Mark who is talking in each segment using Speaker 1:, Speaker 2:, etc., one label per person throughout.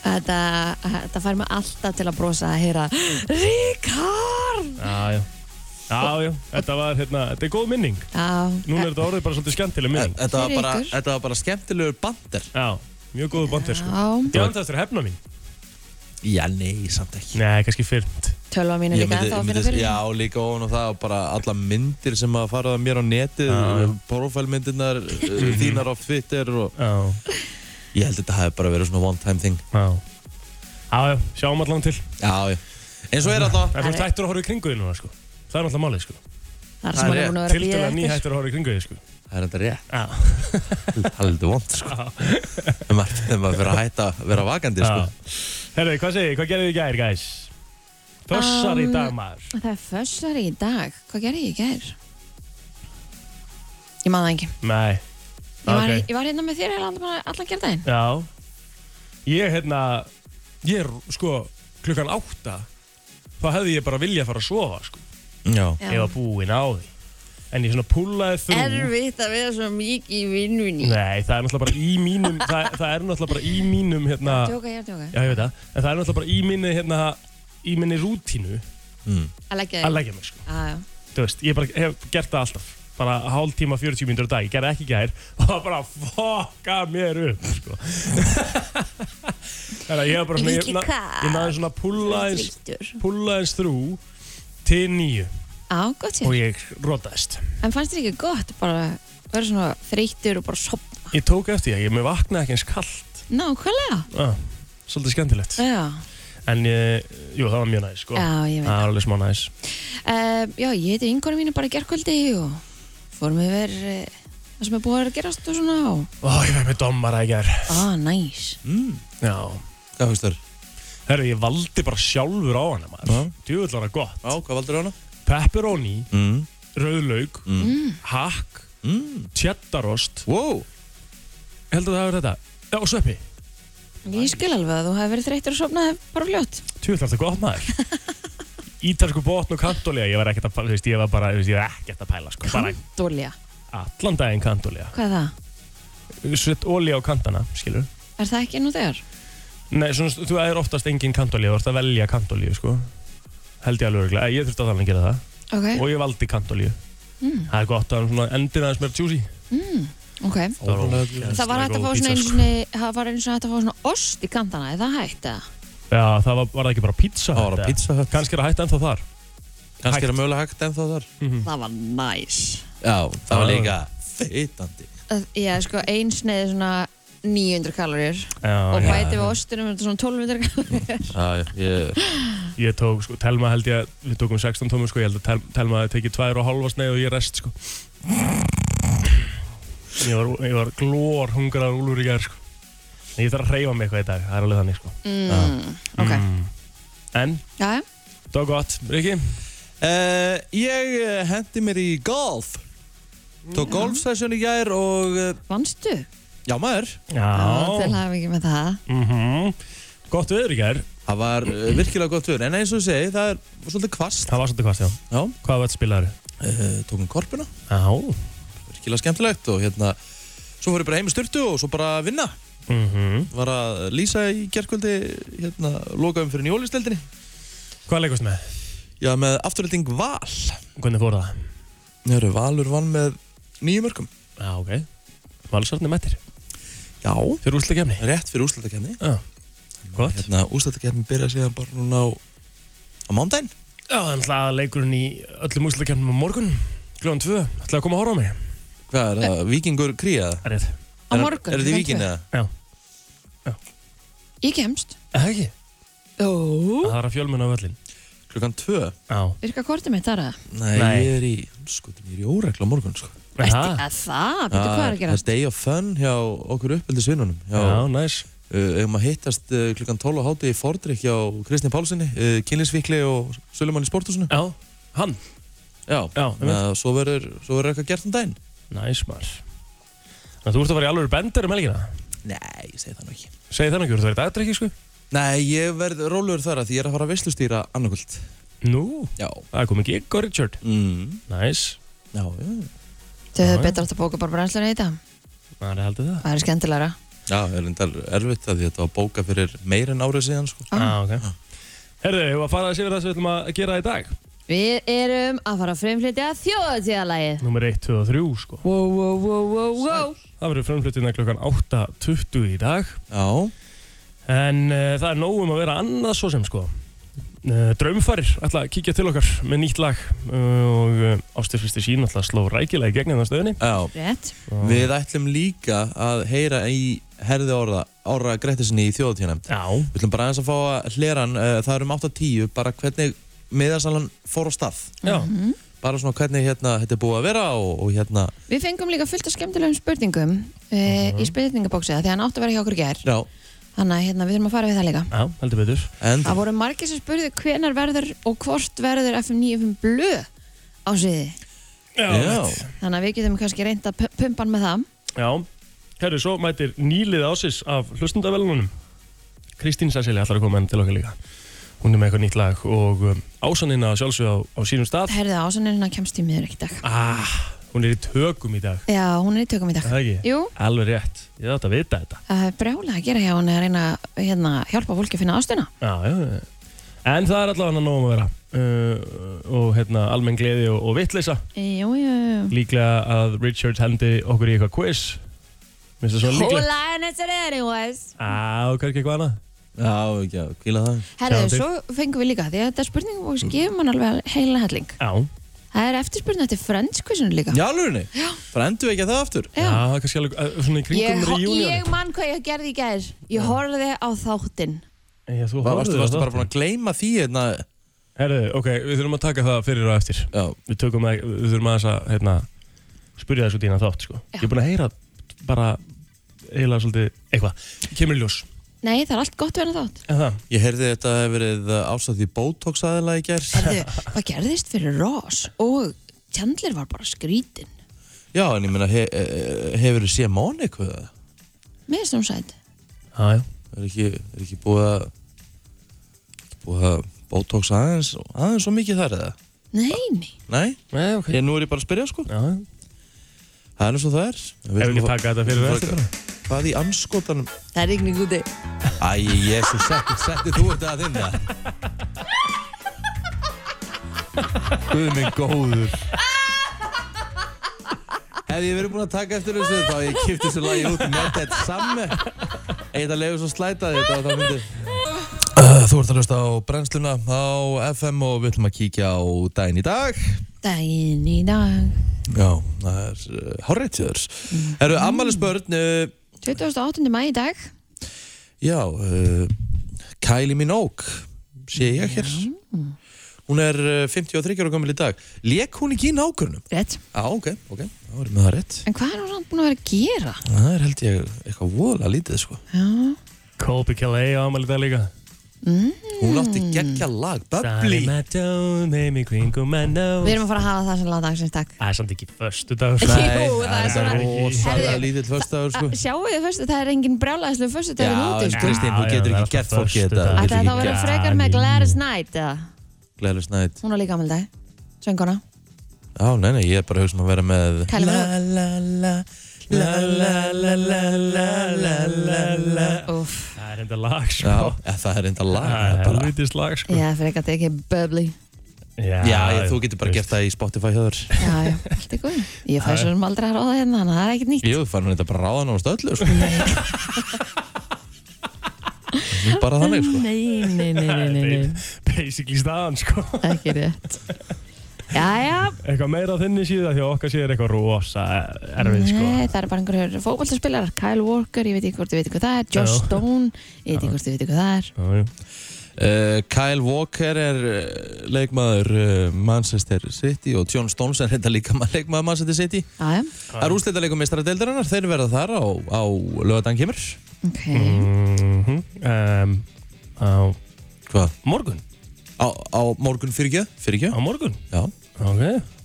Speaker 1: Þetta, þetta fær mig alltaf til að brosa að heyra Ríkard!
Speaker 2: Já, já. Já, já, þetta var, hérna, þetta er góð minning.
Speaker 1: Já,
Speaker 2: Núna er þetta orðið bara svolítið skemmtileg minning.
Speaker 3: Þetta var
Speaker 1: Fyrir
Speaker 3: bara,
Speaker 1: ykkur.
Speaker 3: þetta var bara skemmtilegur bandir.
Speaker 2: Já, mjög góðu bandir, sko.
Speaker 1: já,
Speaker 2: Ég andast þér hefna mín.
Speaker 3: Já, nei, samt ekki.
Speaker 2: Nei, kannski fyrnt.
Speaker 1: tölva mín er
Speaker 3: Ég
Speaker 1: líka myndi, ennþá að finna fyrir.
Speaker 3: já, líka ofan og það og bara alla myndir sem að fara mér á netið,
Speaker 2: Já, já.
Speaker 3: profilmyndirnar eh, þínar á Twitter og
Speaker 2: Já,
Speaker 3: ég held að þetta hafi bara verið svona one time thing.
Speaker 2: já. Já, já, sjáum allan til.
Speaker 3: Já, já. En svo er alltaf,
Speaker 2: Það er fyrst hættur að horfa í kringu þig núna, sko. Það er náttúrulega málið, sko.
Speaker 1: Það er
Speaker 3: það
Speaker 1: sem
Speaker 3: er
Speaker 1: hann er búin að vera að
Speaker 2: Tildulega ný
Speaker 1: býða eftir.
Speaker 2: hættur að horfa í kringu þig, sko.
Speaker 3: það er þetta rétt,
Speaker 2: Já,
Speaker 3: það er litið vond, sko. Þegar maður- þegar maður fyrir að hætta að vera vakandi,
Speaker 2: já.
Speaker 3: sko.
Speaker 2: Herðu, hvað segir, hvað gerðu þið í gær, guys? Fossar í
Speaker 1: Um,
Speaker 2: dag, maður.
Speaker 1: Það er fössari í dag. Hvað gerði ég í gær? Ég maður það ekki.
Speaker 2: Nei,
Speaker 1: Ég var,
Speaker 2: Ok.
Speaker 1: ég var hérna með þér heila bara allan gerðaðinn.
Speaker 2: já. Ég, hérna, ég er, sko, klukkan átta, þá hefði ég bara viljað fara að sofa, sko.
Speaker 3: Já.
Speaker 2: ég var búinn á því en ég svona pullaði þrú
Speaker 1: Erfitt að vera svo mikið í vinnunni.
Speaker 2: Nei, það er náttúrulega bara í mínum það, það er náttúrulega bara í mínum hérna,
Speaker 1: Tjóka, ég er tjóka.
Speaker 2: já, ég veit það, en það er náttúrulega bara í minni hérna, í minni rútínu
Speaker 3: Mm.
Speaker 1: Að leggja
Speaker 2: að
Speaker 1: þig.
Speaker 2: leggja mig, sko
Speaker 1: Já, já.
Speaker 2: þú veist, ég bara hef gert það alltaf bara hálf tíma, 40 mínútur á dag, ég gerði ekki í gær og það var bara að fokka mér upp sko þannig að ég hef bara svona, ég,
Speaker 1: Líki hvað?
Speaker 2: ég náði svona pullaðins
Speaker 1: Þreyttur.
Speaker 2: pullaðins þrú til nýju
Speaker 1: Já, gott
Speaker 2: og
Speaker 1: ég.
Speaker 2: ég rotaðist
Speaker 1: En fannst þér ekki gott bara að vera svona þreyttur og bara sopna?
Speaker 2: ég tók eftir því að ég mér vaknaði ekki eins kallt
Speaker 1: Nákvæmlega.
Speaker 2: ah, svolítið skemmtilegt
Speaker 1: Já,
Speaker 2: en eh, jú, það var mjög næs sko.
Speaker 1: já, ég veit.
Speaker 2: það var alveg smá næs
Speaker 1: Um, já, ég heiti vinkonu mínu bara gerkvöldi og fórum við verið uh, það sem er búið að vera að gerast og svona og
Speaker 2: ó, ég veit með dommara í gær
Speaker 1: ah, næs.
Speaker 3: Mm.
Speaker 2: já,
Speaker 3: Hvað finnst þér?
Speaker 2: herru, ég valdi bara sjálfur á hana maður,
Speaker 3: Já.
Speaker 2: djúvill var það gott
Speaker 3: Já, hvað valdur hana?
Speaker 2: pepperoni,
Speaker 3: Mm.
Speaker 2: rauðlaug
Speaker 1: Mm.
Speaker 2: hakk,
Speaker 3: Mm.
Speaker 2: cheddarost
Speaker 3: Wow.
Speaker 2: heldur það að vera þetta, já, og sveppi
Speaker 1: Ég skil alveg að þú hefði verið þreyttur að sofna bara fljótt.
Speaker 2: djúvill var það gott maður ítalsku botn og kantólia, ég var ekkert að pæla, þú veist, ég var bara, þú veist, ég var ekkert að pæla sko. bara
Speaker 1: Kandólja,
Speaker 2: allan daginn kantólia
Speaker 1: hvað er það?
Speaker 2: svett ólí á kantana, skilur
Speaker 1: Er það ekki nú þegar?
Speaker 2: Nei, svona, þú er oftast engin kantolíu, þú ert að velja kantolíu, sko. Held ég alveg örgulega. Ég þurfti að tala að gera það.
Speaker 1: Ok,
Speaker 2: Og ég valdi kantolíu.
Speaker 1: mm,
Speaker 2: Það er gott að hann svona endir aðeins meira juicy.
Speaker 1: mm, ok.
Speaker 2: Ótrúlega-
Speaker 1: Það var hægt að fá svona
Speaker 2: sko.
Speaker 1: einu sinni, það var einu sinni hægt að fá svona ost í kantana, er það hægt eða?
Speaker 2: Já, það var, var það ekki bara pizza.
Speaker 3: Það var að pizza höll.
Speaker 2: Kanski er það hægt ennþá þar. Mhm.
Speaker 3: Kannski er það mögulega hægt ennþá þar.
Speaker 1: Það var næs.
Speaker 3: Já, það var
Speaker 2: Já.
Speaker 3: líka feitandi.
Speaker 1: Að- Já, sko, eins neði svona 900 kalorir
Speaker 2: Já,
Speaker 1: og
Speaker 2: já.
Speaker 1: bæti við ostunum er þetta svona 1200 kalorir.
Speaker 3: Já, já, ég...
Speaker 2: Ég tók, sko, Telma held ég að, við tókum 16 tómur, sko, ég held að tel, Telma hafði tekið tvær og halva sneið og ég rest, sko. Ég var, ég var glór hungraður úlur í gær, sko. En Ég þarf að reyfa mig eitthvað í dag, það er alveg þannig, sko.
Speaker 1: Mm, ok,
Speaker 2: Mm. En,
Speaker 1: já, já.
Speaker 2: það var gott, Riki.
Speaker 3: Uh, ég eh, hendi mér í golf Tók golfsessjón í gær og eh,
Speaker 1: Vannstu?
Speaker 3: Já maður
Speaker 1: Til hafa ekki með það.
Speaker 2: mm Gott viður í gær
Speaker 3: Það var eh, virkilega gott fyrir En eins og ég segi það er svolítið kvast
Speaker 2: Það var svolítið kvart, já
Speaker 3: Já
Speaker 2: Hvað var þetta spilaður?
Speaker 3: uh, Tókum korpuna
Speaker 2: Já
Speaker 3: Virkilega skemmtilegt Og hérna Svo fór ég bara heim í styrtu og svo bara að vinna
Speaker 2: mm
Speaker 3: Var að lýsa í gerkvöldi Hérna lokaðum fyrir njólisteldinni
Speaker 2: Hvað leikast með?
Speaker 3: Já með afturhalding Val
Speaker 2: Hvernig fór það?
Speaker 3: Njöru Valur vann með nýjum örkum
Speaker 2: Já, ok Valsarni mættir
Speaker 3: Já
Speaker 2: Fyrir úrslega kemni
Speaker 3: Rétt fyrir úrslutakenni
Speaker 2: Já Gott
Speaker 3: Hérna úrslutakenni byrja síðan bara núna á Á mándaginn
Speaker 2: Já, en það leikurinn í öllum úrslega kemnum á morgun Glóðan tvö Ætlaði að koma að horfa á mig
Speaker 3: Hvað er það? Vikingur kríða?
Speaker 2: Það er rétt
Speaker 1: Á morgun.
Speaker 3: Er þetta í
Speaker 1: klukkan
Speaker 3: vikin
Speaker 1: tvö.
Speaker 3: eða?
Speaker 1: Ég kemst.
Speaker 2: Það ekki
Speaker 1: Ó.
Speaker 2: Það er að fjölmenn á völlin
Speaker 3: Klukkan tvö?
Speaker 2: Já
Speaker 1: Virka kortið mitt þar að.
Speaker 3: Nei,
Speaker 2: Nei.
Speaker 3: ég er í, sko, ég er í óregla á morgun, sko.
Speaker 1: Ætti
Speaker 2: Aha.
Speaker 1: að það? Býttu ah, hvað er að gera?
Speaker 3: Það er day of fun hjá okkur uppeldisvinnunum.
Speaker 2: Já,
Speaker 3: Já.
Speaker 2: næs
Speaker 3: Uh, um að hittast uh, klukkan 12 á hátu í Fordrik hjá Kristni Pálssoni, uh, kynlísvikli og Sölumann í sporthúsinu.
Speaker 2: Já Hann
Speaker 3: Já.
Speaker 2: Já,
Speaker 3: Þannig að svo verður, svo verður eitthvað gert um daginn.
Speaker 2: Næs maður Þannig að Þú ert að fara í alveg bendur um helgina
Speaker 3: Nei, ég segi það nú ekki.
Speaker 2: Segði þannig, þú ert að vera í dagdrykki, sko
Speaker 3: Nei, ég verð rólegur þar að því ég er að fara að veslustýra annarkvöld.
Speaker 2: Nú,
Speaker 3: Já.
Speaker 2: það er komið gig og Richard
Speaker 3: Mm.
Speaker 2: Næs,
Speaker 3: Já, já.
Speaker 1: Þau
Speaker 2: Já,
Speaker 1: hefur
Speaker 2: já.
Speaker 1: betur átt að bóka bara brennsluna í þetta.
Speaker 2: maður er haldið það
Speaker 1: Það er skemmtilegra.
Speaker 3: Já, það er reyndar erfitt að því þetta var bóka fyrir meir en árið síðan sko.
Speaker 2: ah, okay. Herðu, við að fara að séu það sem við ætlum að gera í dag
Speaker 4: Við erum að fara að fremflytja þjóðatíðalagið.
Speaker 2: Númer 1, 2 og 3 sko.
Speaker 4: Wow, wow, wow, wow, wow.
Speaker 2: Það verður frumflutina klukkan 8.20 í dag
Speaker 3: Já,
Speaker 2: En uh, það er nóg um að vera annað svo sem sko uh, Draumfarir ætla að kíkja til okkar með nýtt lag uh, Og uh, Ástir Kristi sín ætla að sló rækilega í gegn það stöðinni
Speaker 3: já.
Speaker 4: Rétt.
Speaker 3: Ah. Við ætlum líka að heyra í herði orða, orða Grettisinni í þjóðatíðanum.
Speaker 2: Já,
Speaker 3: Við ætlum bara aðeins að fá að hlera hann, uh, það er um 8.10, bara hvernig miðarsalan fór á stað.
Speaker 2: já,
Speaker 1: Mhm.
Speaker 3: Bara svona hvernig hérna þetta er búið að vera og, og hérna,
Speaker 1: Við fengum líka fullt af skemmtilegum spurningum uh, í spurningabóksið því hann átti að vera hjá okkur í gær
Speaker 3: Mhm. já,
Speaker 1: Þannig að hérna, við þurfum að fara við það líka
Speaker 2: já, heldur betur
Speaker 3: en
Speaker 1: Það voru margir sem spurðu hvenar verður og hvort verður FM 95 blöð á sviði
Speaker 3: já,
Speaker 1: Þannig að við getum kannski reynd að pumpa hann með það
Speaker 2: Já, herru, svo mætir nýlið ásins af hlustundavelunum Kristín Sessili ætlar að koma enn til okkar líka Hún er með eitthvað nýtt lag og um, ásanina sjálfsög á, á sínum stað
Speaker 1: Herðu ásanirina kemst í miður ekki í dag
Speaker 2: ah, Hún er í tökum í dag,
Speaker 1: Já, hún er í tökum í dag
Speaker 2: er það ekki?
Speaker 1: Jú,
Speaker 2: Alveg rétt, ég átt að vita þetta
Speaker 1: það er brjálega að gera hjá hann að reyna að hérna, hjálpa fólki að finna ástuna
Speaker 2: Já, já, já. En það er allavega nóg um að vera uh, og hérna almenn gleði og, og vittleysa
Speaker 1: Jú, jú, jú
Speaker 2: líklega að Richard hendi okkur í eitthvað quiz Minnst það svona líklegt?
Speaker 4: Hólaðan þetta er anyways.
Speaker 2: Á, kannski eitthvað annað
Speaker 3: já, já, kvíla það.
Speaker 1: Herðu,
Speaker 2: Sjáum til.
Speaker 1: svo fengum við líka því að þetta spurningum og gefum hann alveg heila helling
Speaker 2: Já,
Speaker 1: Það er eftirspurning eftir Friends quizinu líka
Speaker 3: Já, alvegni, brendu ekki að það aftur.
Speaker 2: já, það er kannski alveg uh, svona í
Speaker 4: Ég,
Speaker 2: kringum
Speaker 4: ho-
Speaker 2: reunioni
Speaker 4: ég mann hvað ég gerði í gær. Ég horfði á þáttinn.
Speaker 2: Já, þú
Speaker 3: Var, varstu,
Speaker 2: horfðir á
Speaker 3: varstu bara
Speaker 2: þáttinn.
Speaker 3: búin að gleyma því hérna,
Speaker 2: Herðu, ok, við þurfum að taka það fyrir og eftir
Speaker 3: já,
Speaker 2: Við tökum það, við þurfum aðeins að hérna, spyrja þessu dýna þátt, sko Ég er búin að heyra bara eiginlega svolítið eitthvað Kemur í ljós,
Speaker 1: Nei, það er allt gott við hann þátt
Speaker 2: en það
Speaker 3: ég heyrði þetta hefur verið eh, ástætt í Botox aðila í gerð.
Speaker 1: Herðu, hvað gerðist fyrir Ross og Chandler var bara skrítin
Speaker 3: Já, en ég meina, he, he, hefur þið séð Móniku það?
Speaker 1: Mér finnst hún sæt
Speaker 2: Já, já
Speaker 3: Er ekki, er ekki búið að búið að botox aðeins aðeins svo mikið þar eða?
Speaker 1: Nei, nei
Speaker 3: Nei,
Speaker 2: Nei, ok
Speaker 3: ég, nú er ég bara að spyrja sko
Speaker 2: Já, já
Speaker 3: Það er eins og það er Við
Speaker 2: Ef
Speaker 3: ætlum
Speaker 2: ekki
Speaker 3: að-
Speaker 2: taka þetta fyrir og eftir bara
Speaker 3: Hvað í anskotanum?
Speaker 1: Það er ykkur úti
Speaker 3: Æ, jésu, setti, setti þú þetta að þinna Guð minn góður Ef ég verið búin að taka eftir þessu þá ég kipti þessu lagi út með þetta samme Eitt að leiðu svo slæta þetta og þá myndi Eh, Þú ert að hlusta á brennsluna á FM og við ætlum að kíkja á daginn í dag
Speaker 1: Daginn í dag
Speaker 3: Já, það er uh, hárreitjöður Eru ammælisbörn uh,
Speaker 1: 28. mæ í dag
Speaker 3: Já, uh, Kylie Minogue sé ég hér Hún er uh, 53 ára gömul í dag Lék hún ekki í nákvörnum?
Speaker 1: Rétt
Speaker 3: Já, ok, ok, þá erum við það rétt
Speaker 1: En hvað er hún samt búin að vera að gera?
Speaker 3: Það er held ég eitthvað vola lítið sko
Speaker 1: Já
Speaker 2: Colby Calais á ámæli dag líka
Speaker 1: Mm.
Speaker 3: Hún átti geggja lag, Bubbly
Speaker 2: Sally Madone, neymi kringum að ná
Speaker 1: Við erum að fara að hafa það sem laða dagsins takk
Speaker 2: Það er samt ekki förstu dagur
Speaker 1: Jú, það er
Speaker 3: það er
Speaker 1: svona-
Speaker 3: rosalega
Speaker 1: Herðu,
Speaker 3: lítill föstaður sko
Speaker 1: Sjáu þið fyrst, það er engin brjálæðislu fyrst
Speaker 3: Já,
Speaker 1: Það er úti,
Speaker 3: en
Speaker 1: sko
Speaker 3: Kristín, þú
Speaker 2: Já, já,
Speaker 3: getur
Speaker 2: það er
Speaker 3: ekki gett
Speaker 2: alltaf
Speaker 3: fólki þetta
Speaker 2: föstudagur.
Speaker 3: þú
Speaker 1: Ætli
Speaker 3: getur
Speaker 1: það þá
Speaker 3: ekki
Speaker 1: verður
Speaker 3: gert-
Speaker 1: frekar með
Speaker 2: Daniel.
Speaker 1: Gladys Knight eða?
Speaker 3: Gladys Knight
Speaker 1: Hún var líka gammal dag Svönguna
Speaker 3: Já, nei, nei, ég er bara að hugsa um að vera með
Speaker 1: Kylie Minogue.
Speaker 3: la la La la la la la la la la
Speaker 1: Úff
Speaker 2: Það er enda lag sko
Speaker 3: Já, eða það er enda lag
Speaker 2: Það
Speaker 3: það
Speaker 2: er
Speaker 3: er bara-
Speaker 2: helvitist lag sko
Speaker 1: Já, frekar þetta ekki bubbly
Speaker 3: Já, ég, þú getur bara gert það í Spotify hjá þér
Speaker 1: Já, já, allt er góð Ég fæ svo sem aldrei að ráða hérna, þannig að það er ekkert nýtt
Speaker 3: Jú, fann þetta bara ráðan á stöllu sko. Bara þannig sko.
Speaker 1: Nei, nei, nei, nei, nei, nei.
Speaker 2: Basically staðan sko
Speaker 1: ekki rétt Jæja,
Speaker 2: Eitthvað meira á þinni síða því að okkar síða er eitthvað rosa erfið sko
Speaker 1: Nei, það er bara einhverjur fókbaltarspilarar Kyle Walker, ég veit ekki hvort þið veit hvað það er Josh
Speaker 2: Já.
Speaker 1: Stone, ég veit ekki hvort þið veit hvað það er
Speaker 2: Já, já.
Speaker 3: uh, Kyle Walker er uh, leikmaður uh, Manchester City og John Stones er þetta líka ma- leikmaður Manchester City
Speaker 1: Jæja,
Speaker 2: Ah.
Speaker 3: Það er úsleita leikum meistara deildarinnar Þeir verða þar á, á lögadagn kemur
Speaker 1: ok
Speaker 2: Mhm, um, Á
Speaker 3: Hvað?
Speaker 2: morgun
Speaker 3: Á, á morgun fyrirgjöð?
Speaker 2: Á
Speaker 3: Fyrirgjöð?
Speaker 2: morgun
Speaker 3: Já
Speaker 2: Ok,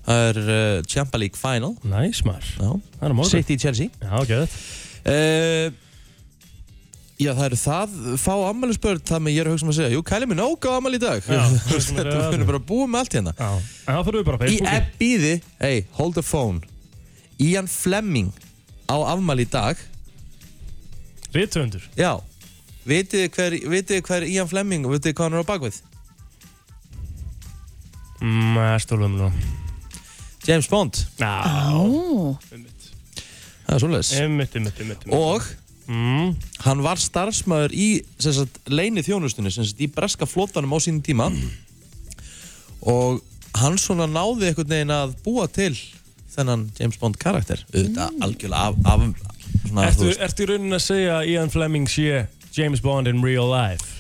Speaker 3: Það er uh, Champa League Final
Speaker 2: næs maður
Speaker 3: Já.
Speaker 2: Það er á morgun
Speaker 3: City Chelsea
Speaker 2: Já, gett
Speaker 3: Uh, já, það eru það, fá ammælisbörn, það með ég er að hugsa um að segja, jú, kæli mér nóg á ammæli í dag.
Speaker 2: Já,
Speaker 3: Þú veist,
Speaker 2: hugsa um að
Speaker 3: Þetta
Speaker 2: reyða
Speaker 3: verður
Speaker 2: það.
Speaker 3: bara að búa með allt hérna.
Speaker 2: Já, en það fyrir við bara á
Speaker 3: Í
Speaker 2: Facebooki
Speaker 3: ebbiði, hey, hold the phone, Ian Fleming á afmæli í dag.
Speaker 2: Rithöfundur
Speaker 3: Já, vitið þið hver, vitið þið hver Ian Fleming og vitið þið hvað hann er á bakvið?
Speaker 2: Mæ, mm, stólum nú
Speaker 3: James Bond,
Speaker 2: Ná,
Speaker 5: Ó,
Speaker 3: það er svoleiðis
Speaker 2: einmitt, einmitt, einmitt einmitt.
Speaker 3: Og
Speaker 2: mm,
Speaker 3: hann var starfsmæður í sem sagt, leini þjónustunni, sem sagt, í breska flótanum á sínum tíma og hann svona náði einhvern veginn að búa til þennan James Bond karakter
Speaker 1: Mm.
Speaker 3: auðvitað algjörlega af, af svona,
Speaker 2: ertu,
Speaker 3: þú veist,
Speaker 2: ertu í rauninni að segja að Ian Fleming sé James Bond in real life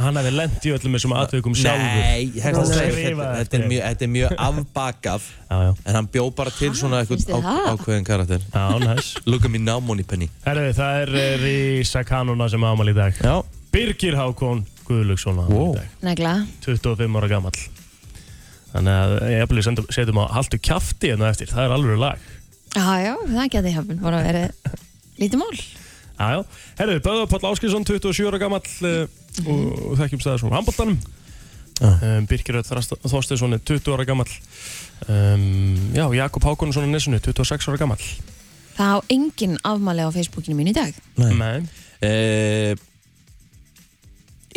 Speaker 2: Hann hefði lent í öllum þessum aðtökum sjálfur
Speaker 3: Nei, þetta
Speaker 2: Skrifaði
Speaker 3: er,
Speaker 2: þetta.
Speaker 3: þetta, þetta er mjög, þetta er mjög afbakað
Speaker 2: Já, já,
Speaker 3: en hann bjó bara til svona einhvern
Speaker 1: finnst þér
Speaker 3: á,
Speaker 1: það?
Speaker 3: ákveðin karakter
Speaker 2: já, næs
Speaker 3: Look at me now, money penny
Speaker 2: Herðu, það er eh, Risa Kanona sem ámal í dag
Speaker 3: Já,
Speaker 2: Birgir Hákon Guðlöksson ámal
Speaker 3: Wow.
Speaker 2: í dag
Speaker 1: Negla.
Speaker 2: 25 ára gamall Þannig að ég eflug sendum- setjum á haldu kjafti en eftir, það er alveg lag
Speaker 1: Já, já, það geti hafn bara verið lítið mál.
Speaker 2: Jájá, herru, Böður Páll Áskilsson 27 ára gamall uh, og þekkjumst það svona handbóltanum
Speaker 3: Já.
Speaker 2: um, Birgir Öll Þorstinsson er 20 ára gamall um, Já, Jakob Hákonarsson er nesunu 26 ára gamall
Speaker 1: Það á engin afmæli á Facebookinu mín í dag.
Speaker 3: nei
Speaker 2: Nei,
Speaker 3: Eh,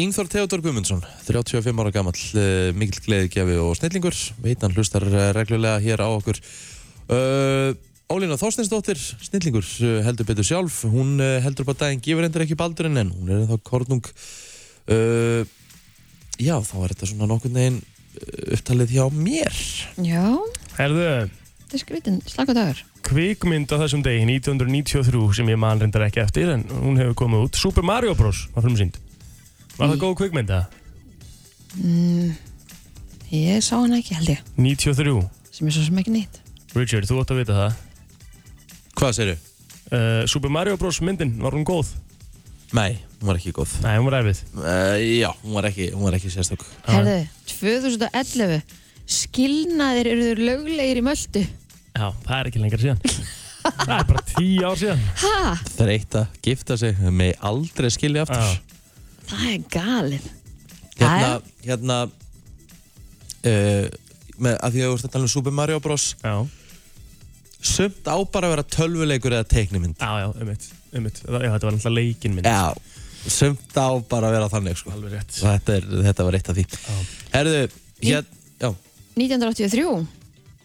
Speaker 3: Ingþór Theodor Guðmundsson 35 ára gamall, uh, mikil gleðigjafi og snillingur, veit hann hlustar eh, reglulega hér á okkur uh, Ólína Þorsteinsdóttir snillingur, uh, heldur betur sjálf hún uh, heldur upp að daginn, gefur endur ekki baldurinn en hún er ennþá kornung uh, Já, þá er þetta svona nokkurn veginn eh, upptalið hjá mér
Speaker 1: Já,
Speaker 2: herðu
Speaker 1: þetta er skritin slaka dagur.
Speaker 2: kvikmynd á þessum degi 1993 sem ég man reyndar ekki eftir en hún hefur komið út Super Mario Bros. var frumsýnd Var það góð kvikmynda?
Speaker 1: Mm, ég sá hann ekki held ég,
Speaker 2: 93
Speaker 1: sem er svo sem ekki nýtt.
Speaker 2: Richard, þú átt að vita það
Speaker 3: Hvað segirðu?
Speaker 2: uh, Super Mario Bros. myndin, var hún góð?
Speaker 3: Nei, hún var ekki góð
Speaker 2: Nei, hún var erfið
Speaker 3: uh, Já, hún var ekki, hún var ekki sérstök
Speaker 1: Herðu, 2011 skilnaðir eruður löglegir í möldu.
Speaker 2: Já, það er ekki lengra síðan Það er bara tíu ár síðan
Speaker 1: Ha,
Speaker 3: Það er eitt að gifta sig, með aldrei skilja aftur
Speaker 2: Já.
Speaker 1: það er galið.
Speaker 3: hérna, hérna uh, með, að því að þú ert að tala um Super Mario Bros
Speaker 2: Já,
Speaker 3: sumt á bara að vera tölvuleikur eða teiknimynd
Speaker 2: já, já, ummitt, ummitt Já, þetta var náttúrulega leikinn minn
Speaker 3: já, sumt á bara að vera þannig sko.
Speaker 2: Alveg rétt
Speaker 3: Og þetta, er, þetta var eitt af því Herðu, hér, já,
Speaker 1: 1983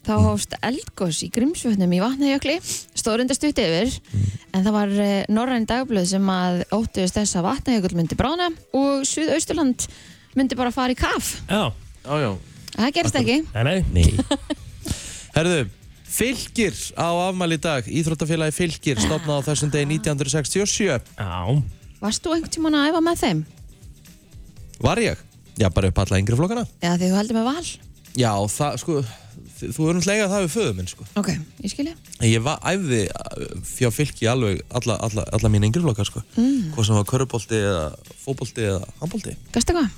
Speaker 1: þá hófst eldgós í Grímsvötnum í Vatnajökli stórunda stutt yfir en það var eh, norræn dagblöð sem að óttuðist þess að Vatnajökull myndi brána og Suðausturland myndi bara fara í kaf
Speaker 2: Já,
Speaker 3: já, já
Speaker 1: það gerist ekki
Speaker 2: nei, nei
Speaker 3: Nei Herðu, Fylgir á afmæli í dag Íþróttafélagi Fylgir stofnað á þessum degi 1967
Speaker 2: Já,
Speaker 1: Varst þú einhvern tímann að æfa með þeim?
Speaker 3: Var ég? Já, bara upp alla yngri flokkana
Speaker 1: Já, því þú heldur með val
Speaker 3: Já, það, sko, þi- þú erum slegað það við föðum minn, sko
Speaker 1: Ok, ég skilja
Speaker 3: Ég var, æfði uh, fjá fylki alveg alla, alla, alla mín yngri flokkar sko. mm. Hvað sem var körubólti eða fótbolti eða handbólti
Speaker 1: Gasta hvað?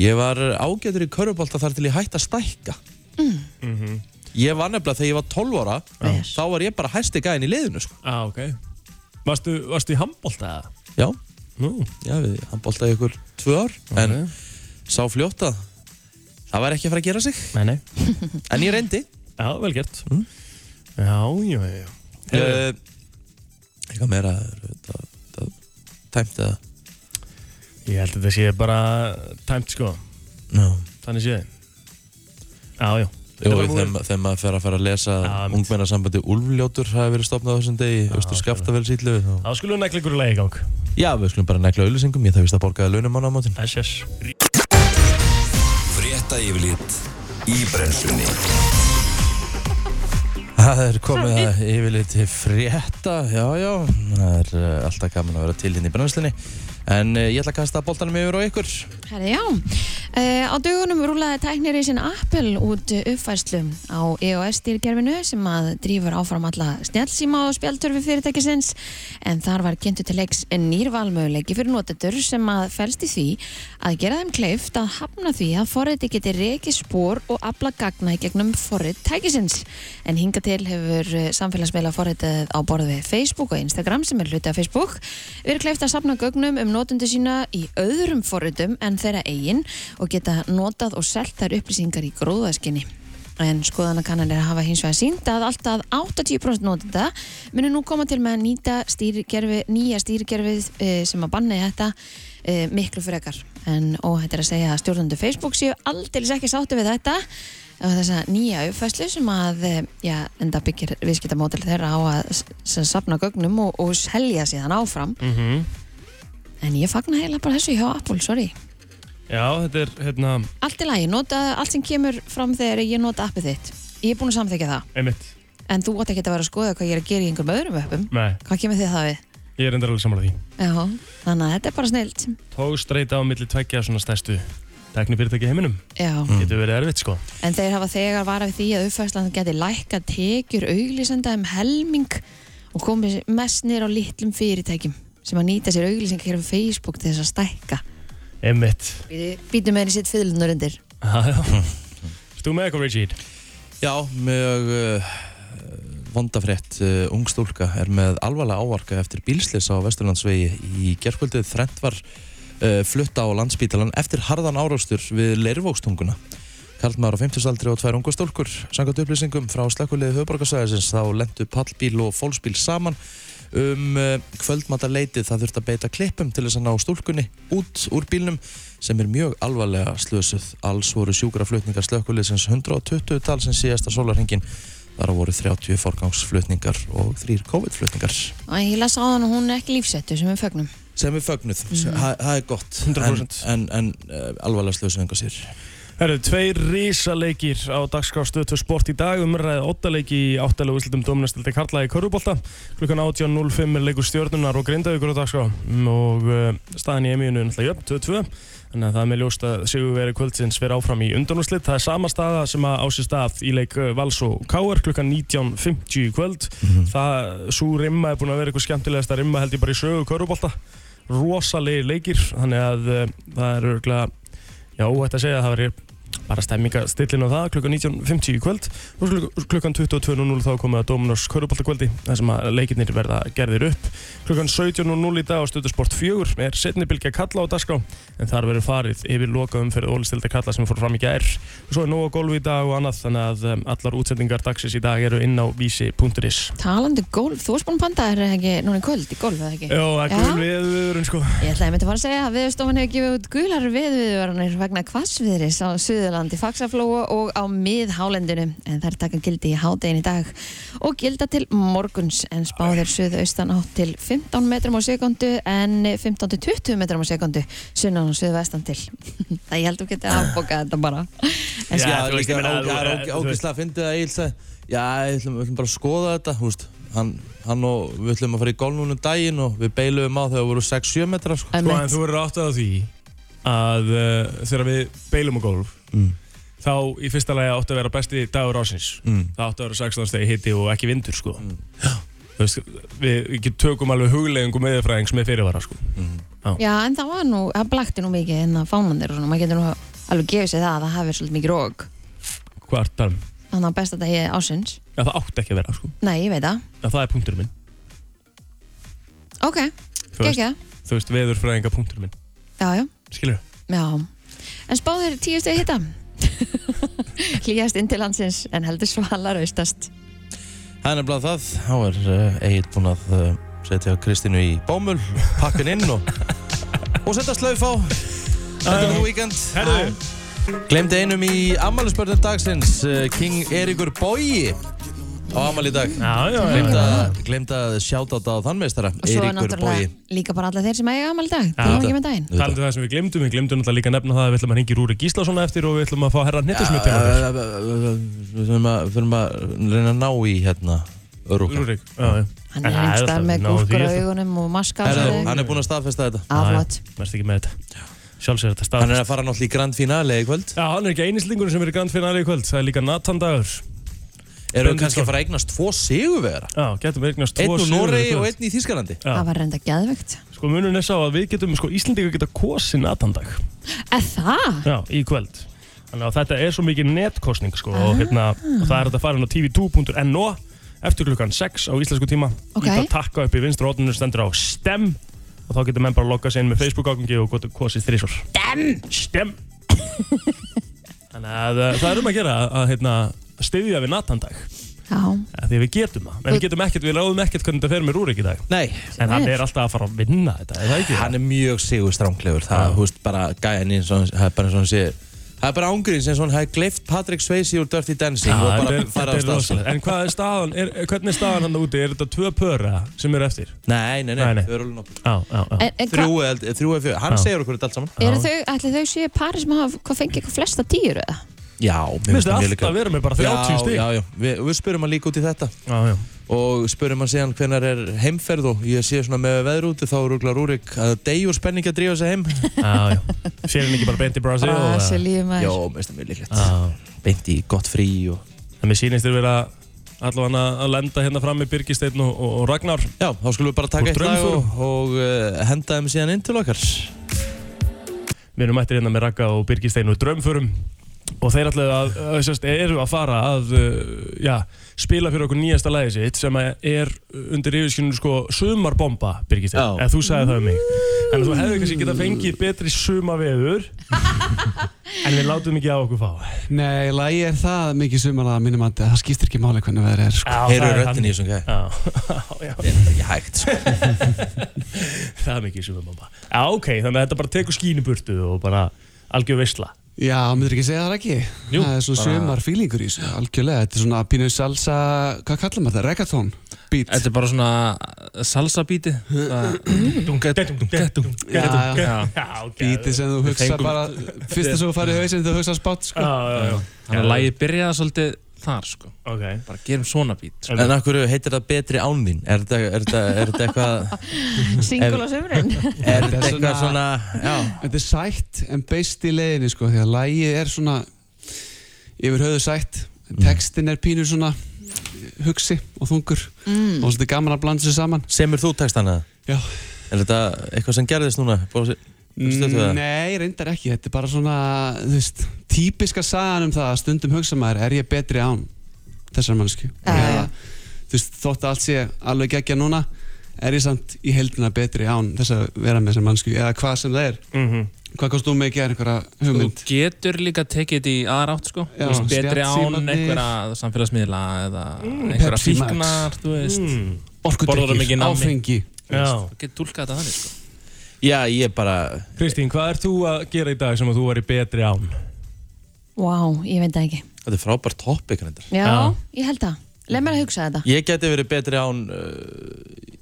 Speaker 3: Ég var ágætur í körubólta þar til ég hætti að stækka Ég var nefnilega þegar ég var 12 ára
Speaker 1: Vel.
Speaker 3: Þá var ég bara hæsti gæðin í liðinu sko.
Speaker 2: já, Ah, ok Varstu, varstu í handbólta eða?
Speaker 3: Já,
Speaker 2: Nú,
Speaker 3: já, við handbóltaði ykkur tvö ár En sá fljóta Það var ekki að fara að gera sig
Speaker 2: nei, nei
Speaker 3: En ég reyndi Mm.
Speaker 2: Já, vel gert Já, já, já, já Heyrðu,
Speaker 3: uh, Eitthvað meira það, það, Tæmt eða
Speaker 2: Ég held að þetta sé bara tæmt sko
Speaker 3: Já
Speaker 2: Þannig sé Já, já
Speaker 3: Jú,
Speaker 2: Þetta var
Speaker 3: þegar, ma- þegar maður fer að fara að lesa
Speaker 2: Já,
Speaker 3: að
Speaker 2: einmitt.
Speaker 3: ungmennasambandi Úlfljótur hafi verið stopnað á þessum degi austur skaftafél sýtlu og...
Speaker 2: Þá skulum við negla ykkur í lagi í gang
Speaker 3: Já, við skulum bara negla auðlýsingum, ég þarf vist að borgaði launum á námáttin
Speaker 2: Yes, yes
Speaker 6: Frétta yfirlit í brennslunni
Speaker 3: Það er komið að yfirleitt til frétta, já já, það er uh, alltaf gaman að vera til hinn í brennslinni En uh, ég ætla að kasta boltanum yfir á ykkur
Speaker 1: Herri, já. Uh, á dögunum rúlaði tæknirinn sinn Apple út uppfærslu á E EOS-dýrgerfinu sem að drífur áfram alla snjálsíma og spjaldtörfi fyrirtækisins en þar var kynntu til leiks nýrvalmöguleiki fyrir notendur sem að fælst í því að gera þeim kleift að hafna því að forriti geti reiki spór og afla gagna í gegnum forrit tækisins. En hinga til hefur eh, samfélagsmiðla forritið á borð við Facebook og Instagram sem er hluti af Facebook verið kleift að safna gögnum um notundu sína í öðrum forritum en þeirra eigin og geta notað og selt þær upplýsingar í gróðaskinni. En skoðanakannanir hafa hins vegar sínt að alltaf 80% notenda munu nú koma til með að nýta stýrikerfi, nýja stýrikerfið eh, sem að banna þetta eh, miklu frekar. En óhætt er að segja að stjórnundu Facebook séu aldeilis ekki sáttu við þetta og þessa nýja uppfæslu sem að eh, já, enda byggir viðskiptamódel þeirra á að s- sem safna gögnum og, og selja síðan áfram.
Speaker 2: mm
Speaker 1: En ég fagna heila bara þessu hjá Apple, sorry.
Speaker 2: Já, þetta er hérna,
Speaker 1: Allt í lagi, nota allt sem kemur fram þegar ég nota appið þitt. Ég er búin að samþykja það.
Speaker 2: einmitt
Speaker 1: En þú átt ekki að vera að skoða hvað ég er að gera í einhverjum öðrum öppum.
Speaker 2: Nei,
Speaker 1: Hvað kemur þið það við?
Speaker 2: ég er endur alveg sammála því
Speaker 1: Já, þannig að þetta er bara snilt.
Speaker 2: Tógstreita á milli tveggja svona stærstu teknifyrirtæki í heiminum
Speaker 1: Já,
Speaker 2: Getur verið erfitt sko
Speaker 1: en þeir hafa þegar varað við því að uppfærslan geti lækka tekjur auglýsenda um helming og komið mest nýr á litlum fyrirtækjum sem að nýta sér auglýsingar hér á Facebook til þess að stækka.
Speaker 2: Einmitt
Speaker 1: Býtum með henni sitt fyrirlunar undir.
Speaker 2: Já, já Stú með eitthvað Richard
Speaker 3: Já, mjög uh, vondafrétt uh, ung stúlka er með alvarlega ávarka eftir bílslis á Vesturlandsvegi í gerkvöldið þrennt var uh, flutta á landsbítalan eftir harðan árástur við leirvókstunguna. Karlmaður á 50 aldri og tvær unga stúlkur, sangat upplýsingum frá slekkulegið höfuborgarsæðisins þá lendu pallbíl og fólksbíl saman um uh, kvöldmataleitið það þurft að beita klippum til þess að ná stúlkunni út úr bílnum sem er mjög alvarlega slösuð. Alls voru sjúkraflutningar slökkuliðsins 120 tal sem síðasta sólarhengin. Þar voru 30 forgangsflutningar og 3 COVID-flutningar
Speaker 1: Og ég las á hann og hún er ekki lífsettu sem við fögnum.
Speaker 3: sem er fögnuð. Mm. Það það er gott.
Speaker 2: 100%.
Speaker 3: En, en, en uh, alvarlega slösuð enga sér.
Speaker 2: Það eru tveir risaleikir á dagskráðstöð til sport í dag umræðið óttaleiki í áttalegu úrslitum dominastildi Karla í Körubólta klukkan 18.05 er leikur stjórnunar og grindavíkur á dagskrá og uh, staðan í emíunu er náttúrulega jöfn, 2-2 þannig að það er með ljóst að sigurveri kvöldsins fyrir áfram í undanúrslit það er sama staða sem að ásið stað í leik eh, Vals og Káar klukkan 19.50 í kvöld það, svo rimma er búin að vera eitthvað skemmtilegast að rimma held ég bara í sögu Körubólta rosalegi leikir þannig að uh, það er örgulega Já, óhætt að segja að það verið bara stemminga stillin á það klukkan 19.50 í kvöld og kluk- klukkan 22.00 þá er komið að Dominos Köruboltakvöldi þar sem að leikirnir verða gerðir upp klukkan 17.00 í dag á Stöðusport 4 er setni bylgja kalla á dagskrá en þar verður farið yfir loka umferð ólistilda kalla sem fór fram í gær og svo er nóg að golfi í dag og annað þannig að um, allar útsendingar dagsins í dag eru inn á vísi.is
Speaker 1: Talandi gólf, þú varst búin að panta þér ekki núna í kvöld í gólf eða ekki?
Speaker 2: Já, það er
Speaker 1: Já.
Speaker 2: gul við viðurinn sko
Speaker 1: Ég ætlaði einmitt að fara að segja að viðstofan hefur gefið út gular viðviðvaranir vegna hvassviðris á Suðurlandi, Faxaflóa og á miðhálendinu en þær taka gildi í hádegin í dag og gilda til morguns en spáðir suðaustan átt til 15 metrum á sekundu en 15-20 metrum á sekundu sunnan og suðvestan til Það ég held að þú getið afbokað þetta bara En
Speaker 2: Já,
Speaker 1: sko,
Speaker 3: Já,
Speaker 2: þú veist,
Speaker 3: líka
Speaker 2: ég meina,
Speaker 3: ó-
Speaker 2: þú-
Speaker 3: það er
Speaker 2: þú
Speaker 3: óge- ógeðslega að fyndi það Egil sagði Já, við ætlum, við ætlum bara að skoða þetta þú veist, hann, hann og við ætlum að fara í golf núna um daginn og við beiluðum á þegar voru 6-7 metrar sko.
Speaker 2: Sko, en
Speaker 1: einmitt.
Speaker 2: þú verður áttað á því að uh, þegar við beilum á golf
Speaker 3: Mm.
Speaker 2: þá í fyrsta lagi áttu að vera besti dagur ásins
Speaker 3: mm.
Speaker 2: það áttu að vera 16 stegi hitti og ekki vindur sko. þú veist, við við tökum alveg huglegingu meðfræðing sem er fyrirvara sko.
Speaker 3: Mm.
Speaker 1: Já, en það var nú, það blakti nú mikið en að fánandir og svona, maður getur nú alveg gefið sér það að það hafi svolítið mikið rók
Speaker 2: kvartar
Speaker 1: Þannig að besta þetta ég ásins
Speaker 2: ja, um. það átti ekki að vera sko.
Speaker 1: Nei, ég veit það
Speaker 2: ja, það er punkturinn minn
Speaker 1: Ok,
Speaker 2: þú veist,
Speaker 1: gekkja,
Speaker 2: þú veist veðurfræðinga punkturinn minn
Speaker 1: já, já,
Speaker 2: skilur
Speaker 1: já En spáður tíu stegi hitta Hlýjast inn til landsins en heldur svalar austast
Speaker 3: Það er nefnilega það Há er uh, Egil búinn að uh, setja Kristínu í bómul pakkan inn og, og setja slauf á Þetta er nú víkend
Speaker 2: Herðu,
Speaker 3: Glemdi einum í ammælisbörnum dagsins uh, King Erikur Bogi á ammæli í dag
Speaker 2: já, já, já.
Speaker 3: Glemdi glemd að sjáta á þann meistara
Speaker 1: Og svo
Speaker 3: Eiríkur Bogi
Speaker 1: náttúrulega líka bara alla þeir sem eiga amal í dag
Speaker 2: Já.
Speaker 1: Það er ekki með daginn
Speaker 2: Talandi um það sem við glemdum, við glemdum náttúrulega líka að nefna það að við ætlum að ringi Rúri Gíslason eftir og við ætlum að fá herra hnittismitt til hann.
Speaker 3: Ja, Við þurfum að, við þurfum að reyna að ná í hérna Rúka.
Speaker 2: Rúrik, já, já.
Speaker 1: Hann er
Speaker 2: Já, það er
Speaker 1: einhverstað
Speaker 2: alltaf-
Speaker 1: með
Speaker 2: ná,
Speaker 1: gúrkur á
Speaker 2: því er það.
Speaker 1: augunum og maska á
Speaker 3: Herra,
Speaker 1: sig
Speaker 3: Hann er búinn að staðfesta þetta
Speaker 1: Aflót
Speaker 2: Verðst ekki með þetta. Sjálfsögur þetta
Speaker 3: Hann
Speaker 2: staðfest.
Speaker 3: er að fara náttúrulega í grand finale í kvöld
Speaker 2: Já, hann er ekki einislingur sem er í grand finale í kvöld. Það er líka Nathan Dagur. Benedikt
Speaker 3: Eru við kannski
Speaker 2: Þór.
Speaker 3: að fara að eignast tvo sigurvegara
Speaker 2: Já, getum við eignast
Speaker 3: Einn
Speaker 2: tvo
Speaker 3: úr
Speaker 2: sigurvegara í
Speaker 3: Noregi
Speaker 2: kvöld.
Speaker 3: og einn í Þýskalandi
Speaker 2: Já.
Speaker 1: Það var reynda geðvegt
Speaker 2: Sko munun er sá að við getum, sko Íslendingar geta kosið Nathan Dag.
Speaker 1: Eða það?
Speaker 2: Já, í kvöld. Þannig að þetta er svo mikið netkosning, sko.
Speaker 1: Ah.
Speaker 2: Og, hérna, og það er þetta farin á tv2.no eftir klukkan 6 á íslensku tíma.
Speaker 1: Ok.
Speaker 2: Ítta takka upp í vinstra rótunum stendur á STEM og þá getur menn bara að logga sig inn með Facebook-ágangi og gott kosið þrísor. eh, STEM! STEM! Þannig að uh, það er um að gera að, að, hérna, styðja við Natandag
Speaker 1: Já,
Speaker 2: af því að við getum það, en við getum ekkert, við ráðum ekkert hvernig þetta fer með Rúrik í dag
Speaker 3: Nei,
Speaker 2: en hann er alltaf að fara að vinna þetta, er það ekki?
Speaker 3: hann er mjög sigurstránglegur það, hú veist, bara gæðan eins og hann- það er bara eins og hann sé það er bara ángurinn sem hann hafi gleift Patrick Swayze úr Dirty Dancing og
Speaker 2: Já,
Speaker 3: bara
Speaker 2: þetta
Speaker 3: fara á
Speaker 2: er- þetta er
Speaker 3: stað
Speaker 2: rosalegt. En hvað er staðan, er, hvernig er staðan hann úti? Er þetta tvö pöra sem eru eftir?
Speaker 3: Nei, nei,
Speaker 2: Nei,
Speaker 3: nei,
Speaker 2: nei.
Speaker 3: þau eru alveg nokkuð
Speaker 2: Já, já, já.
Speaker 1: en, en hvað,
Speaker 3: Þrjú eða þrjú eða fjör, hann
Speaker 2: Já.
Speaker 3: segir okkur þetta allt saman
Speaker 1: eru þau, ætli þau séu pari sem hafa, hvað fengi eitthvað flesta tíur eða?
Speaker 3: Já,
Speaker 2: Mér finnst það alltaf að vera með bara 30 stík.
Speaker 3: Já, já, já, við, við spurum hann líka út í þetta
Speaker 2: já, já.
Speaker 3: og spurum hann síðan hvenar er heimferð og ég sé svona með veðrúti þá er úrglar Rúrik að degjur spenning að drífa sig heim
Speaker 2: já, já. Sér hann ekki bara beint í Brasil? eða?
Speaker 1: Brasilíu
Speaker 3: Já,
Speaker 1: maður
Speaker 3: mér finnst það mjög líklegt
Speaker 2: Já.
Speaker 3: Beint í gott frí og
Speaker 2: En mér sýnist þér vera allavega að lenda hérna fram með Birgisteinn og, og, og Ragnar.
Speaker 3: Já, þá skulum við bara taka
Speaker 2: Úr
Speaker 3: eitt lag og,
Speaker 2: draumförum.
Speaker 3: og uh, henda þeim síðan inn til okkar
Speaker 2: Við erum mættir hérna með Ragga og Birgisteinn og Drömförum og þeir allavega að, að, sérst, eru að fara að uh, já, spila fyrir okkur nýjasta lagi sitt sem að er undir yfirskyninu sko sumarbomba Birgisteinn,
Speaker 3: Já.
Speaker 2: eða þú sagði það um mig en þú hefði kannski getað fengið betri sumaveður en við látum ekki á okkur fá
Speaker 7: Nei, lagi er það mikið sumalega að mínum að það skiptir ekki máli hvernig veður er sko.
Speaker 2: Já,
Speaker 3: Heyrðu röddin í þessum gæði
Speaker 2: Já, já,
Speaker 3: Þetta er ekki hægt sko.
Speaker 2: það er mikið sumarbomba Já, ok, þannig að þetta bara tekur skínu burtu og bara algjör veisla
Speaker 7: Já, myndir ekki segja það ekki
Speaker 2: Jú,
Speaker 7: Það er svona sumar fílingur í þessu, algjörlega Þetta er svona pínu salsa, hvað kallar maður það? Reggaeton? Beat?
Speaker 8: Þetta er bara svona salsa bíti
Speaker 7: Já, já, já Bítið
Speaker 2: Bítið
Speaker 7: sem þú hugsa
Speaker 8: fengum-
Speaker 7: bara Fyrsta sem þú farið í hausinn þú hugsa spátt sko.
Speaker 8: Þannig að lagi byrjaði svolítið þar sko
Speaker 2: Ok
Speaker 8: Bara gerum svona bít
Speaker 3: En af hverju heitir það betri án þín? Er þetta er þetta- er þetta eitthvað
Speaker 1: Single á sömurinn
Speaker 3: Er
Speaker 7: Þetta
Speaker 3: þetta
Speaker 7: er
Speaker 3: eitthvað svona
Speaker 7: svona-
Speaker 3: Já,
Speaker 7: Þetta er sætt en beist í leiðinni sko, Því að lagi er svona Yfir höfu sætt Textin er pínu svona hugsi og þungur og þetta er gaman að blanda sér saman
Speaker 3: semur þú textan eða?
Speaker 7: Já.
Speaker 3: Er þetta eitthvað sem gerðist núna? Bósi? Stöttu það?
Speaker 7: Nei, reyndar ekki, þetta er bara svona þú veist, típiska sagan um það að stundum hugsa maður, er ég betri án þessar mannsku
Speaker 1: Já, já.
Speaker 7: þú veist, þótt að allt sé alveg geggja núna er ég samt í heldina betri án þess að vera með þessar mannsku eða hvað sem það er,
Speaker 2: Mhm.
Speaker 7: hvað komst þú með ekki að einhverja
Speaker 8: Þú
Speaker 7: hugmynd?
Speaker 8: getur líka tekið þetta í aðra átt sko
Speaker 7: Já,
Speaker 8: Þú veist, Betri án
Speaker 7: snjallsímarnir.
Speaker 8: einhverja samfélagsmiðla eða einhverja
Speaker 7: Mm. Pepsi Max.
Speaker 8: fíknar Þú veist
Speaker 2: Mm.
Speaker 8: Borðar það mikið
Speaker 7: Orkudrykkir,
Speaker 8: nammi?
Speaker 7: áfengi
Speaker 2: Já.
Speaker 8: Þú getur tólkað þetta þannig sko
Speaker 3: Já, ég bara
Speaker 2: Kristín, hvað ert þú að gera í dag sem að þú væri betri án?
Speaker 1: Vá, ég veit það ekki
Speaker 3: Þetta er frábært topic reyndar
Speaker 1: Já,
Speaker 2: Já.
Speaker 1: ég held það Leð mér að hugsa þetta
Speaker 3: Ég geti verið betri án uh,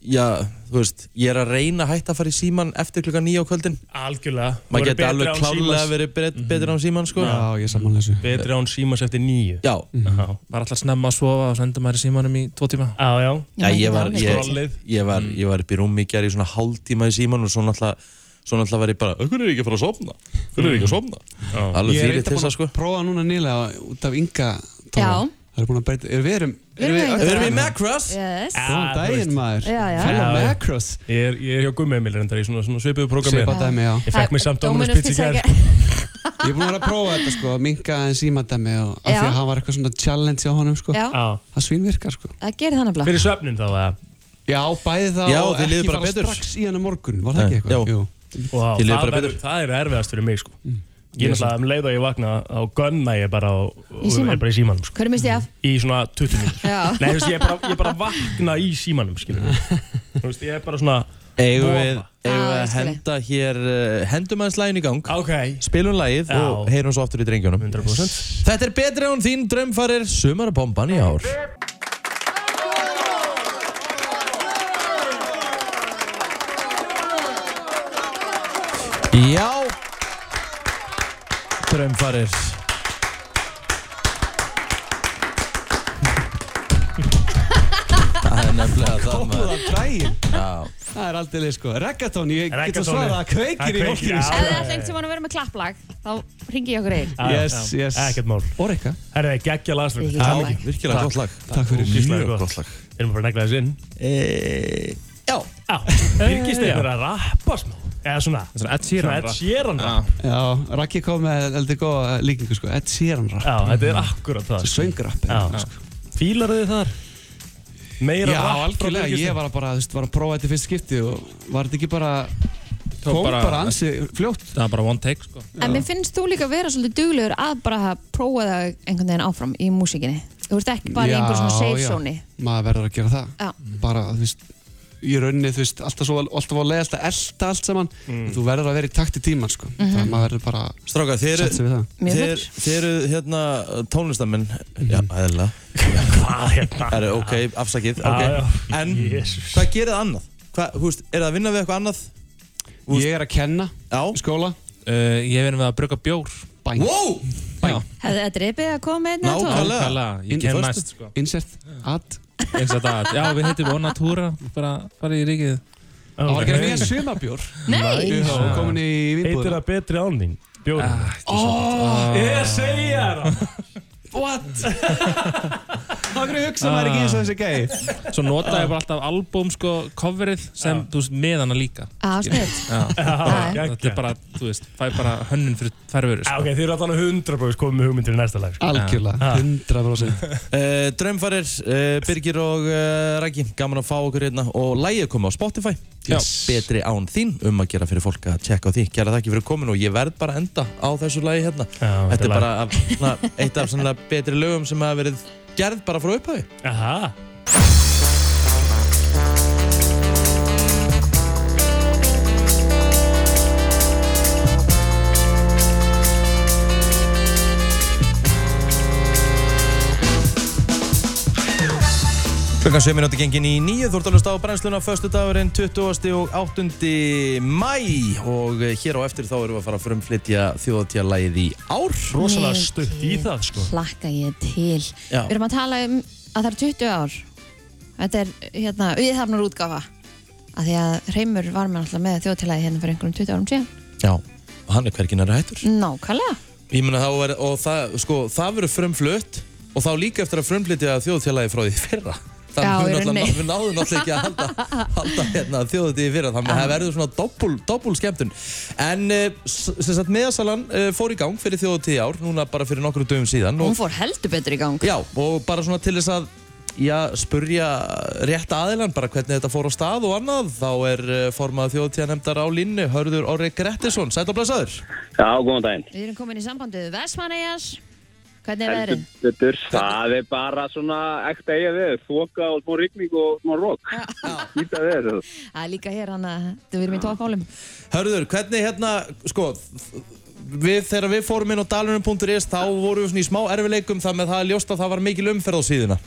Speaker 3: Já, þú veist Ég er að reyna að hætta að fara í síman eftir klukkan nýja á kvöldin
Speaker 2: Algjörlega. Þú værir
Speaker 3: Maður geti
Speaker 2: betri
Speaker 3: alveg
Speaker 2: án
Speaker 3: klálega
Speaker 2: Símans-
Speaker 3: verið bet-
Speaker 8: Mhm.
Speaker 3: betri án síman sko
Speaker 7: Já, ég er samanlega þessu
Speaker 2: Betri án símas eftir nýju.
Speaker 3: Já,
Speaker 8: Mhm.
Speaker 2: Já,
Speaker 8: Var alltaf snemma að sofa og svo endur maður í símanum í tvo tíma
Speaker 2: já. já. Mm.
Speaker 3: Já, ég var,
Speaker 1: alveg
Speaker 3: ég,
Speaker 2: Skrollið.
Speaker 3: ég, var, ég var upp í rúmi í gær í svona hálftíma í síman og svo náttúrulega, svo náttúrulega var ég bara Hvernig er ég ekki að fara að sofna? Hvernig er
Speaker 2: Mm.
Speaker 3: ég ekki að sofna? Alveg
Speaker 7: Ég er
Speaker 3: fyrir
Speaker 7: eitthvað
Speaker 3: til
Speaker 7: búin
Speaker 3: það
Speaker 7: að
Speaker 3: sko
Speaker 7: prófa núna nýlega út af ynga
Speaker 1: Já.
Speaker 7: Það er búin að breyta, er við erum
Speaker 1: Við erum að-
Speaker 3: Við erum í Macross
Speaker 1: Yes
Speaker 7: Góðan daginn maður
Speaker 1: Já, já.
Speaker 7: Hello
Speaker 2: Já, já.
Speaker 7: Macross
Speaker 2: Ég er, ég er hjá Gummi Emil reyndar í svona, svona svipuðu prógrami.
Speaker 7: Svipað dæmi, já
Speaker 2: Ég fekk mér samt Dominus Pizza í gær. sko.
Speaker 7: Ég er búin að vera að prófa þetta sko, minga aðeins ímadæmi og af því
Speaker 1: Já.
Speaker 7: að hann var eitthvað svona challenge á honum sko.
Speaker 1: Já,
Speaker 2: Já.
Speaker 7: Það svínvirkar sko.
Speaker 1: það gerir þannig blá
Speaker 2: Fyrir svefnin þá, eða?
Speaker 7: Já, bæði það
Speaker 3: Já,
Speaker 7: og
Speaker 3: þið líður
Speaker 7: ekki
Speaker 3: bara
Speaker 7: fara
Speaker 3: betur.
Speaker 7: strax í hann á morgun, var það ekki
Speaker 3: Nei,
Speaker 7: eitthvað?
Speaker 3: já.
Speaker 7: Jú.
Speaker 2: Wow,
Speaker 3: Þið líður
Speaker 2: það,
Speaker 3: bara
Speaker 2: verður-
Speaker 3: betur. Mm.
Speaker 2: það er erfiðast fyrir mig, sko. Ég er náttúrulega um leið og ég vakna á gönna ég bara og, og
Speaker 1: Í símanum.
Speaker 2: er bara í símanum, sko.
Speaker 1: Hverju misti ég af?
Speaker 2: Í svona 20 mínútur.
Speaker 1: Já.
Speaker 2: Nei, þú veist, ég er bara, ég er bara að vakna í símanum, skilur Þú veist, ég er bara svona,
Speaker 3: Eigum við, eigum við
Speaker 1: Já, ég
Speaker 3: að
Speaker 1: skil.
Speaker 3: henda hér uh, Hendum aðeins lægin í gang
Speaker 2: ok,
Speaker 3: Spilum lægið
Speaker 2: Já.
Speaker 3: og heyrum svo sko aftur í drengjónum
Speaker 2: 100%.
Speaker 3: Þetta er betri án þín drömmfarir Sumarabomban í ár Já Drömmfarir Það er nefnilega það maður
Speaker 7: Góðan um daginn.
Speaker 3: Já.
Speaker 7: Það er aldrei leið sko. Reggaeton, ég get að
Speaker 2: Reggaetonið.
Speaker 7: svara að kveikir í
Speaker 2: Það
Speaker 7: fólkinu.
Speaker 2: já,
Speaker 1: Ef
Speaker 7: sko.
Speaker 1: það er
Speaker 2: já, já.
Speaker 1: allir sem hann að vera með klapplag Þá ringi ég okkur einn
Speaker 2: Já, já,
Speaker 7: Yes,
Speaker 2: já.
Speaker 7: yes.
Speaker 2: Ekkert mál.
Speaker 7: Og Rikka,
Speaker 2: Herra, það er geggja sko. lagslöf.
Speaker 1: Mikið lag.
Speaker 3: Virkilega gott lag
Speaker 7: takk fyrir.
Speaker 2: Ógeðslega
Speaker 3: Mjög
Speaker 2: gott.
Speaker 3: gott lag
Speaker 2: Við erum bara að negla þessu inn.
Speaker 3: Eh, Já
Speaker 2: Já, Birgist er að rappa smá. Eða svona,
Speaker 8: Svona Ed
Speaker 2: svona
Speaker 8: Sheeran
Speaker 2: Ed
Speaker 8: rap.
Speaker 2: Sheeran rap.
Speaker 8: Já.
Speaker 7: Já, Rikki kom með eldur góða líkingu sko. Ed Sheeran rap.
Speaker 2: Já, þetta er akkurat það. sko.
Speaker 7: Söngrapp.
Speaker 2: Já. Fílar þið þar? Meira
Speaker 7: sko. Já,
Speaker 2: rap frá
Speaker 7: algjörlega,
Speaker 2: Birgis
Speaker 7: ég
Speaker 2: Steinn?
Speaker 7: var bara, þú veist, var að prófa þetta í fyrst skipti og var þetta ekki bara
Speaker 2: Tók
Speaker 7: kom
Speaker 2: bara-
Speaker 7: bara ansi fljótt
Speaker 2: Það var bara one take sko
Speaker 1: En mér finnst þú líka vera svolítið duglegur að bara prófa það einhvern veginn áfram í músikinni. Þú ert ekki bara í
Speaker 7: Já,
Speaker 1: einhver svona safe
Speaker 7: já.
Speaker 1: zone.
Speaker 7: maður verður að gera það
Speaker 1: Já.
Speaker 7: bara, þú veist, í rauninni þú veist, alltaf, svo, alltaf á leiðast að elta allt saman
Speaker 2: Mm.
Speaker 7: en þú verður að vera í takt í tíman sko.
Speaker 1: Mhm.
Speaker 7: mm -hmm. maður verður bara að
Speaker 3: Stráka, þið
Speaker 7: setja
Speaker 3: eru,
Speaker 7: sig við það
Speaker 1: Mjög
Speaker 3: þið
Speaker 1: full.
Speaker 3: eru, þið eru hérna tónlistamenn Já, eðlilega
Speaker 9: Hvað hérna?
Speaker 3: Það eru ok, afsakið
Speaker 9: Já,
Speaker 3: okay.
Speaker 9: já.
Speaker 3: En
Speaker 9: Jesus.
Speaker 3: hvað gerir það annað? Hvað, hú veist, er það að vinna við eitthvað annað? Úst.
Speaker 7: ég er að kenna í
Speaker 3: Já
Speaker 7: skóla
Speaker 2: uh, Ég verðum við að brugga bjór
Speaker 7: bæn,
Speaker 3: Wow,
Speaker 2: Já,
Speaker 1: Hefði þetta reypið að koma með einna
Speaker 3: Nákvæmlega.
Speaker 1: tvo?
Speaker 2: nákvæmlega, ég
Speaker 7: Inn í
Speaker 2: kem
Speaker 7: föstu.
Speaker 2: næst sko
Speaker 7: insert, add
Speaker 2: Eins og það, já við heitum Vona Túra Bara farið í ríkið
Speaker 7: það var að gera nýja sumabjór
Speaker 1: Nei!
Speaker 7: Jú, og komin í
Speaker 9: Heitir
Speaker 7: vinnbúðina
Speaker 9: það betri án þín? Bjóri
Speaker 2: Ah,
Speaker 7: oh,
Speaker 9: Ég segja það
Speaker 7: what hann hugsa maður ekki eins og þessi gæi
Speaker 2: Ah. Svo nota ég bara alltaf album sko coverið sem, þú veist, með hana líka
Speaker 1: Á, snitt.
Speaker 2: Já,
Speaker 1: Það
Speaker 9: geggjað.
Speaker 2: þetta er bara, þú veist, fæ bara hönnun fyrir tværveru
Speaker 9: Já,
Speaker 2: sko.
Speaker 9: ok, þið eru alltaf hundra bróðis komið með hugmyndir í næsta lag sko.
Speaker 7: algjörlega, 100%
Speaker 3: Uh, draumfarir, uh, Birgir og uh, Rækki, gaman að fá okkur hérna og lægið komið á Spotify
Speaker 2: Yes.
Speaker 3: betri án þín um að gera fyrir fólk að tjekka á því gera það ekki fyrir komin og ég verð bara að enda á þessu lægi hérna
Speaker 9: Já,
Speaker 3: þetta er
Speaker 9: lag.
Speaker 3: bara af, na, eitt af svona betri lögum sem hafa verið gerð bara frá upphafi
Speaker 9: Aha
Speaker 3: Klukkan 7 minúti gengin í nýju, þú ert að hlusta á brennsluna Föstu dagurinn 20. og 8. mæ Og eh, hér á eftir þá erum við að fara að frumflytja þjóðatíðalægið í ár
Speaker 9: Rosalega
Speaker 1: Mikið.
Speaker 9: stutt í það sko
Speaker 1: Plakka ég til.
Speaker 3: Já.
Speaker 1: Við erum að tala um að það er 20 ár. Þetta er hérna auðhafnar útgafa. Af því að Reymur var með alltaf með þjóðtilæði hérna fyrir einhverjum 20 árum síðan.
Speaker 3: Já, og hann er hvergin að hættur
Speaker 1: Nákvæmlega.
Speaker 3: Ég meina þá er, og það, sko, það verður frumflutt og þá líka eftir að frumflytja þjóðfélagi frá því fyrra.
Speaker 1: Já,
Speaker 3: Þannig
Speaker 1: í
Speaker 3: við, náttúrulega-
Speaker 1: rauninni.
Speaker 3: við náðum náttúrulega ekki að halda, halda hérna, þjóðutíði fyrra, þannig að það verður svona doppul, doppul skemmtun. En eh, s- sem sagt, meðasalan eh, fór í gang fyrir þjóðutíði ár, núna bara fyrir nokkru dögum síðan.
Speaker 1: Hún
Speaker 3: Og,
Speaker 1: fór heldur betur í gang.
Speaker 3: já, og bara svona til þess að Já, spurja rétt aðilan bara hvernig þetta fór á stað og annað þá er eh, formað þjóðtíðanemdar á línni Hörður Orri Grettisson, sætt og blessaður
Speaker 10: Já, góðan daginn.
Speaker 1: Við erum komin í sambandið Vesmanæjas. Hvernig er
Speaker 10: Heldur
Speaker 1: veðrið?
Speaker 10: betur. Það er bara svona ekta eiga veður, þoka og smá rigning og smá rók. Íta veður.
Speaker 1: Það er líka hér hann að við erum í tókmálum.
Speaker 3: Hörður, hvernig hérna, sko, við, þegar við fórum inn á dalunum.is þá vorum við svona í smá erfileikum þar með það er ljóst að það var mikil umferð á síðuna.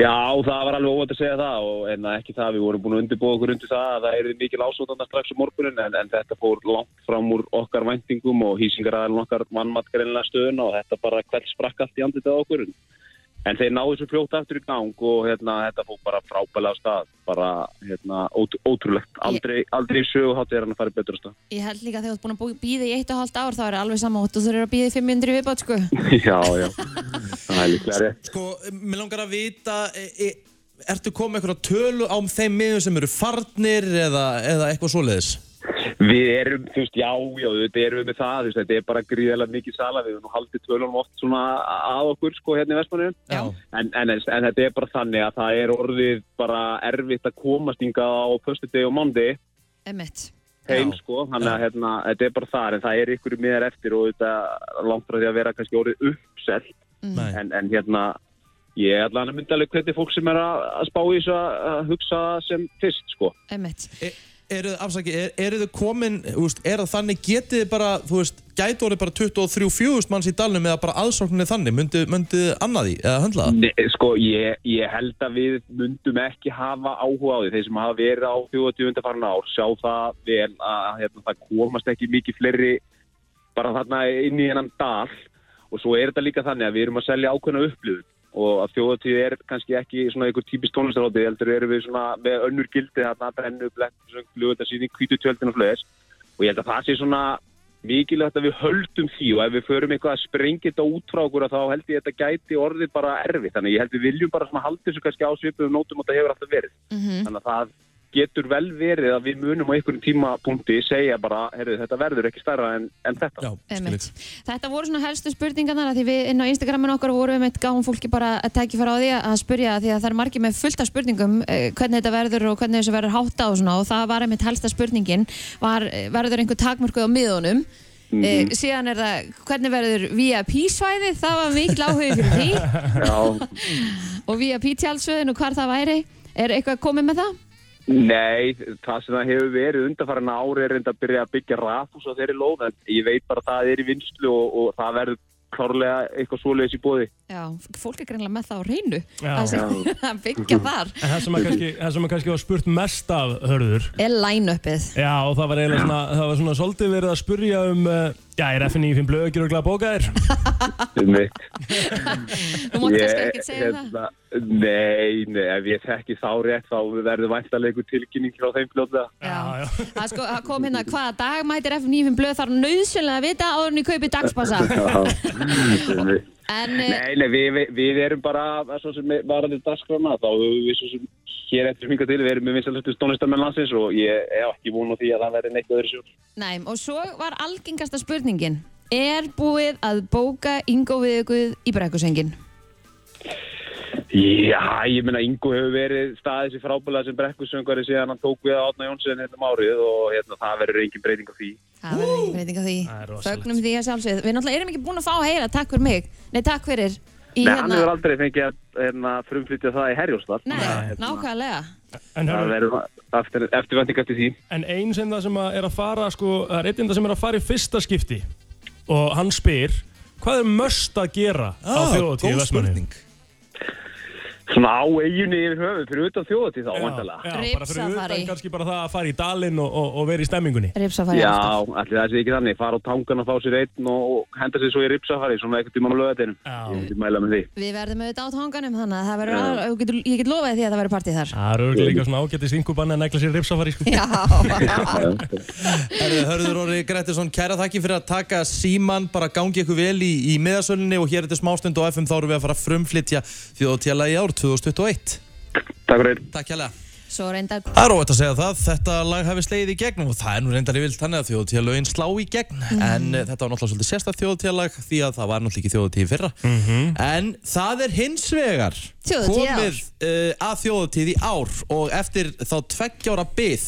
Speaker 10: Já, það var alveg óvænt að segja það og en ekki það, við vorum búin að undirbúa okkur undir það að það er mikil ásóðan strax á morgunin en, en þetta fór langt fram úr okkar væntingum og hýsingaraðan okkar mannmatgreinlega stöðuna og þetta bara kveld sprakk allt í andlitið á okkur. En þeir náðu svo fljótt aftur í gang og hérna, þetta fór bara frábælega á stað, bara hérna, ótr ótrúlegt. Aldrei, aldrei söguhátt er hann að fara betur á stað.
Speaker 1: Ég held líka að þegar þú ert búin að býða í eitt og hálft ár þá er alveg sama og þú þurfir að býða í 500 viðbátt sko.
Speaker 10: Já, já, það er líklega rétt.
Speaker 3: Sko, mér langar að vita, e, e, ertu komið eitthvað tölu á þeim miðum sem eru farnir eða, eða eitthvað svoleiðis?
Speaker 10: Við erum, þú veist, já, já, þetta erum við með það, þú veist, þetta er bara gríðilega mikið sala, við höfum nú haldið tölunum oft svona að okkur, sko, hérna í Vestmannu.
Speaker 3: Já.
Speaker 10: En, en, en þetta er bara þannig að það er orðið bara erfitt að komast hingað á föstu og mándi
Speaker 1: Emmett.
Speaker 10: heim,
Speaker 3: Já.
Speaker 10: sko, þannig að hérna, þetta er bara þar, en það er ykkur miðar eftir og þetta langt frá því að vera kannski orðið uppsett,
Speaker 3: Nei.
Speaker 10: en, en hérna, ég er allan að mynda alveg hvernig fólk sem er að, að spá í þessu að, að hugsa sem fyrst, sko.
Speaker 1: Emmett.
Speaker 3: E, eru, afsaki, er, eru þið komin, úst, er það þannig, getið þið bara, þú veist, gæti orðið bara 23-4 manns í dalnum eða bara aðsóknir þannig, myndið myndi annað í eða höndla það?
Speaker 10: Nei, sko, ég, ég held að við mundum ekki hafa áhuga á því. Þeir sem hafa verið á 40. farin ár sjá það vel að hérna, það komast ekki mikið fleiri bara þarna inn í hennan dal og svo er þetta líka þannig að við erum að selja ákveðna upplifun og að þjóðatíð er kannski ekki svona einhver típist tónlistarótið heldur erum við svona með önnur gildi þarna brennu,
Speaker 2: sko.
Speaker 10: blekk, flugöldarsýning, hvítu tjöldin og fleðis og ég held að það sé svona mikilvægt að við höldum því og ef við förum eitthvað að sprengja þetta út frá okkur að þá held ég að þetta gæti orðið
Speaker 1: Mhm.
Speaker 10: bara erfið þannig að ég held við viljum bara svona halda þessu kannski á svipum nótum og þetta hefur alltaf verið þannig að það getur vel verið að við munum á einhverjum tímapunkti segja bara, heyrðu, þetta verður ekki stærra en, en þetta.
Speaker 3: Já,
Speaker 1: Einmitt. Þetta voru svona helstu spurningarnar af því við inn á Instagramin okkar vorum við mitt gáum fólki bara að tækja fara á því að spurja því að það er margir með fullt af spurningum eh, hvernig þetta verður og hvernig þessu verður hátta og svona og það var einmitt helsta spurningin var eh, verður einhver takmörkuð á miðunum mm síðan er það hvernig verður VIP-svæði það var mikil áhug fyrir því
Speaker 10: Já,
Speaker 1: og VIP-tjálsöðin og hvar það væri er eitthvað komið með það?
Speaker 10: nei, það sem það hefur verið undanfæran ári er reynd að byrja að byggja rafhús á þeirri lóð, en ég veit bara að það er í vinslu og, og það verður klárlega eitthvað svoleiðis í bóði.
Speaker 1: Já, fólk er greinlega með það á reynu
Speaker 2: Já.
Speaker 1: að sé- að byggja þar
Speaker 2: En það sem að kannski, það sem að kannski var spurt mest af hörður
Speaker 1: er line-upið
Speaker 2: Já, og það var eiginlega svona, það var svona svolítið verið að spurja um uh, Já, er FNI 5 blöð ekki röglega bókaðir?
Speaker 10: Um mitt.
Speaker 1: Þú mátt kannski
Speaker 10: Ég-
Speaker 1: ekkert segja það
Speaker 10: hérna, Nei, nei, ef ég þekki þá rétt þá verður væntalega einhver tilkynning frá þeim fljóta.
Speaker 2: Já, já.
Speaker 1: Já, það sko, það kom hérna hvaða dag mætir F9 blöð þarf nöðsynlega að vita áður en ég kaupi dagspassa En eh,
Speaker 10: Nei, nei, við, við, við erum bara, svo sem varðið dagskrána, þá höfum við svo sem hér eftir mingar til, við erum með vinsalustu stónlistamenn landsins og ég hef ekki vona því að það verði neitt öðru sjálf.
Speaker 1: nei, og svo var algengasta spurningin Er búið að bóka Ingo Viðguð í brekkusengin?
Speaker 10: Já, ég meina, Ingo hefur verið staðið sér frábælega sem brekkusöngari síðan hann tók við að Átna Jónsson hérna um árið og hérna, það verður engin breyting á því.
Speaker 1: Það verður ekki breyting á því
Speaker 2: Það er rosalegt.
Speaker 1: Fögnum því að sjálfsögð Við náttúrulega erum ekki búin að fá að heyra Takk fyrir mig Nei, takk fyrir í hérna-
Speaker 10: Nei, hann hefur aldrei fengið að hérna, frumflytja það í Herjóstar.
Speaker 1: Nei, nákvæmlega
Speaker 2: En,
Speaker 10: Það
Speaker 2: hörður,
Speaker 10: verður eftir, eftirvending eftir því.
Speaker 2: en einn sem það sem að er að fara sko, Það er einn sem er að fara í fyrsta skipti Og hann spyr Hvað er möst að gera á
Speaker 3: Ah,
Speaker 2: þjóðatíð
Speaker 3: góð spurning
Speaker 10: Svona á eiginni yfir höfu, fyrir utan þjóðatíð þá, vandalega.
Speaker 2: Já, já, bara fyrir
Speaker 1: Ripsafari.
Speaker 2: utan kannski bara það að fara í dalinn og, og, og vera í stemmingunni
Speaker 1: Ripsa farið
Speaker 10: Já,
Speaker 1: aftur
Speaker 10: allir það sé ekki þannig, fara á tangan og fá sér einn og, og henda sér svo í ripsafari, svona eitthvað tíma á löðateinum.
Speaker 2: Já.
Speaker 10: Ég myndi mæla með því.
Speaker 1: Við verðum auðvitað á tanganum þannig að það verður, al- ég get- ég get lofaði því að það verður partí þar
Speaker 2: Það eru örugglega líka svona ágættis yngubann að negla sér ripsafari sko.
Speaker 1: Já,
Speaker 3: Herðu, Hörður Orri Grettisson, kæra þakki fyrir að taka síman, bara gangi ykkur vel í, í miðasölunni og hér er þetta smástund og FM þá erum við að fara að frumflytja þjóðtíðala í ár 2021.
Speaker 10: Takk fyrir.
Speaker 3: Takk hérlega.
Speaker 1: svo reynda
Speaker 3: Það er óvægt að segja það, þetta lag hafi slegið í gegn og það er nú reyndar yfir þannig að þjóðtíðalögin slá í gegn en eh, þetta var náttúrulega svolítið sérstakt þjóðtíðalag því að það var náttúrulega ekki þjóðtíð í fyrra en það er hins vegar
Speaker 1: Þjóðhátíð í ár.
Speaker 3: komið uh, að þjóðtíð í ár og eftir þá tveggjára byð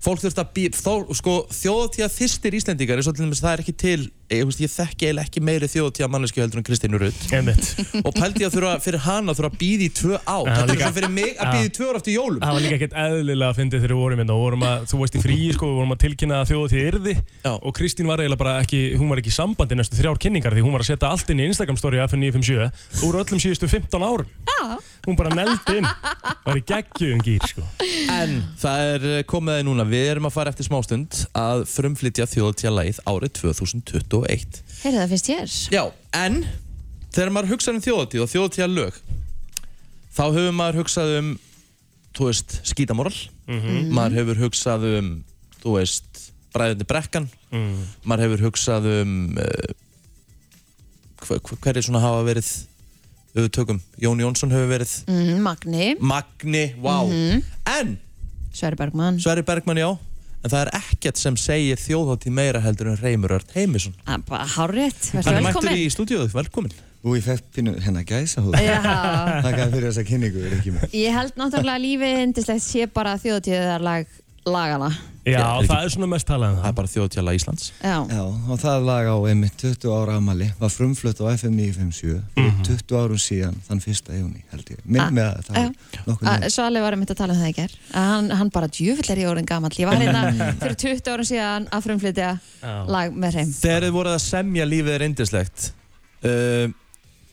Speaker 3: fólk þurft að býð sko, þjóðtíða þyrstir Íslendingar er svolítið það er ekki til ég, veist, ég þekki eiginlega ekki meiri þjóðtíða mannesku heldur en Kristínu Rutt
Speaker 2: Einmitt.
Speaker 3: og pældi ég að þurfa fyrir hana að þurfa að býða í tvö ár þetta er
Speaker 2: líka-
Speaker 3: svo fyrir mig að
Speaker 2: Já.
Speaker 3: býða í tvö ár eftir jólum
Speaker 2: Það var líka ekkert eðlilega að fyndi þegar við vorum hérna og vorum að, þú veist í fríi sko, við vorum að tilkynna að þjóðatíð yrði
Speaker 3: Já.
Speaker 2: og Kristín var eiginlega bara ekki, hún var ekki í sambandi næstu þrjár kynningar því hún var að setja allt inn í Instagram story FN957 úr öllum síðustu 15 árum. Já. Hún bara neldi inn, var í geggjum gýr sko.
Speaker 3: En það er eh, komið aðeins núna, við erum að fara eftir smástund að frumflytja þjóðatíðalagið árið 2021.
Speaker 1: Heyrðu það finnst ég
Speaker 3: Já, en þegar maður hugsa um þjóðatíð og þjóðatíðalög, þá hefur maður hugsað um, þú veist, skítamorral,
Speaker 2: Mhm.
Speaker 3: maður hefur hugsað um, þú veist, bræðinni brekkan,
Speaker 2: Mm-hmm.
Speaker 3: maður hefur hugsað um, uh, hver, hverju svona hafa verið, ef við tökum, Jón Jónsson hefur verið,
Speaker 1: Mm, Magni,
Speaker 3: Magni, wow,
Speaker 1: Mhm.
Speaker 3: en...
Speaker 1: Sverri Bergmann
Speaker 3: Sverri Bergmann, já En það er ekkert sem segir þjóðhátti meira heldur en Reymur Ört Heimisson
Speaker 1: Ah, bara Hárrétt, verður
Speaker 3: Hann er mættur
Speaker 1: velkomin
Speaker 3: í stúdíóðu, velkomin
Speaker 6: Ú, ég fekk pínu hérna, hennar gæsa húð
Speaker 1: Já,
Speaker 6: Takk að fyrir þessa kynningu, Rikki minn
Speaker 1: Ég held náttúrulega að lífið indislegt sé bara þjóðtíðarlag lagana
Speaker 2: Já,
Speaker 3: er ekki-
Speaker 2: það er svona mest talað um
Speaker 3: Það
Speaker 2: það.
Speaker 3: er bara þjóðtjála Íslands
Speaker 1: Já,
Speaker 6: Já, og það lag á einmitt 20 ára afmæli var frumflutt á FM 957
Speaker 2: Mhm.
Speaker 6: fyrir 20 árum síðan, þann fyrsta júni held ég, minn með að það
Speaker 1: Ah, já. Ah,
Speaker 6: var nokkuð
Speaker 1: Að-
Speaker 6: nefn
Speaker 1: Svali var einmitt að tala um það í gær Að hann, hann bara djöfull er í orðin gamall Ég var hérna fyrir 20 árum síðan að frumflytja lag með hreim
Speaker 3: Þegar þið voruð að semja lífið er indislegt uh,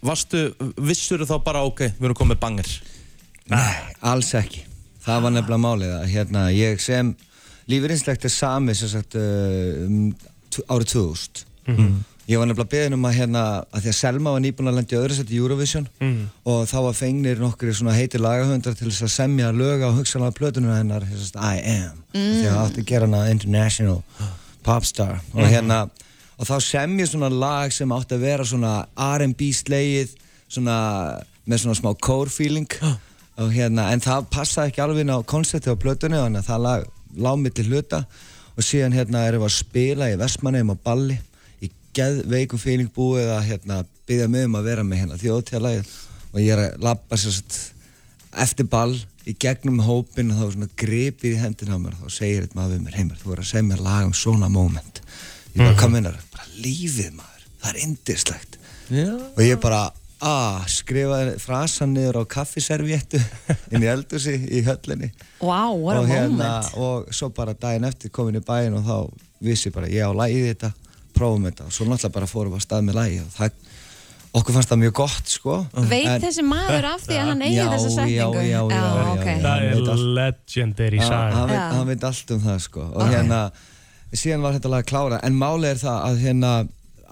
Speaker 3: Varstu, vissur þá bara ok, við erum komið banger
Speaker 6: Nei, alls ekki Það var nefnilega málið að hérna, ég sem lífeyrinslegt er sami sem sagt uh, um, tv- árið 2000
Speaker 11: Mm.
Speaker 6: Ég var nefnilega beðin um að hérna að því að Selma var nýbúin að lenda í öðru sett í Eurovision
Speaker 2: Mm.
Speaker 6: og þá var fengnir nokkri svona heitir lagahöndar til þess að semja löga og hugsalega plötunum hennar þess að I am mm. því að átti að gera hana international popstar og hérna og þá sem ég svona lag sem átti að vera svona R&B slegið svona með svona smá core feeling og hérna, en það passaði ekki alveg inn á konceptið á plötunni þannig að það lag, lág milli hluta og síðan hérna erum við að spila í Vestmanneum á balli í geðveikum fíling búið að hérna byggja mig um að vera með hérna þjóðtjálagið og ég er að lappa sér satt eftir ball í gegnum hópin og þá er svona gripið í hendina á mér og þá segir eitt maður við mér heimir þú er að segja mér lag um svona moment ég bara, hvað minnar, bara lífið maður það er indislegt og ég bara ah, skrifaði frasan niður á kaffiserviettu inn í eldursi í höllinni
Speaker 1: Wow, what a
Speaker 6: og, hérna,
Speaker 1: moment
Speaker 6: og svo bara daginn eftir komin í bæinn og þá vissi bara ég á lagið þetta prófum þetta og svo náttúrulega bara fórum við að stað með lagið og það, okkur fannst það mjög gott sko
Speaker 1: Veit
Speaker 6: En-
Speaker 1: þessi maður af því að hann eigi
Speaker 6: Já,
Speaker 1: þessa setningu?
Speaker 6: já, já, já, já, já,
Speaker 1: ok.
Speaker 6: já.
Speaker 2: Það
Speaker 6: Hann veit
Speaker 2: er
Speaker 6: allt.
Speaker 2: legendary
Speaker 6: Já,
Speaker 2: saga
Speaker 6: hann veit,
Speaker 1: Já.
Speaker 6: hann veit allt um það sko og hérna, síðan var þetta lag að klára en málið er það að hérna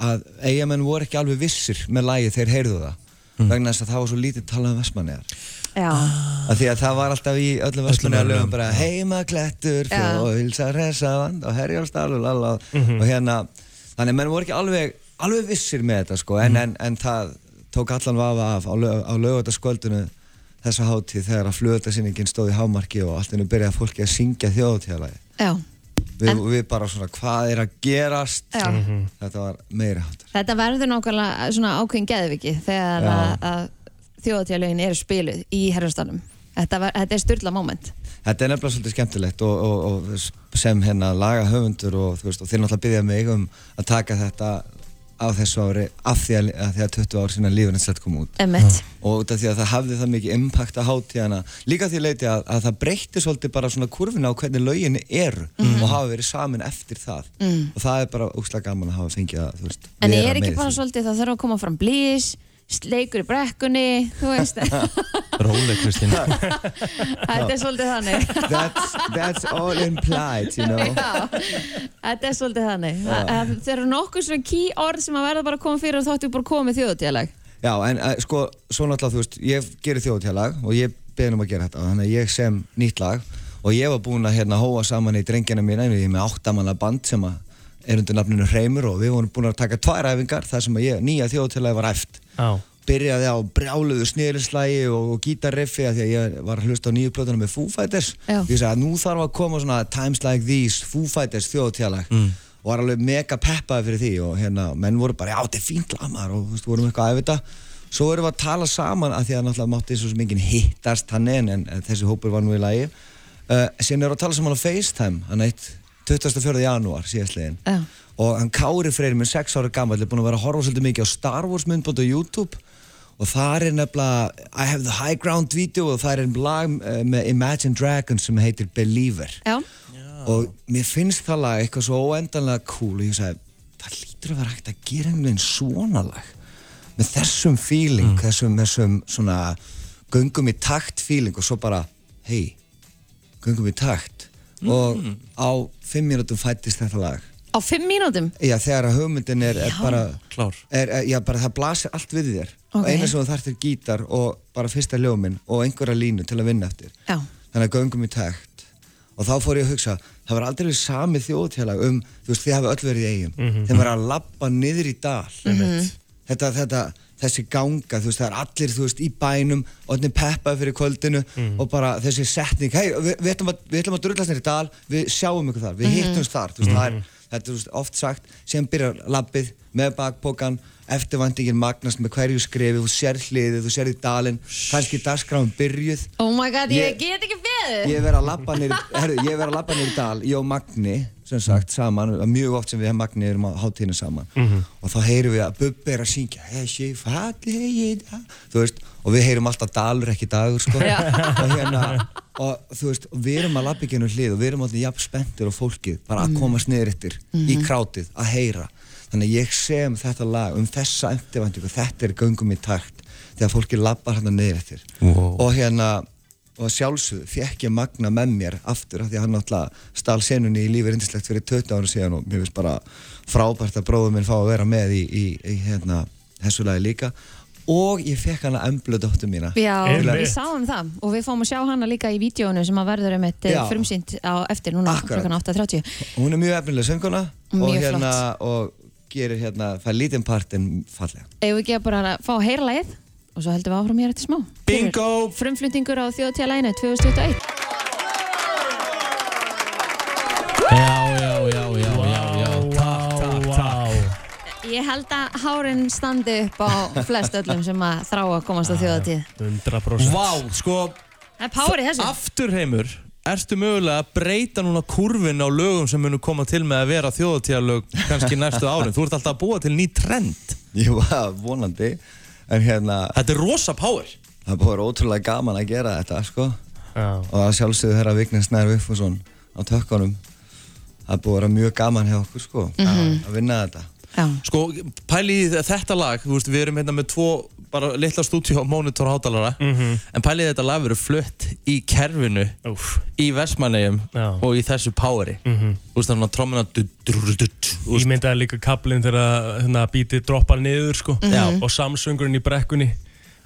Speaker 6: að eigamenn voru ekki alveg vissir með lagið þeir heyrðu það
Speaker 2: Hmm.
Speaker 6: vegna þess að það var svo lítið talað um vestmanniðar
Speaker 1: Já, Ah.
Speaker 6: að því að það var alltaf í öllum vestmanniðar lögum bara heimaklettur
Speaker 1: Já.
Speaker 6: og hilsa resaðand og herjálstaflu lala og hérna þannig að menn voru ekki alveg, alveg vissir með þetta sko en, en, en það tók allan vafa af á, lög, á lögutaskvöldinu þessa hátíð þegar að flöðutasynningin stóð í hámarki og allt henni byrjaði fólki að syngja þjóðutíðalagi
Speaker 1: já
Speaker 6: við,
Speaker 1: En-
Speaker 6: við bara svona hvað er að gerast
Speaker 1: Já. Mhm.
Speaker 6: þetta var meira hátur
Speaker 1: Þetta verður nákvæmlega svona ákveðin geðviki þegar
Speaker 6: Já.
Speaker 1: að, að þjóðatíðalögin eru spiluð í herrastanum. Þetta, var, þetta er styrla moment.
Speaker 6: þetta er nefnilega svolítið skemmtilegt og, og, og sem hérna laga höfundur og, þú veist, og þeir náttúrulega byggja mig um að taka þetta á þessu ári af því að, að því að 20 ár sína lífurinn slett kom út
Speaker 1: Emmett.
Speaker 6: og út af því að það hafði það mikið impact að hátíðana líka því leiti að, að það breytti svolítið bara svona kurfina á hvernig lögin eru
Speaker 1: Mhm.
Speaker 6: og hafa verið samin eftir það mm. og það er bara úkslega gaman að hafa fengið að þú veist,
Speaker 1: En ég
Speaker 6: vera
Speaker 1: er ekki
Speaker 6: með í
Speaker 1: bara
Speaker 6: því.
Speaker 1: svolítið það þarf að koma fram blís, sleikur í brekkunni, þú veist.
Speaker 3: Róleg Kristín
Speaker 1: þetta er svolítið þannig.
Speaker 6: that's, that's all implied you know
Speaker 1: Já, þetta er svolítið þannig. Það það- það eru nokkuð svona key orð sem að verða bara að koma fyrir og þáttu bara komið þjóðatíðalag.
Speaker 6: Já, en eh, sko, svo náttúrulega, þú veist, ég gerir þjóðtjálag og ég beðin um að gera þetta, þannig að ég sem nýtt lag og ég var búinn að hérna hóa saman í drengina mína, ég er með áttamanna band sem að er undir nafninu Hreimur og við vorum búin að taka tvær æfingar þar sem að ég, nýja þjóðtjálag var æft.
Speaker 2: Já.
Speaker 6: Byrjaði á brjáluðu snýðlislægi og, og gítarriffi af því að ég var að hlusta á nýju plötunum með Foo Fighters.
Speaker 1: Já.
Speaker 6: Ég sagði að nú þarf að koma svona Times Like These, Foo Fighters þjóðtjálag. Mm. Og var alveg mega peppaði fyrir því og hérna, menn voru bara, já, þetta er fínt lamar og þú veist, vorum eitthvað að þetta. Svo erum við að tala saman af því að náttúrulega mátti svo sem enginn hittast hann en, en eh, þessi hópur var nú í lagi. Uh, síðan erum við að tala saman á FaceTime, hann eitt 24. janúar síðastliðin.
Speaker 1: Já.
Speaker 6: Og hann Kári Freyr, minn 6 ára gammal, er búinn að vera að horfa svolítið mikið á Star Wars myndband á YouTube og það er nefnilega I Have The High Ground video og það er einn lag eh, með Imagine Dragons sem heitir Believer
Speaker 1: Já,
Speaker 6: og mér finnst það lag eitthvað svo óendanlega cool og ég sagði, það lítur að vera hægt að gera einhvern veginn svona lag með þessum feeling, þessum, þessum svona göngum í takt feeling og svo bara, hei göngum í takt og á fimm mínútum fættist þetta lag
Speaker 1: á fimm mínútum.
Speaker 6: Já, þegar að hugmyndin er, er bara
Speaker 3: Klár.
Speaker 6: er, er, Já, bara það blasir allt við þér
Speaker 1: Ok.
Speaker 6: og eina sem þú þarft er gítar og bara fyrsta ljóminn og einhverja línu til að vinna eftir
Speaker 1: Já.
Speaker 6: Þannig að göngum í takt og þá fór ég að hugsa, það var aldrei sami þjóðtjálag um, þú veist, þið hafi öll verið í eigum þeim var að labba niður í dal
Speaker 1: Mhm.
Speaker 6: þetta, þetta, þessi ganga þú veist, það er allir, þú veist, í bænum og þannig peppaði fyrir kvöldinu og bara þessi setning, hei, við, við ætlum að, við ætlum að drullast niður í dal, við sjáum ykkur þar við hittumst þar, þú veist, það er þetta er þú veist, oft sagt, sem byrjar labbið með bakpokan, eftirvandingin magnast með hverju skrefi, þú sér hliðið þú sér í dalinn, kannski dagskráin byrjuð
Speaker 1: Oh my god, ég,
Speaker 6: Ég-
Speaker 1: get ekki beðið.
Speaker 6: Ég verð að labba niður, herru, ég verð að labba niður í dal, ég og Magni, sem sagt, saman, mjög oft sem við hefum Magni erum á hátíðinu saman og þá heyrum við að Bubbi er að syngja Hessi fallegi dag þú veist, og við heyrum alltaf dalur ekki dagur, sko
Speaker 1: Já.
Speaker 6: og hérna, og þú veist, og við erum að labba ekki ennum hlið og við erum alltaf jafn spenntur og fólkið bara að komast niður eftir í krátið, að heyra þannig að ég sem þetta lag um þessa eftirvæntingu, þetta er göngum í takt þegar fólkið labbar hérna niður eftir
Speaker 3: Wow.
Speaker 6: og hérna og að sjálfsögðu fekk ég Magna með mér aftur af því að hann náttúrulega stál senunni í lífi reyndislegt fyrir 20 ára síðan og mér finnst bara frábært að bróður minn fá að vera með í, í, í hérna, þessu lagi líka og ég fekk hana emblu dóttur mína
Speaker 1: Já,
Speaker 2: Einmitt.
Speaker 1: við sáum það og við fáum að sjá hana líka í vídjónu sem að verður um eitt
Speaker 6: Já.
Speaker 1: frumsýnt á eftir núna
Speaker 6: Akkurat.
Speaker 1: klukkan 8.30
Speaker 6: hún er mjög efnileg sönguna og
Speaker 1: Mjög
Speaker 6: hérna og gerir hérna, fær lítinn partinn fallega
Speaker 1: Eða við ekki að bara fá að heyra lagið og svo heldum við áfram hér eftir smá.
Speaker 3: Bingo!
Speaker 1: Frumflutningur á þjóðtíðalæginu 2021.
Speaker 3: Já, já, já, já, já, já. Takk, takk, takk.
Speaker 1: Ég held að hárin standi upp á flest öllum sem að þrá að komast á þjóðatíð.
Speaker 2: 100%
Speaker 3: Vá, sko,
Speaker 1: Það er power í þessu.
Speaker 3: afturheimur Ertu mögulega að breyta núna kurvin á lögum sem munu koma til með að vera þjóðatíðalög kannski næstu árin? Þú ert alltaf að búa til ný trend.
Speaker 6: Ég var vonandi, en hérna,
Speaker 3: Þetta er rosa power.
Speaker 6: það er bara ótrúlega gaman að gera þetta, sko.
Speaker 2: Já.
Speaker 6: Og að sjálfsögðu þeirra Vignes Nær Viffusson á tökkanum. Það er búið að vera mjög gaman hjá okkur, sko, að vinna þetta.
Speaker 1: Mhm. Já.
Speaker 3: Sko, pæli í þetta lag, þú veist, við erum hérna með tvo bara litla stúdíu á monitor hátalara en pæli í þetta lag verið flutt í kerfinu,
Speaker 2: Úff.
Speaker 3: í Vestmannegjum
Speaker 2: Já.
Speaker 3: og í þessu poweri. Þú veist, þannig að trommina du- drr- du- du- þú veist,
Speaker 2: Ég myndaði líka kaplinn þegar hérna, bítið droppar niður sko
Speaker 3: Mhm. Já.
Speaker 2: og samsöngurinn í brekkunni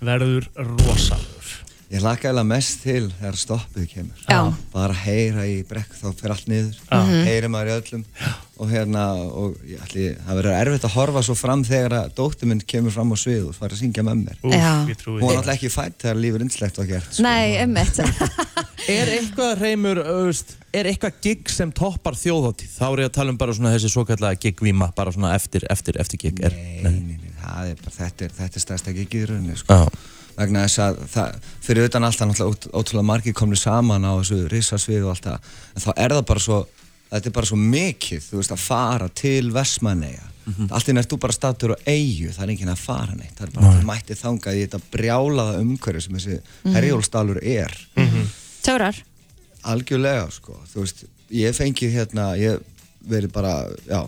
Speaker 2: verður rosalur
Speaker 6: Ég hlakka eiginlega mest til þegar stoppið kemur.
Speaker 1: Já.
Speaker 6: Bara heyra í brekk, þá fyrir allt niður.
Speaker 2: Mhm.
Speaker 6: Já. Heyri maður í öllum. Og hérna, og ég ætli, það verður erfitt að horfa svo fram þegar að dóttir minn kemur fram á svið og fara að syngja með mér.
Speaker 2: Úf,
Speaker 1: Já.
Speaker 2: ég trúi
Speaker 6: Hún var
Speaker 2: því.
Speaker 6: náttúrulega ekki fætt þegar lífur innslegt var gert.
Speaker 1: Nei, ummitt.
Speaker 3: er eitthvað reymur, þú veist, er eitthvað gig sem toppar þjóðhátíð? Þá er ég að tala um bara svona þessi svo kallega gigvíma, bara svona eftir, eftir, eftir gig. Er,
Speaker 6: Nei, nei, nei, það er bara, þetta er, þetta er stærsta gigið í rauninni, sko.
Speaker 3: Já.
Speaker 6: Vegna þess að það, fyrir utan alltaf náttúrulega ót- ótrúlega margir komni saman á þessu risasvið og allt það, en þá er það bara svo, þetta er bara svo mikið, þú veist, að fara til Vestmanneja. Mm
Speaker 3: Mhm.
Speaker 6: -hmm. Allt í nært þú bara statur á eigu, það er enginn að fara neitt, það er bara allir mætti þangað í þetta brjálaða umhverju sem þessi
Speaker 3: Mhm.
Speaker 6: herjólstálur er
Speaker 1: Törar.
Speaker 6: algjörlega sko, þú veist ég fengi hérna, ég verið bara já,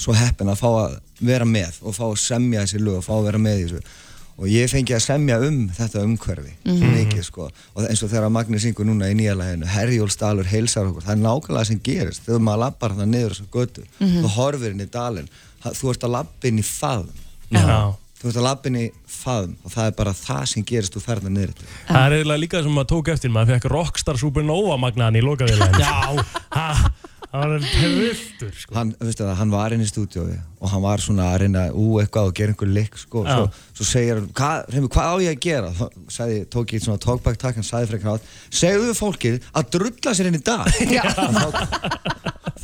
Speaker 6: svo heppin að fá að vera með og fá að semja þessi lög og fá að vera með í þessu og ég fengi að semja um þetta umhverfi mikið sko, og eins og þegar Magni syngur núna í nýja læginu, Herjólsdalur heilsar okkur, það er nákvæmlega sem gerist þegar maður lappar þarna niður þessu götu þú horfir inn í dalinn, það- þú ert að lappa inn í faðum
Speaker 2: Já.
Speaker 6: þú ert að lappa inn í faðum og það er bara það sem gerist þú ferðar niður þetta
Speaker 2: Það er eiginlega líka það sem maður tók eftir maður fekk Rockstar Supernova magnaðan í lokavílæðin Já ha, Það var tröftur sko
Speaker 6: hann, veistu það, hann var inn í stúdíói og hann var svona að reyna ú eitthvað og gera einhver likk sko,
Speaker 2: Já.
Speaker 6: svo, svo segir hann, "Hva- Hreimur, hvað á ég að gera þá sagði, tók ég svona talkback takk hann sagði frekar átt, segðu fólkið að drulla sér inn í dag Og þá,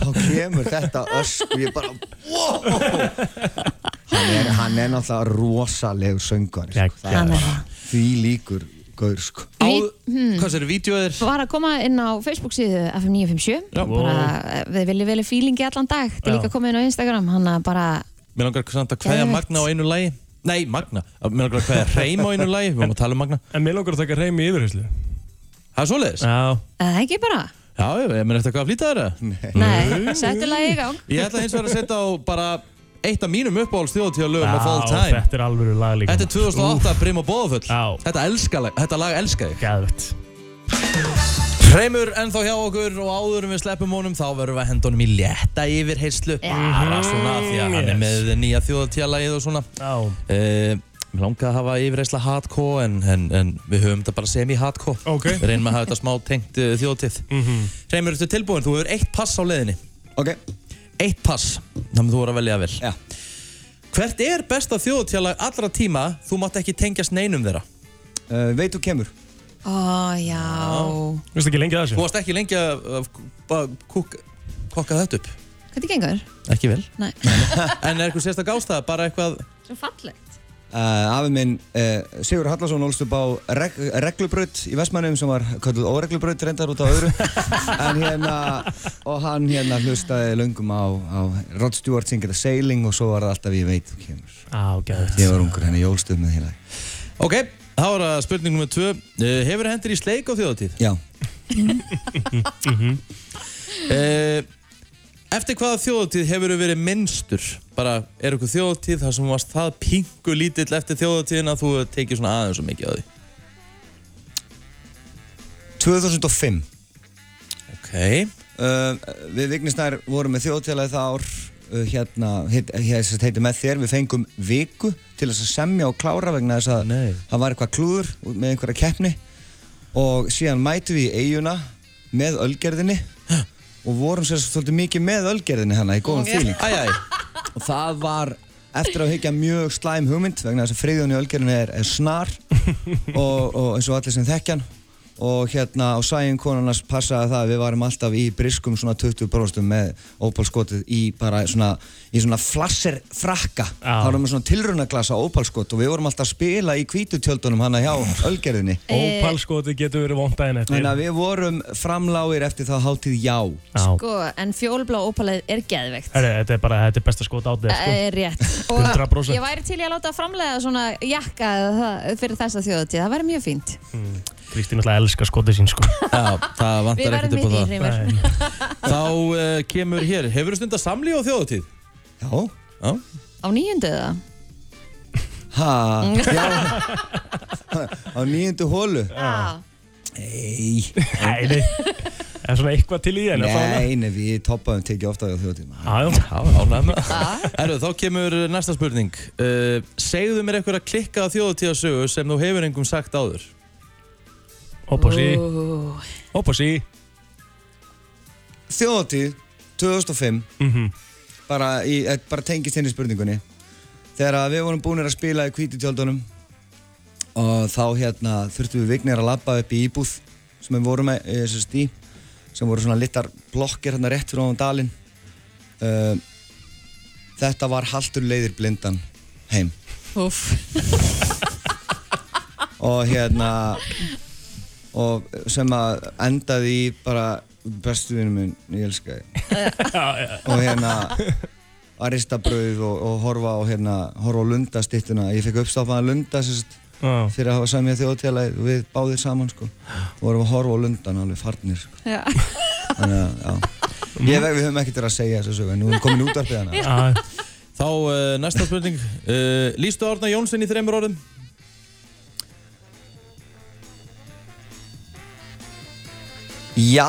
Speaker 6: þá kemur þetta ösku, ég bara wow! hann, er, hann er náttúrulega rosalegur söngar
Speaker 2: Já,
Speaker 6: sko. það er bara því líkur gaur sko
Speaker 3: á, hvað sér, vídeoð er?
Speaker 1: hmm. var að koma inn á Facebook síðu FM 957
Speaker 3: Já.
Speaker 1: bara, eh, við viljum velja fílingi allan dag þetta er líka komið inn á Instagram hann að bara,
Speaker 3: Mér langar samt að kveðja
Speaker 1: Geðveikt.
Speaker 3: Magna á einu lagi Nei, Magna, mér langar að kveðja Reym á einu lagi Við erum að tala um Magna
Speaker 2: En mér langar að taka reymi í yfirheyslu
Speaker 3: Það er svoleiðis?
Speaker 2: Já
Speaker 1: eða Eh, ekki bara
Speaker 3: Já, ég ég meina eftir eitthvað að flýta þeirra
Speaker 1: nei, settu lagi í gang
Speaker 3: Ég ætla hins vegar að setja á bara eitt af mínum uppáhalds þjóðtíðalögum of all time
Speaker 2: þetta er alvöru lag líka
Speaker 3: Þetta er 2008 Brim og Bóðafull
Speaker 2: Já.
Speaker 3: Þetta, elska lag- þetta lag elska ég
Speaker 2: Gæðvett
Speaker 3: Reymur ennþá hjá okkur og áður en við sleppum honum þá verðum við að henda honum í létta yfir heyslu Bara svona því að hann er með nýja þjóðtíðalagið og svona
Speaker 2: Já
Speaker 3: Eh, Mér langaði að hafa yfirreysla hardcore en, en, en við höfum þetta bara semi-hardcore
Speaker 2: Ok. Mhm.
Speaker 3: Við reynum að hafa þetta smá tengt uh, þjóðtíð mm -hmm. Reymur, ertu tilbúin? Þú hefur eitt pass á leiðinni
Speaker 6: ok,
Speaker 3: Eitt pass, þannig þú voru að velja vel
Speaker 6: já,
Speaker 3: Hvert er besta þjóðtíðalag allra tíma þú mátt ekki tengjast neinum þeirra?
Speaker 6: uh, veit þú kemur
Speaker 1: ó já
Speaker 2: Þú veist ekki lengi að
Speaker 3: Þú
Speaker 2: þessu
Speaker 3: varst ekki lengi að að bara kúk- kokka þetta upp
Speaker 1: hvernig gengur?
Speaker 3: Ekki vel
Speaker 1: Nei.
Speaker 3: En er eitthvað sérstak ástæða? Bara eitthvað
Speaker 1: svo fallegt
Speaker 6: Uh, afi minn uh, Sigur Hallarsson ólst upp á reg reglubraut í Vestmannum sem var kallið óreglubraut reyndar út á öðru en hérna og hann hérna hlustaði löngum á, á Rod Stewart syngir að sailing og svo var það alltaf ég veit þú kemur
Speaker 2: Já, gæðvett
Speaker 6: ég var ungur henni jólstuð með hérna
Speaker 3: Ok, þá er það spurning nummer tvö uh, Hefur hendur í sleik á þjóðtíð?
Speaker 6: já,
Speaker 3: Eh, Eftir hvaða þjóðatíð hefur þú verið minnstur? Bara, er eitthvað þjóðatíð þar sem þú varst það pingu lítill eftir þjóðatíðin að þú hefur tekið svona aðeins og mikið á því?
Speaker 6: 2005
Speaker 3: Ok.
Speaker 6: Uh, við Vignisnær vorum með þjóðtélagi það ár uh, hérna, heit, heit, heit, heiti með þér, við fengum viku til þess að semja og klára vegna þess að
Speaker 3: Nei.
Speaker 6: það var eitthvað klúður með einhverja keppni og síðan mætum við í eiguna með ölgerðinni og vorum sér svolítið mikið með ölgerðinni hana í góðan fíling
Speaker 3: Æjæj,
Speaker 6: og það var eftir að higgja mjög slæm hugmynd vegna þess að friðjón í ölgerðinni er, er snar og, og eins og allir sem þekkjan og hérna á sæjum konarnas passaði það að við varum alltaf í briskum svona 20% með ópalskotið í bara svona, í svona flasser frakka
Speaker 2: Já.
Speaker 6: þá varum við svona tilraunaglasa ópalskot og við vorum alltaf að spila í hvítutjöldunum hana hjá ölgerðinni
Speaker 2: Ópalskoti getur verið vondaginn
Speaker 6: þannig
Speaker 2: eftir
Speaker 6: að við vorum framláir eftir það hátíð já
Speaker 2: Já.
Speaker 1: Sko, en fjólblá ópalæð er geðveikt.
Speaker 2: Herri, Þetta er bara, þetta er besta skot átið
Speaker 1: Það
Speaker 2: sko.
Speaker 1: er Eh, rétt.
Speaker 2: 100%.
Speaker 1: ég væri til í að láta framlega svona jakka eða það- fyrir þessa þjóðatíð. Það væri mjög fínt.
Speaker 2: Kristín alltaf elskar skotið sín sko.
Speaker 3: Já, það
Speaker 1: Við
Speaker 3: vantar ekkert
Speaker 1: verðum í
Speaker 3: upp á
Speaker 1: því,
Speaker 3: það.
Speaker 1: Hreimur.
Speaker 3: Þá uh, kemur hér, hefur þú stundar samlíf á þjóðutíð?
Speaker 6: já,
Speaker 3: Já.
Speaker 1: Á nýjundu eða? Mm.
Speaker 6: ha, Ah. já á nýjundu hólu
Speaker 1: Já.
Speaker 6: nei,
Speaker 2: Nei, nei. Er svona eitthvað til í henni
Speaker 6: nei, nei, við toppaðum tekið ofta á þjóðtíma
Speaker 2: Já,
Speaker 3: Já, ánægð með það. Erðu, þá kemur næsta spurning. Uh, segðu mér eitthvað að klikka á þjóðutíðasögu sem þú hefur engum sagt áður.
Speaker 2: Opposi,
Speaker 1: Ú,
Speaker 2: opposi
Speaker 6: þjóðatíð 2005
Speaker 2: Mhm.
Speaker 6: bara, í, eh, bara tengist henni spurningunni þegar að við vorum búinir að spila í kvítutjöldunum og þá hérna þurftum við vignir að labba upp í íbúð sem við vorum með, eh, sem sagt, í sem voru svona littar blokkir hérna rétt fyrir ofan dalinn uh, þetta var haldur leiðir blindan heim
Speaker 1: Úff.
Speaker 6: og hérna og sem að endaði í bara bestu vinnu minn, ég elska þig og hérna að rista brauð og, og horfa á hérna, horfa á lundastittuna ég fekk uppstafnaða lunda sérst,
Speaker 2: Já.
Speaker 6: fyrir að hafa samið þjóðtélagi og við báðir saman sko, og vorum að horfa á lundan alveg farnir sko.
Speaker 1: Já.
Speaker 6: þannig að, já ég veg, við höfum ekkert verið að segja þessu sögu en nú erum við komin út af hana
Speaker 2: Já,
Speaker 3: Þá uh, næsta spurning. Uh, Lýstu Árna Jónsson í þreymur orðum?
Speaker 6: já,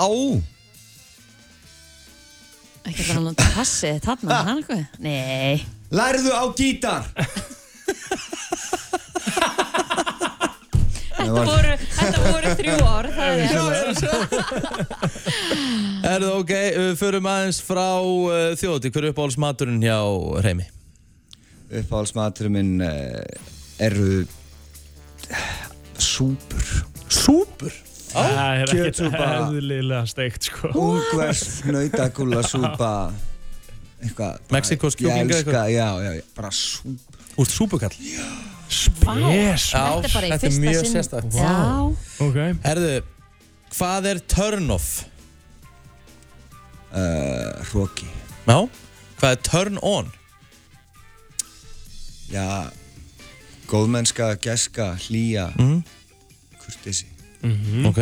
Speaker 1: Ekki bara hann að passi þetta hann
Speaker 6: Ah.
Speaker 1: að hann eitthvað? Nei.
Speaker 6: lærðu á gítar
Speaker 1: Þetta voru, þetta voru þrjú ár, það er
Speaker 3: Erðu, ok, uh, förum aðeins frá uh, þjóðutíð. Hver er uppáhaldsmaturinn hjá Reymi?
Speaker 6: uppáhaldsmaturinn minn uh, eru eh, súpur
Speaker 3: Súpur.
Speaker 2: það er ekkert
Speaker 6: kjötsúpa.
Speaker 2: eðlilega steikt sko.
Speaker 6: ungvers, nautagúla, súpa eitthvað bara-
Speaker 3: Mexíkósk kjúklinga
Speaker 6: ég elska,
Speaker 3: eitthvað?
Speaker 6: já, já, já, bara súpa
Speaker 3: Úr súpukall.
Speaker 2: Yes
Speaker 1: Þetta er bara í
Speaker 3: þetta er
Speaker 1: fyrsta
Speaker 3: mjög
Speaker 1: sinn.
Speaker 3: sérstakt.
Speaker 1: Já.
Speaker 2: Ok
Speaker 3: Erðu, hvað er turn off?
Speaker 6: uh, hróki
Speaker 3: Já. Hvað er turn on?
Speaker 6: já, góðmennska, geska, hlýja
Speaker 11: Mm.
Speaker 3: Mhm.
Speaker 6: kurtesi
Speaker 2: Mhm.
Speaker 3: Ok.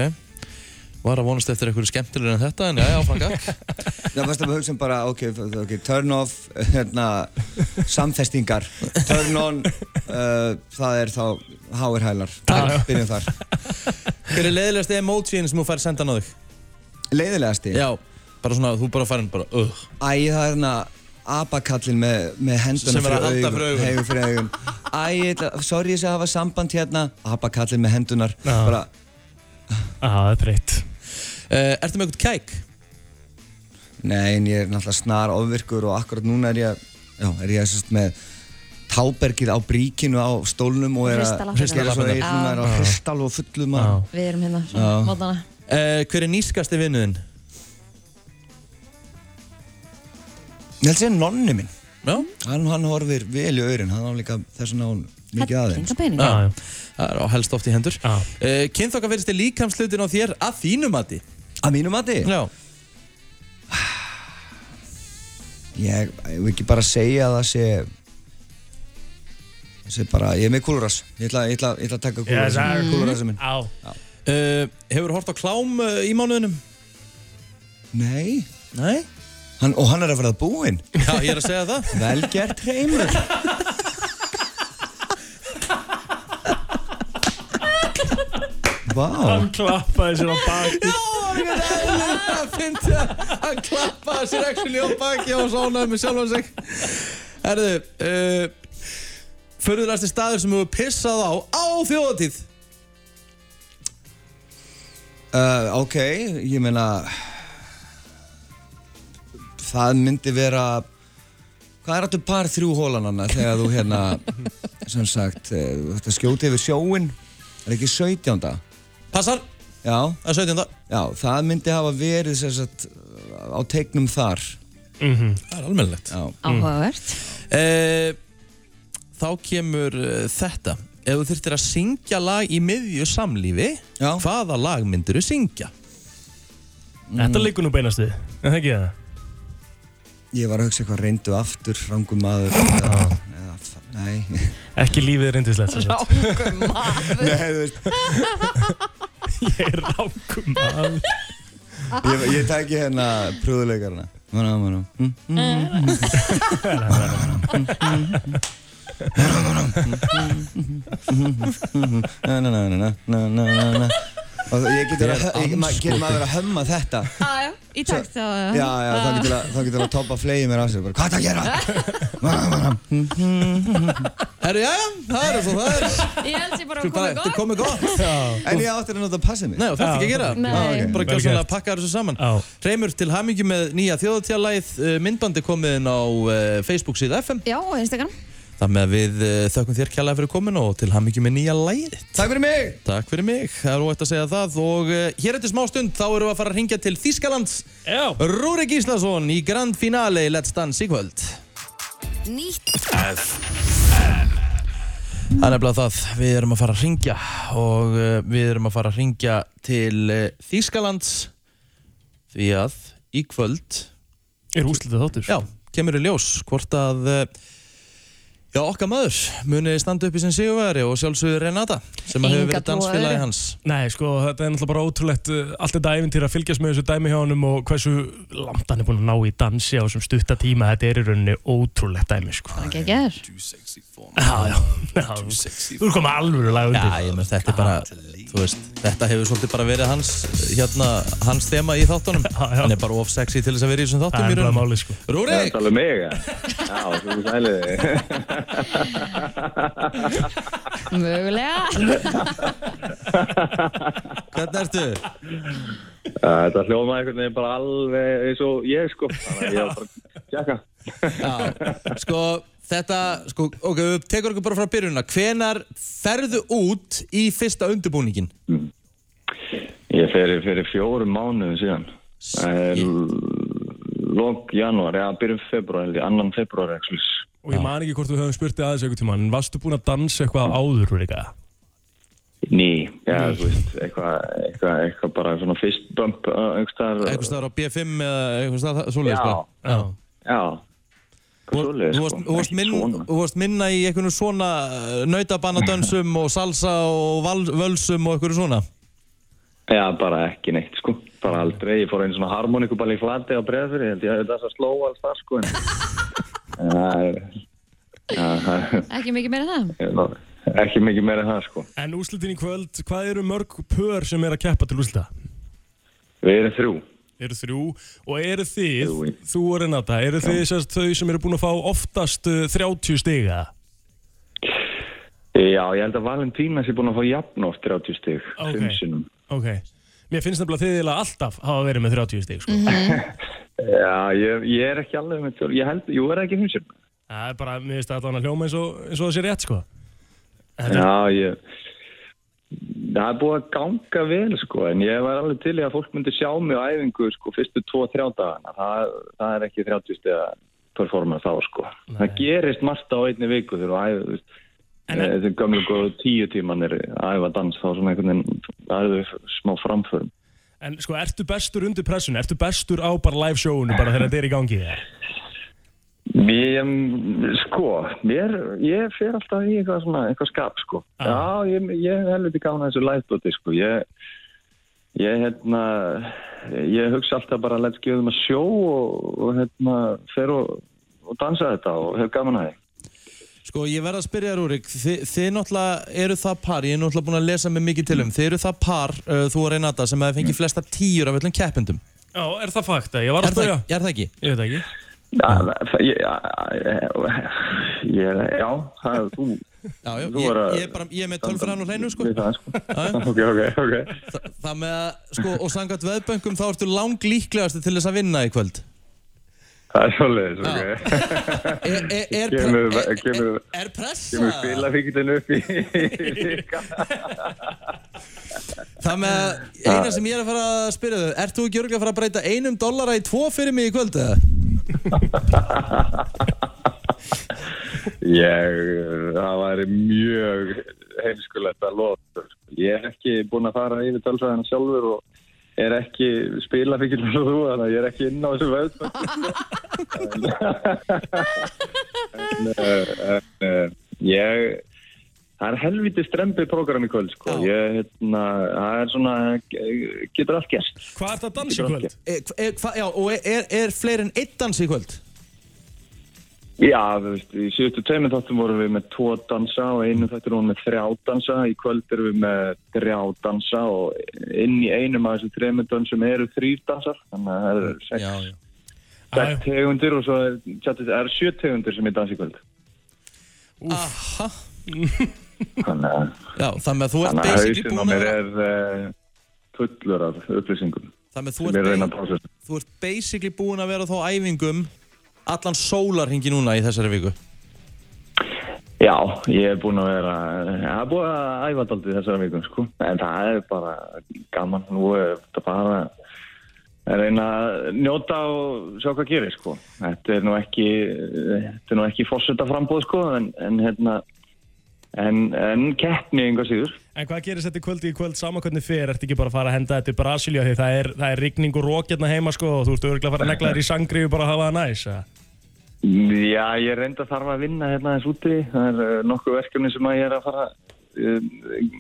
Speaker 3: Var að vonast eftir eitthvað skemmtilegur en þetta, en já, já, franga.
Speaker 6: Já, fyrst að við hugsaum bara, ok, ok, turn off, hérna, samfestingar, turn on, uh, það er þá háir hælar, byrjum þar.
Speaker 3: Hver er leiðilegast emojín sem þú fær sendan á þig?
Speaker 6: Leiðilegasti?
Speaker 3: Já, bara svona, þú bara farin bara, uh.
Speaker 6: Æ, það er hérna apakallin með, með henduna
Speaker 3: Sem er að halda fyrir augun.
Speaker 6: Hegum fyrir augum. Æ, ég ætla- sorry þess að hafa samband hérna, apakallin með hendunar.
Speaker 2: Já.
Speaker 6: Bara,
Speaker 2: Já, það er breytt
Speaker 3: Uh, ertu með eitthvað kæk?
Speaker 6: nei, en ég er náttúrulega snar ofvirkur og akkurat núna er ég, já, er ég sérst með tábergið á bríkinu á stólnum og er
Speaker 1: Hristalappirnar.
Speaker 6: að gera svo eitt
Speaker 1: Já.
Speaker 6: núna er á hristal og fullum að
Speaker 2: Já.
Speaker 1: Við erum hérna,
Speaker 6: Já.
Speaker 1: svona, mótana.
Speaker 3: Uh, hver er nýskasti vinnuðinn?
Speaker 6: Ég held að segja nonni minn.
Speaker 3: Já,
Speaker 6: Hann, hann horfir vel í aurin, hann á líka þess vegna á hún mikið aðeins.
Speaker 1: Kinga pening.
Speaker 2: Já,
Speaker 3: Já.
Speaker 2: já.
Speaker 3: það er á helst oft í hendur.
Speaker 2: Já.
Speaker 3: Uh, Kynþokka verðist þið líkamslutin á þér að þínu mati?
Speaker 6: Að mínu mati?
Speaker 3: Já.
Speaker 6: Ég ég vil ekki bara segja að það sé ég sé bara, ég er með kúluras ég ætla, ég ætla, ég ætla að taka kúluras
Speaker 2: það er
Speaker 6: kúlurasinn minn
Speaker 2: Á
Speaker 3: Uh, hefur hort á klám uh, í mánuðinum?
Speaker 6: Nei,
Speaker 3: Nei.
Speaker 6: hann, og hann er að verða búinn
Speaker 3: Já, ég er að segja það.
Speaker 6: Vel gert heimur Vá,
Speaker 2: Hann klappaði sér á bak
Speaker 3: Það finnst það að klappa sér actually á baki og sánaði með sjálfan sig. Herðu, uh, förðurast í staður sem hefur pissað á á þjóðatíð.
Speaker 6: uh, ok, ég meina það myndi vera hvað er þetta par þrjú hólananna þegar þú hérna sem sagt, eh, þú ert að skjóta yfir sjóin er ekki 17.
Speaker 3: Passar,
Speaker 6: Já,
Speaker 3: það er 17.
Speaker 6: já, það myndi hafa verið sem sagt á tegnum þar.
Speaker 2: Mhm.
Speaker 3: Það er almennilegt.
Speaker 6: Já.
Speaker 1: Áhugavert.
Speaker 3: Eh, þá kemur eh, þetta Ef þú þurftir að syngja lag í miðju samlífi
Speaker 6: Já.
Speaker 3: Hvaða lag myndir þú syngja?
Speaker 2: Þetta liggur nú beinast við, en það ekki það?
Speaker 6: Ég var að hugsa eitthvað reyndu aftur, rangum maður. Já. Eða, f- nei.
Speaker 2: Ekki lífið er reyndislegt sem sagt.
Speaker 1: Rákum maður.
Speaker 6: nei, þú veist,
Speaker 2: Ég er rákum að
Speaker 6: ég, ég tæki hérna prúðuleikarna. Manna, manna. Mm. Mhm. Na, na, na, na, na, na, na, na.
Speaker 3: Mm.
Speaker 6: Og ég getur að, ég, ma, getur maður að hömma þetta.
Speaker 1: Ah, Já, já, í takt þá.
Speaker 6: Já, já, þá getur að, þá getur að toppa flegi mér af sér bara, Hvað það gera? Manna, manna. mm,
Speaker 3: Herru, já, já, það er svo það er
Speaker 1: Ég held ég bara að koma
Speaker 3: Bara, Þetta er
Speaker 1: góð.
Speaker 3: komið gott Já.
Speaker 6: En ég átti að nota að passa mig
Speaker 3: Nei, og þetta ekki að gera
Speaker 1: Nei.
Speaker 3: Já, ok. Bara
Speaker 2: Vel
Speaker 3: gjóðsannlega
Speaker 2: gert.
Speaker 3: að pakka þessu saman
Speaker 2: Já.
Speaker 3: Reymur til hamingju með nýja þjóðatíðalæð Myndbandi komið inn á eh, Facebook síða FM
Speaker 1: Já, og Instagram.
Speaker 3: Það með að við eh, þökkum þér kjærlega fyrir komin og til hamingju með nýja læðið
Speaker 6: Takk fyrir mig
Speaker 3: Takk fyrir mig, það er óætt að segja það og uh, hér eftir smá stund þá erum við að fara að ringja til Þískalands
Speaker 2: Já.
Speaker 3: Rúrik Íslasson í grand finale Let's Dance í kvöld
Speaker 12: Nýtt
Speaker 3: Það er nefnilega það, við erum að fara að ringja og uh, við erum að fara að ringja til uh, Þískalands því að í kvöld,
Speaker 2: Er úslitað þáttur?
Speaker 3: já, kemur í ljós hvort að uh, já, okkar maður muni standa upp í sem sigurveri og sjálfsögur Renata sem að hefur
Speaker 1: Enga trú
Speaker 3: verið
Speaker 1: á öðru.
Speaker 3: dansfélagi hans
Speaker 2: Nei, sko, þetta er náttúrulega bara ótrúlegt uh, allt þetta æfintýr að fylgjast með þessu dæmi hjá honum og hversu langt hann er búin að ná í dansi á þessum stutta tíma, þetta er í rauninni ótrúlegt dæmi, sko.
Speaker 1: Það er ekki að gera.
Speaker 2: Já, já, já, þú er komið alvöru lag
Speaker 3: Já,
Speaker 2: undir.
Speaker 3: ég menn, þetta er bara, þú veist, þetta hefur svolítið bara verið hans, hérna, hans þema í þáttunum.
Speaker 2: já.
Speaker 3: Hann er bara of sexy til þess að vera í þessum
Speaker 2: það
Speaker 3: þáttum
Speaker 2: er
Speaker 3: í
Speaker 2: bara
Speaker 3: raunum.
Speaker 2: málið, sko.
Speaker 3: Rúrik!
Speaker 9: alveg mig, eða? Já, þú sælið þig.
Speaker 1: Mögulega.
Speaker 3: Hvernig ertu?
Speaker 9: Þetta hljómaði einhvern veginn bara alveg eins og ég, sko. Þannig að ég var bara að tjekka.
Speaker 3: Já, sko, þetta, sko, ok, við tekur okkur bara frá byrjunna. Hvenar ferðu út í fyrsta undirbúningin?
Speaker 9: Ég fyrir, fyrir fjórum mánuðum síðan. Lók janúar, já, byrjum februar, held ég, annan februar, ekki slús.
Speaker 2: Og ég man ekki hvort þú höfum spurt þig aðeins einhvern tíma, en varstu búin að dansa eitthvað áður, Rúrika?
Speaker 9: Ný, já, þú veist, eitthvað, eitthvað, eitthvað bara svona fyrst bump, uh,
Speaker 3: Eitthvað
Speaker 9: einhverstaðar.
Speaker 3: staðar á B5 eða eitthvað staðar
Speaker 9: Já,
Speaker 3: svoleiðis bara?
Speaker 2: Já.
Speaker 9: já. Hvað svoleiðis,
Speaker 3: Þú
Speaker 9: sko?
Speaker 3: varst- þú varst
Speaker 9: Ekki
Speaker 3: minn-
Speaker 9: svona.
Speaker 3: þú varst minna í einhvern svona nautabannadönsum og salsa og val, völsum og einhverju svona?
Speaker 9: Já, bara ekki neitt, sko. Bara aldrei. Ég fór einu svona harmoníkuball í flati á breðfyrir. Ég held ég hefði þess að sló alls það, sko. En, en það er... Já, það er...
Speaker 1: Ekki mikið meira en það.
Speaker 9: ég ná- Ekki mikið meira en það, sko.
Speaker 2: En úslitin í kvöld, hvað eru mörg pör sem er að keppa til úslita?
Speaker 9: Við erum þrjú.
Speaker 2: Eru þrjú, og eru þið,
Speaker 9: Þrjú í.
Speaker 2: þú og Renata, eru þið sérst þau sem eru búin að fá oftast uh, 30 stiga?
Speaker 9: Já, ég held að Valentínas er búin að fá jafn oft 30 stig.
Speaker 2: Ok.
Speaker 9: fimm sinnum.
Speaker 2: Ok. Mér finnst nefnilega þið eiginlega alltaf hafa verið með 30 stig, sko.
Speaker 9: Já, ég, ég er ekki alveg með tjóð. Ég held, jú, er það ekki 5 sinnum.
Speaker 2: Það er bara, mér finnst þetta hann að hljóma eins og, eins og það sé rétt, sko.
Speaker 9: Já, ég... Það er búið að ganga vel sko en ég var alveg til í að fólk myndi sjá mig á æfingu sko fyrstu 2-3 dagana það, það er ekki 30 stiga performance þá sko. Það gerist margt á einni viku þegar þú æfir þú veist,
Speaker 2: En-
Speaker 9: þessi gömlu góðu tíu tímanir að æfa dans þá svona einhvern veginn það er þau smá framförum.
Speaker 2: En sko, ertu bestur undir pressun? Ertu bestur á bara live showunu bara þegar þetta er í gangi?
Speaker 9: Mér, sko, mér, ég fer alltaf í eitthvað svona, eitthvað skap, sko. Já, ég, ég helviti gána þessu lætbóti, sko. Ég, ég, hérna, ég hugsa alltaf bara let's give them a show og, og hérna, fer og, og dansa þetta og hef gaman að því.
Speaker 3: Sko, ég verð að spyrja þér, Úrik, þið, þið náttúrulega eru það par, ég er náttúrulega búin að lesa mig mikið til um, þið eru það par, uh, þú og Renata, sem hefði
Speaker 9: Mm.
Speaker 3: fengið flesta tíur af öllum keppendum.
Speaker 2: Já, er það fakta? Ég var
Speaker 3: Er
Speaker 2: að
Speaker 3: það,
Speaker 2: spyrja.
Speaker 3: er það ekki?
Speaker 2: Ég veit ekki.
Speaker 9: Já, það- ég, ég- Eh, ég, Eh, já, það, þú,
Speaker 3: Já, já,
Speaker 9: Þú
Speaker 3: ég,
Speaker 9: er að-
Speaker 3: ég, er bara, ég er með tölfræðan og hreinu, sko.
Speaker 9: við það, sko. ok, ok, ok.
Speaker 3: Þa, það með að, sko, og sangat veðböngum, þá ertu lang líklegast til þess að vinna í kvöld.
Speaker 9: Það er svolítið, ok.
Speaker 3: Er, er, er,
Speaker 9: Kemur-
Speaker 3: er, er,
Speaker 9: kemur-
Speaker 3: er pressa?
Speaker 9: Kemur spilafíkildin upp í vika.
Speaker 3: Það með að eina sem ég er að fara að spyrja þau Ert þú ekki örgulega að fara að breyta einum dollara í tvo fyrir mig í kvöld eða?
Speaker 9: Ég, eh, það væri mjög heimskulegt að loða. Ég er ekki búinn að fara yfir tölfræðina sjálfur og er ekki spilafíkild eins og þú, þannig að ég er ekki inn á þessu völd. en, eh, en eh, ég, það er helviti strempið program í kvöld, sko. Ég, hérna, það er svona, eh, getur allt gerst.
Speaker 2: Hvað ert að dansa í kvöld?
Speaker 3: E, e, hva, já, og er, er, er fleiri en eitt dans í kvöld?
Speaker 9: Já, þú veist, í síðustu tveimur þáttum vorum við með tvo dansa og einu þáttum vorum við með þrjá dansa. Í kvöld erum við með þrjá dansa og inn í einum af þessum þreimur dansum eru þrýr dansar. Þannig að það eru sex,
Speaker 3: Já,
Speaker 2: Já,
Speaker 3: já
Speaker 2: já.
Speaker 9: sex tegundir og svo er, tjáttið, það eru sjö tegundir sem er dans í kvöld.
Speaker 3: Aha,
Speaker 9: Þannig að,
Speaker 3: já, þannig að þú ert
Speaker 9: þannig að
Speaker 3: basically
Speaker 9: hausinn á
Speaker 3: búin að
Speaker 9: mér
Speaker 3: vera
Speaker 9: er uh, fullur af upplýsingum
Speaker 3: Þannig að þú
Speaker 9: sem ég reyna
Speaker 3: ert,
Speaker 9: að pásast.
Speaker 3: ba- þú ert basically búin að vera þá á æfingum Allan sólarhingi núna í þessari viku
Speaker 9: Já, ég er búinn að vera, ég er búinn að æfa daldið þessara vikum, sko. En það er bara gaman, nú er þetta bara að reyna að njóta og sjá hvað gerir, sko. Þetta er nú ekki, þetta er nú ekki fórsetta frambóð, sko, en, en hérna, en, en keppni einhvað síður.
Speaker 2: En hvað gerist þetta í kvöld í kvöld sama hvernig fyrir? Ertu ekki bara að fara að henda þetta í Brasilia því það er, það er rigning og rók hérna heima sko og þú ert örgulega að fara að negla þér í sangriðu bara að hafa það næs. eða?
Speaker 9: Já, ég reynda þarf að vinna hérna þess úti. Það er eh, nokkuð verkefni sem að ég er að fara um,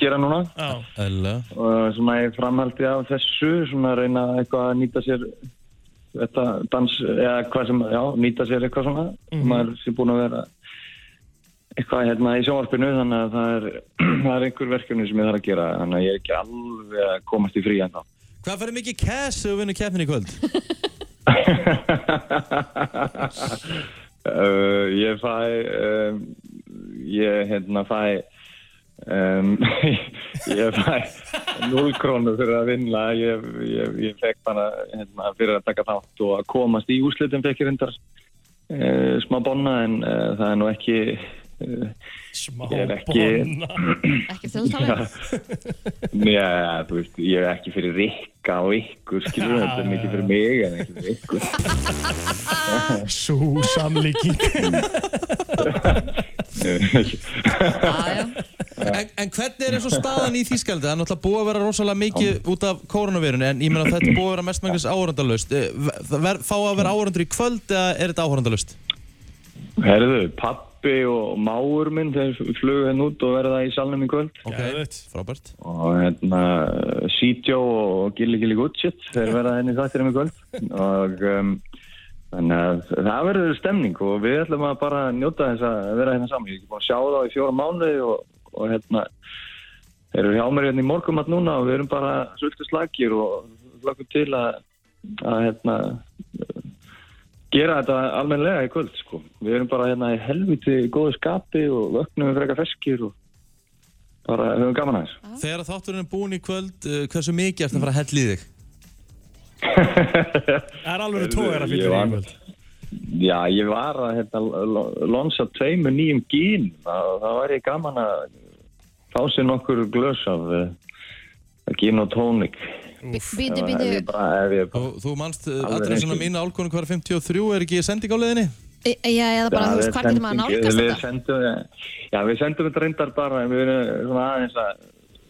Speaker 9: gera núna.
Speaker 2: Já.
Speaker 3: Æla.
Speaker 9: og svona ég framhaldi af þessu svona að reyna eitthvað að nýta sér þetta dans eða hvað sem, já, nýta sér eitthvað svona maður sé búin að vera eitthvað hérna í sjónvarpinu þannig að það er, það er einhver verkefni sem ég þarf að gera þannig að ég er ekki alveg að komast í frí en þá
Speaker 3: Hvað fyrir mikið cash ef við vinnum keppnin í kvöld?
Speaker 9: uh, ég fæ um, ég hérna fæ um, ég fæ 0 krónu fyrir að vinna ég, ég, ég fekk bara hérna, fyrir að taka þátt og að komast í úslitin fekk ég reyndar
Speaker 10: Eh,
Speaker 9: uh, smá bonna en uh, það er nú ekki uh,
Speaker 2: Smá
Speaker 9: Ég er ekki-
Speaker 2: bonna.
Speaker 1: Ekki þjóðtalið.
Speaker 9: njá, þú veist, ég er ekki fyrir rikka og ykkur skilur þetta er mikið fyrir mig en ekki fyrir ykkur
Speaker 2: Sú samlíking.
Speaker 1: Já, já.
Speaker 3: En, en hvernig er eins og staðan í Þýskaldi? Það er náttúrulega búið að vera rosalega mikið út af koronavirun en ég meina þetta er búið að vera mestmenglis áhörandalaust Fá að vera áhörandur í kvöld eða er þetta áhörandalaust?
Speaker 9: Herðu, pappi og máur minn þeir flugu henn út og verða í salnum í kvöld
Speaker 2: Geðveikt.
Speaker 3: frábært
Speaker 9: og hérna Sítjó og Gilli Gilli Gutschit þeir verða henni þáttirum í kvöld og um, þannig að það verður stemning og við ætlum að bara njóta þess að vera hérna saman ég er ekki búin að sjá þá í fjóra mánuði og, og hérna þeir eru hjá mér hérna í morgumat núna og við erum bara sultu slagir og lakum til að, að hérna gera þetta almennilega í kvöld sko. við erum bara hérna í helviti góðu skapi og vöknum frekar ferskir og bara höfum gaman aðeins
Speaker 3: Þegar þátturinn er búin í kvöld, uh, hversu mikið ertu að fara að hella í þig?
Speaker 2: Það er alveg tógar að fyrir
Speaker 9: Ég
Speaker 2: í
Speaker 9: var-
Speaker 2: kvöld.
Speaker 9: Já, ég var að hérna, lonsa tveimu nýjum gín það, það væri gaman að fá sér nokkur glös af uh, gín og tónik
Speaker 1: Bíti,
Speaker 9: ef ég
Speaker 1: bíti.
Speaker 9: bara, ef ég
Speaker 3: Þú,
Speaker 9: bara
Speaker 3: þú manst uh,
Speaker 9: Alveg
Speaker 3: allra svona
Speaker 9: ekki.
Speaker 3: mín álkonu hver 53 er ekki sending á leiðinni?
Speaker 1: Já, eða bara, þú veist, hvað getur maður að nálgast
Speaker 9: við
Speaker 1: þetta?
Speaker 9: sendum, Já, við sendum þetta reyndar bara en við erum svona aðeins að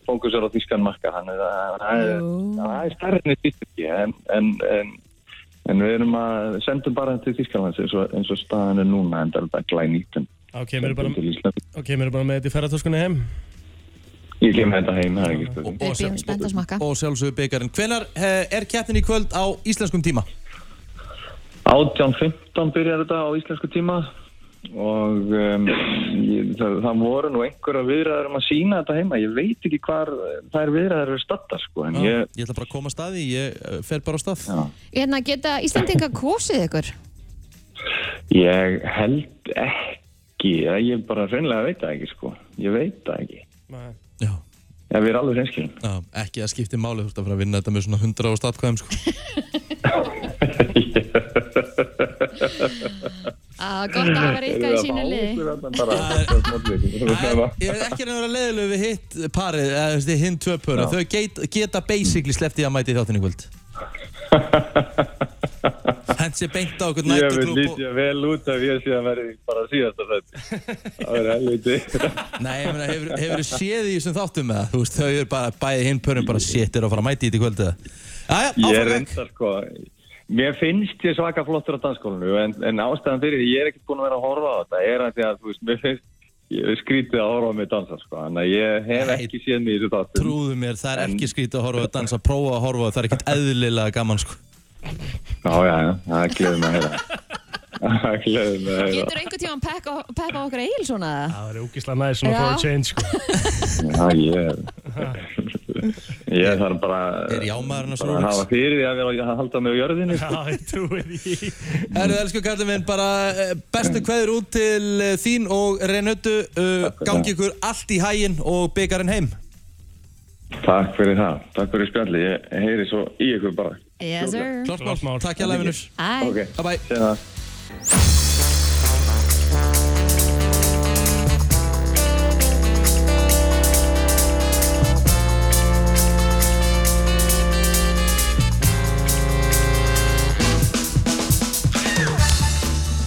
Speaker 9: fókusur á þískan marka þannig að það er- það er stærðinni þýsturki en, en, en, en við erum að sendum bara til Þískanlands eins og, eins og staðan er núna en það er bara glænýtun
Speaker 2: Þá kemur bara,
Speaker 9: til Ísland
Speaker 2: þá kemurðu bara með þetta í ferratöskunni heim.
Speaker 9: Ég kem með þetta heim, það er ekki spurning
Speaker 1: Við býjum spennt að smakka.
Speaker 3: Og sjálfsögur byggarinn. Hvenar uh, er keppnin í kvöld á íslenskum tíma?
Speaker 9: 18.15 byrjar þetta á íslensku tíma og um, ég, það, það voru nú einhverja viðræður um að sína þetta heima ég veit ekki hvar þær viðræður eru statta sko, en
Speaker 3: Ég,
Speaker 9: ég
Speaker 3: ég ætla bara að koma að staði, ég uh, fer bara á stað.
Speaker 9: Já.
Speaker 1: Hérna, geta Íslandinga kosið ykkur?
Speaker 9: Ég held ekki, eða ég bara hreinlega veit það ekki sko, ég veit það ekki.
Speaker 2: Nei.
Speaker 3: Já.
Speaker 9: Ef við erum alveg hreinskilin.
Speaker 3: Já, ekki að skipti máli, þú ert að fara að vinna þetta með svona 100 á statkvæðum sko.
Speaker 1: Á, Ah, gott að hafa Rikka í sínu liði.
Speaker 3: Ég veit ekki að vera leiðilegu við hitt parið, eða þú veist, hinn tvö pöra. Þau get, geta basically slepptið að mæti þáttinni kvöld. Hent sér beint á okkur
Speaker 13: Ég vil
Speaker 3: nættuklúb og...
Speaker 13: lítja vel út af ég síðan verði bara síðast af þetta. Það verður helviti.
Speaker 3: Nei, ég meina, hefur, hefur séð í þessum þáttum með það? Þú veist, þau eru bara, bæði hinn pörum bara shit, eru að fara að mæti í þetta kvöld eða?
Speaker 13: Ég
Speaker 3: Jæja, áfram
Speaker 13: er
Speaker 3: vekk.
Speaker 13: reyndar sko. Mér finnst ég svaka flottur á dansskólanu en, en ástæðan fyrir því ég er ekkert búin að vera að horfa á þetta er að því að þú veist, mér finnst ég er skrítið að horfa á mig dansa sko. Þannig að ég hef
Speaker 3: Nei.
Speaker 13: ekki séð mig í þessu þáttum.
Speaker 3: Trúðu mér, það er ekki skrítið að horfa að dansa, prófa að horfa, það er ekkert eðlilega gaman, sko.
Speaker 13: Já, já, já. Það gleður mig að heyra. Það gleður mig að heyra.
Speaker 1: Getur einhvern tíman peppa, peppa okkur Egil svona? eða?
Speaker 2: Það er úkislega næði svona for a
Speaker 1: Já.
Speaker 2: change sko.
Speaker 13: Já, ég Ég þarf bara
Speaker 3: Er jámaðurinn að
Speaker 13: bara
Speaker 3: snúa
Speaker 13: að
Speaker 3: við?
Speaker 13: hafa fyrir því að vera að halda mig á jörðinni sko.
Speaker 2: Já, ég trúi því
Speaker 3: Herru, elsku kallið minn, bara eh, bestu kveður út til eh, þín og Renötu, uh, gangi ykkur allt í hæginn og byggarinn heim.
Speaker 13: Takk fyrir það, takk fyrir spjalli Ég heyri svo í ykkur bara
Speaker 1: Yes sir.
Speaker 2: Klárt
Speaker 3: Klart
Speaker 2: mál.
Speaker 3: mál, takk hjá lefinur.
Speaker 1: Æ,
Speaker 13: Ok,
Speaker 3: Bye bye.
Speaker 13: séðan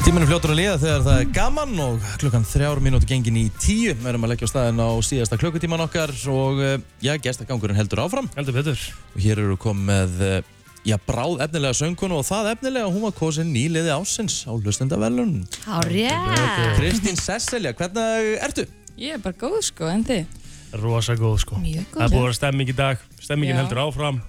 Speaker 3: Tíminn er fljótur að liða þegar það er gaman og klukkan þrjár mínúti gengin í tíu. Við erum að leggja á staðin á síðasta klukkutíman okkar og eh, já, gestagangurinn heldur áfram.
Speaker 2: Heldur betur
Speaker 3: Og hér eru komið með, eh, já, bráð efnilega söngunu og það efnilega hún var kosin nýliði ásins á hlustendavellun.
Speaker 1: á rétt.
Speaker 3: Kristín Sesselja, hvernig ertu?
Speaker 14: Ég er bara góð sko, en þið?
Speaker 2: Rosa góð sko
Speaker 1: Mjög
Speaker 2: Það er búið að
Speaker 1: góð.
Speaker 2: vera stemming í dag Stemmingin
Speaker 14: Já.
Speaker 2: heldur áfram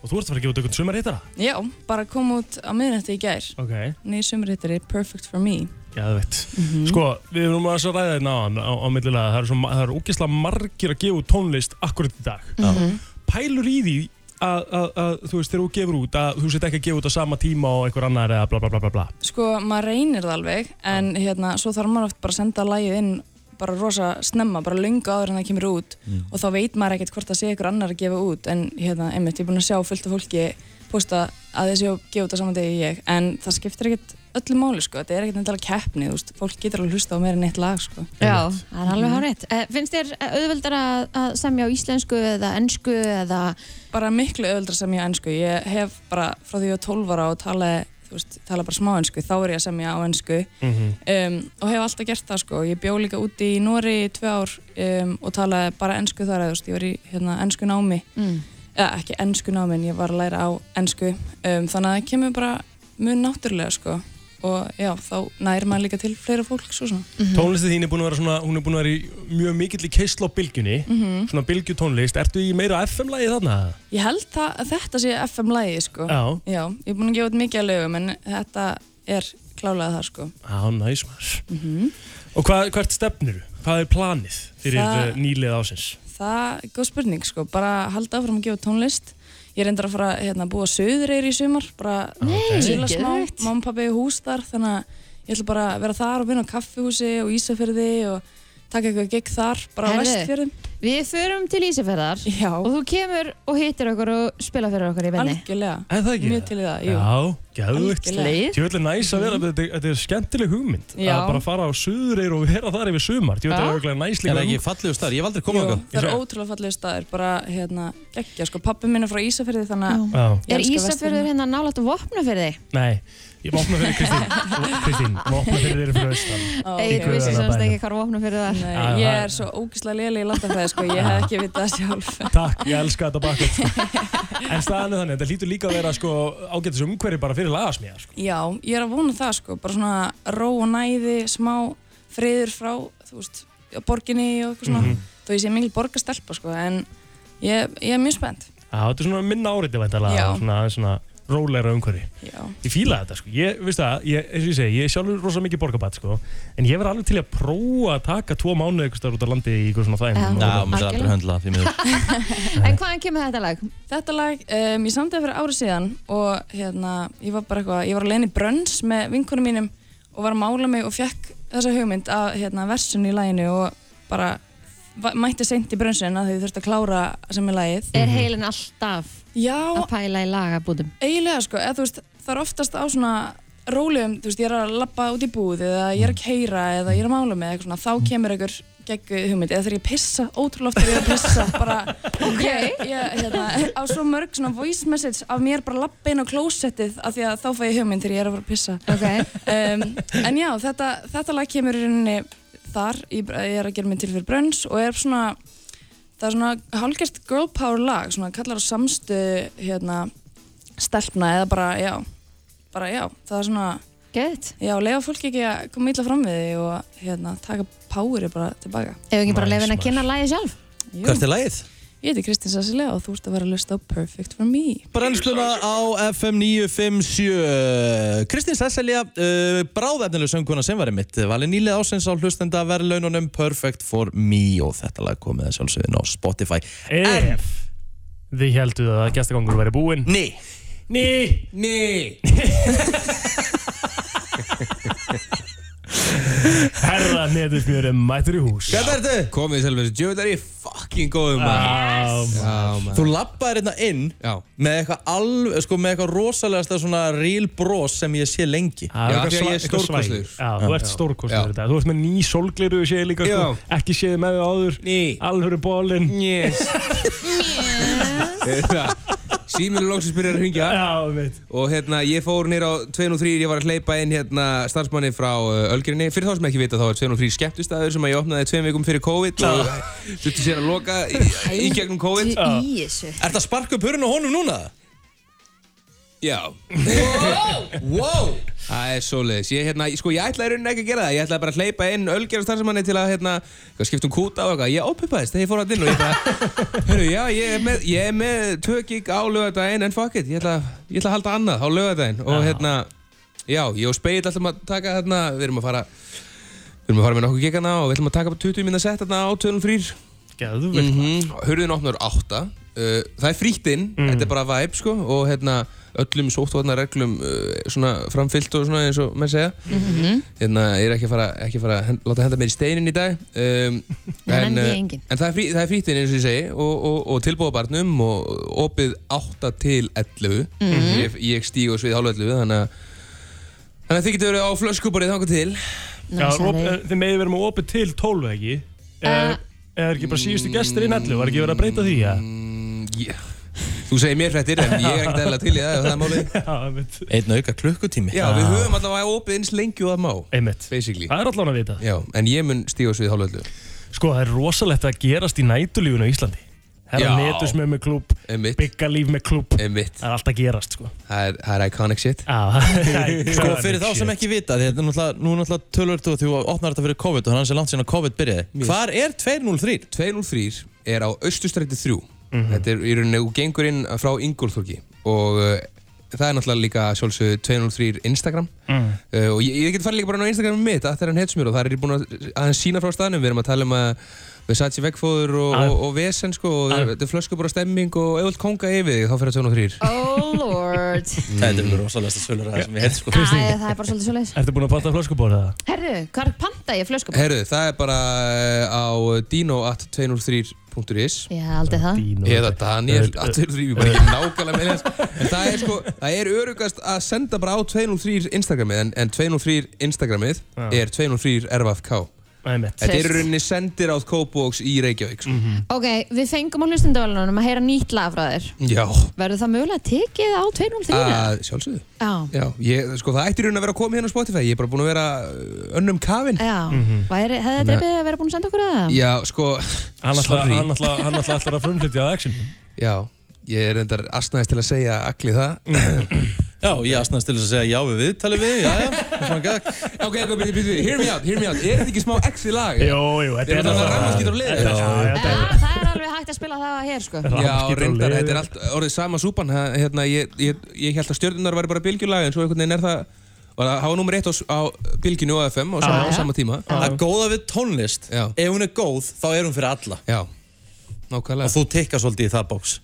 Speaker 2: Og þú ert að fara að gefa út einhvern sumar hittara
Speaker 14: Já, bara kom út á miðnætti í gær.
Speaker 2: Ok
Speaker 14: Nýjir sumritir er perfect for me.
Speaker 2: Gæðveitt
Speaker 1: Mhm.
Speaker 2: Sko, við erum að þess að ræða þetta á, á, á millilega Það eru svo- það eru ógeðslega margir að gefa út tónlist akkurat í dag
Speaker 3: Já.
Speaker 2: Pælur í því að, að, að þú veist, þegar þú gefur út að þú sett ekki að gefa út á sama tíma og einhver annar eða bla bla bla bla bla
Speaker 14: Sko, maður reynir það alveg, en hérna, svo þarf maður oft bara að senda lagið inn bara rosa snemma, bara lunga áður en það kemur út og þá veit maður ekkert hvort það sé ykkur annar að gefa út en hérna, einmitt, ég er búin að sjá fullt af fólki posta að þessi og gefa út á saman degi ég en það skiptir ekkert öllu máli sko, þetta er ekkert endalega keppni, þú veist, fólk getur alveg hlusta á meira en eitt lag sko. Mhm.
Speaker 1: Já, það er alveg hár rétt. Finnst þér eh, auðveldara að, að semja á íslensku eða ennsku eða...
Speaker 14: bara miklu öðuldra sem ég á ennsku ég hef bara frá því ég var 12 ára og tala, þú veist, tala bara smá ennsku þá er ég að semja á ennsku um, og hef alltaf gert það sko, ég bjó líka úti í Nóri í tvö ár um, og talaði bara ennsku þar, eða, þú veist, ég var í hérna, ennsku námi
Speaker 1: Mm.
Speaker 14: eða ekki ennsku námi en ég var að læra á ennsku um, þannig að það kemur bara mjög náttúrulega sko og já, þá nær maður líka til fleira fólk svo svona.
Speaker 2: Tónlistið þín er búin að vera svona, hún er búin að vera í mjög mikill í keisla á bylgjunni,
Speaker 14: Mhm.
Speaker 2: svona bylgjutónlist, ertu í meira FM-lægi þarna?
Speaker 14: Ég held það að þetta sé FM-lægi sko
Speaker 2: Já.
Speaker 14: Já, ég er búin að gefa út mikið að lögum en þetta er klálega það sko.
Speaker 2: Já, næs maður. Og hvað, hvert stefnir Hvað er planið fyrir eh,
Speaker 14: Það-
Speaker 2: Þa... nýlið ásins?
Speaker 14: Það er góð spurning sko, bara halda áfram að gefa út tónlist. Ég reyndar að fara hérna, að búa söðreir í sumar, bara
Speaker 2: Nei,
Speaker 14: chilla smá,
Speaker 1: Ah, geðveikt.
Speaker 14: mamma og pappi í hús þar, þannig að ég ætla bara að vera þar og vinna á kaffihúsi og ísafyrði og taka eitthvað gegn þar, bara á
Speaker 1: Herðu.
Speaker 14: vestfjörðum.
Speaker 1: Við förum til Ísafjörðar
Speaker 14: Já,
Speaker 1: og þú kemur og hittir okkur og spila fyrir okkur í benni.
Speaker 14: algjörlega,
Speaker 2: Er það ekki?
Speaker 14: mjög til í það, jú.
Speaker 2: Já, gæðvikt.
Speaker 14: Algjörlega.
Speaker 1: Leið.
Speaker 2: Tjóðlega næs að vera, þetta, þetta er skemmtileg hugmynd.
Speaker 14: Já.
Speaker 2: Að bara fara á suðreir og vera þar yfir sumar. Tjóðlega
Speaker 1: Já.
Speaker 2: er örugglega næs
Speaker 3: Er
Speaker 2: líka.
Speaker 3: það ekki fallegur staðar? Ég hef aldrei komið
Speaker 14: Jú,
Speaker 3: okkar.
Speaker 14: það
Speaker 2: Ég
Speaker 14: er
Speaker 2: sé.
Speaker 14: ótrúlega fallið staðir, bara hérna, geggja sko, pappi minn er frá Ísafyrði þannig að
Speaker 2: Já,
Speaker 14: Ég
Speaker 1: Er
Speaker 14: elska
Speaker 1: Ísafjörður
Speaker 14: Vestfirðina.
Speaker 1: hérna nálægt að vopna fyrir þig?
Speaker 2: nei. Ég má opna fyrir Kristín. Kristín, ég má opna fyrir þeirri fyrir austan.
Speaker 14: Ó,
Speaker 1: Egil
Speaker 14: ok.
Speaker 1: vissi
Speaker 2: guðanna
Speaker 1: semst
Speaker 2: bænum.
Speaker 1: ekki hvað vopna fyrir það
Speaker 14: Nei,
Speaker 2: Já,
Speaker 14: ég
Speaker 2: það-
Speaker 14: er svo ógislega léleg í landafræði sko, ég hef ekki vitað það sjálf.
Speaker 2: Takk, ég elska þetta bakkvæmt sko. En staðan er þannig, þetta lítur líka að vera sko, ágætis umhverfi bara fyrir lagasmíðar sko.
Speaker 14: Já, ég er að vona það sko, bara svona ró og næði, smá friður frá, þú veist, já, borginni og eitthvað svona,
Speaker 3: Mhm.
Speaker 14: þó ég sé mikil borgarstelpa sko, en ég, ég er mjög spennt.
Speaker 2: Já, þetta er svona minna áriði
Speaker 14: Já.
Speaker 2: væntalega svona, svona rólegra umhverfi
Speaker 14: Já,
Speaker 2: Ég fíla þetta sko, ég, veist það, ég, eins og ég segi, ég er sjálfur rosa mikið borgarbætt sko En ég verð alveg til að prófa að taka tvo mánuði eitthvað staðar út á landi í eitthvað svona þægum
Speaker 1: Já.
Speaker 3: Já, maður er
Speaker 1: Algjörlega.
Speaker 3: aldrei að höndla því miður.
Speaker 1: En hvaðan kemur þetta lag?
Speaker 14: þetta lag, um, ég samtæði fyrir ári síðan og hérna, ég var bara eitthvað, ég var að leiðin í brönns með vinkunum mínum og var að mála mig og fekk þessa hugmynd af hérna, versun í laginu og bara va- mætti seint í brönnsin að þau þurfti að klára sem er lagið.
Speaker 1: Er heilin alltaf
Speaker 14: Já,
Speaker 1: að pæla í lagabútum?
Speaker 14: eiginlega sko, eða þú veist það er oftast á svona rólegum, þú veist, ég er að lappa út í búð eða ég er að keira eða ég er að mála með eitthvað svona, þá kemur einhver geggu hugmynd eða þegar ég pissa, ótrúlega oft þegar ég er að pissa bara, ok, ég, hérna, á svo mörg svona voice message af mér bara lappa inn á klósettið af því að þá fæ ég hugmynd þegar ég er að fara að pissa um, en já, þetta, þetta lag kemur í rauninni þar, ég, ég er að gera mig til fyrir brönns og er svona það er svona hálfgerst girl power lag svona kallar á samstu hérna, stelpna eða bara, já bara já, það er svona
Speaker 1: Gett.
Speaker 14: já, leiða fólki ekki að koma ítla fram við því og hérna, taka powerið bara tilbaka
Speaker 1: Ef við ekki bara leyfum henni að kynna lagið sjálf
Speaker 14: Jú.
Speaker 3: Hvert er lagið?
Speaker 14: Ég heiti Kristins Asilega og þú ert að vera að lusta á Perfect For Me
Speaker 3: Brennsluna á FM 957 Kristín Sesselja, uh, bráðefnileg sönguna sem var einmitt valin nýlið ásins á hlustenda verðlaununum Perfect for me og þetta lag komið að sjálfsögðin á Spotify
Speaker 2: Ef þið helduð að gestagangur væri búinn
Speaker 3: Ný
Speaker 2: Ný
Speaker 3: Ný
Speaker 2: Herra netusmjör er mættur í hús
Speaker 3: Hvað er þetta?
Speaker 11: Komið sjálfur þessi djöfut er ég fucking góðum
Speaker 2: maður
Speaker 11: Já, maður
Speaker 3: Þú lappaðir hérna inn
Speaker 11: Já.
Speaker 3: með eitthvað alveg, sko með eitthvað rosalegasta svona real bros sem ég sé lengi
Speaker 2: Já, eitthvað svæ- eitthvað svæ- Já, þú ert stórkostlegur þetta Þú ert með ný sólgliru séð líka sko. Ekki séð með þau áður Ný Alvöru bólinn
Speaker 11: Yes Síminu Hérna, loksins byrjar að hringja
Speaker 2: Já, veit
Speaker 11: Og hérna, ég fór nýr á 203, ég var að hleypa inn hérna starfsmanni frá uh, Ölgerinni. Fyrir þá sem ekki vita þá er 203 skemmtistæður sem að ég opnaði tveim vikum fyrir COVID og þurfti sér að loka í, í gegnum COVID.
Speaker 1: Í þessu
Speaker 3: Ert að sparka upp hurinn á honum núna?
Speaker 11: Já.
Speaker 3: Wow!
Speaker 11: Það er svoleiðis. Ég, hérna, sko, ég ætlaði í rauninni ekki að gera það. Ég ætlaði bara að hleypa inn ölgerðar starfsmanni til að hérna, hvað, skipta um kúta og eitthvað. Ég ópipaðist þegar ég fór að inn og ég bara, hörru, já, ég er með, ég er með tvö gig á lögadaginn en fuck it. Ég ætla, ég ætla að halda annað á lögadaginn og hérna, já, ég og Speil ætlum að taka hérna, við erum að fara, við erum að fara með nokkuð gigana og við ætlum að taka upp 20 minna sett hérna á 203.
Speaker 2: Gæðu vel
Speaker 11: Mm Hurðin opnar 8 uh, Það er frítt inn,
Speaker 2: Mm.
Speaker 11: þetta er bara vibe sko og hérna öllum sóttvarnarreglum uh, svona framfyllt og svona eins og menn segja hérna ég er ekki að fara, ekki að fara að hen, láta henda mér í steinin í dag um, en,
Speaker 1: nenni ég
Speaker 11: uh,
Speaker 1: enginn.
Speaker 11: en það er, frí, það er frítt inn eins og ég segi og, og, og tilbúið barnum og opið 8 til 11
Speaker 1: Mhm.
Speaker 11: ég, ég stíg og svið hálf 11 þannig að þannig að þið getur verið á flöskuborið þangar til
Speaker 2: Já, op, Þið meði verið með opið til 12 ekki Er, er ekki bara síðustu gestur í nellu Var ekki verið að breyta því ja?
Speaker 11: yeah. Mm, Þú segir mér hrettir en ég er ekkert eðla til í það ef það er málið
Speaker 2: Já, veit
Speaker 3: Einn auka klukkutími
Speaker 11: Já, við höfum allavega opið eins lengi og það má
Speaker 2: Einmitt
Speaker 11: Basically
Speaker 2: Það er allan að vita
Speaker 11: Já, en ég mun stíga svið hálföldu
Speaker 2: Sko, það er rosalegt að gerast í nætulífinu á Íslandi Herra
Speaker 11: Já.
Speaker 2: netusmjör með klúb
Speaker 11: Einmitt.
Speaker 2: Byggalíf með klúb
Speaker 11: Einmitt
Speaker 2: Það er alltaf að gerast sko
Speaker 11: Það er, það er iconic shit
Speaker 2: Já,
Speaker 3: Sko fyrir þá sem ekki vita, því þetta hérna er náttúrulega, nú er náttúrulega tölvöld og þú opnar þetta fyrir COVID og þannig að það er langt síðan að COVID byrjaði. Hvar er 203?
Speaker 11: 203 er á Östustræti 3
Speaker 3: Mhm.
Speaker 11: Þetta er í rauninni og gengur inn frá Ingolþorgi Og uh, það er náttúrulega líka sjálfsögðu 203 Instagram
Speaker 3: Mhm.
Speaker 2: Mm.
Speaker 11: uh, Og ég, ég get farið líka bara inn á Instagram um mitt Það er hann hetsmjör og það er ég búin að, að hann sína frá staðnum Við erum að tala um að Versace veggfóður og,
Speaker 2: Ah.
Speaker 11: og, og vesen sko Og
Speaker 2: Ah.
Speaker 11: þetta er flösku bara stemming og ef þú vilt konga yfir þig þá fyrir 203
Speaker 1: Oh lord Æ,
Speaker 3: Þetta er mjög rosalegsta sölur að það sem ég heilt sko.
Speaker 1: Það er bara svolítið svolítið
Speaker 2: Ertu búin að panta flöskubóra það?
Speaker 1: Herru, hvað panta ég flöskum?
Speaker 11: Herru, það er bara eh, á dino.203.is
Speaker 1: Ég aldrei það
Speaker 2: Dínu
Speaker 11: eða Daniel, allir þrýfi, bara ekki nákvæmlega með þess en það er sko, það er örugast að senda bara á 203 Instagramið en, en 203 Instagramið
Speaker 2: Já.
Speaker 11: er 203 RFK
Speaker 2: Einmitt Mhm.
Speaker 11: Þetta er
Speaker 1: Trist.
Speaker 11: í rauninni sendir átt Kópavóks í Reykjavík sko.
Speaker 1: Ok, við fengum á hlustendavælunum að heyra nýtt lag frá þér
Speaker 11: Já, Ah.
Speaker 1: Verður það mögulega tekið á 203?
Speaker 11: að, sjálfsögðu
Speaker 1: Já
Speaker 11: Já, ég, sko það ætti í rauninni að vera að koma hérna á Spotify ég er bara búin að vera uh, önnum kafin
Speaker 1: Já,
Speaker 2: Mhm.
Speaker 1: væri, hefði það dreipið að vera búin að senda okkur að það?
Speaker 11: Já, sko,
Speaker 2: Hann ætla,
Speaker 11: sorry.
Speaker 2: hann, ætla, hann ætla alltaf að frumflytja að action
Speaker 11: Já, ég er reyndar asnaðist til að segja allir það
Speaker 3: Já, ég asnaðist til þess að segja já við við, talið við, já, já, svona gagg.
Speaker 11: Ok, ok, byrju, byrju, byrju, hear me out, hear me out Er þetta ekki smá exi lag?
Speaker 2: Jó, jú, þetta
Speaker 11: Ég er náttúrulega rafmagnsgítar á liðið.
Speaker 2: Þetta er- já, þetta er-
Speaker 1: Það, Ah, það er alveg hægt að spila það hér sko
Speaker 11: Já,
Speaker 2: rafmagnsgítar á
Speaker 11: reyndar,
Speaker 2: liðið.
Speaker 11: þetta er allt orðið sama súpan það- hérna, ég, ég, ég held að stjörnunar væri bara bylgjulaga en svo einhvern veginn er það og það hafa nummer eitt á, s- á bylginu og FM og sama, á sama tíma
Speaker 3: Það góða við tónlist,
Speaker 11: Já.
Speaker 3: ef hún er góð, þá er hún fyrir alla.
Speaker 11: Já,
Speaker 3: Og
Speaker 11: nákvæmlega
Speaker 3: þú tikka svolítið í það bóks.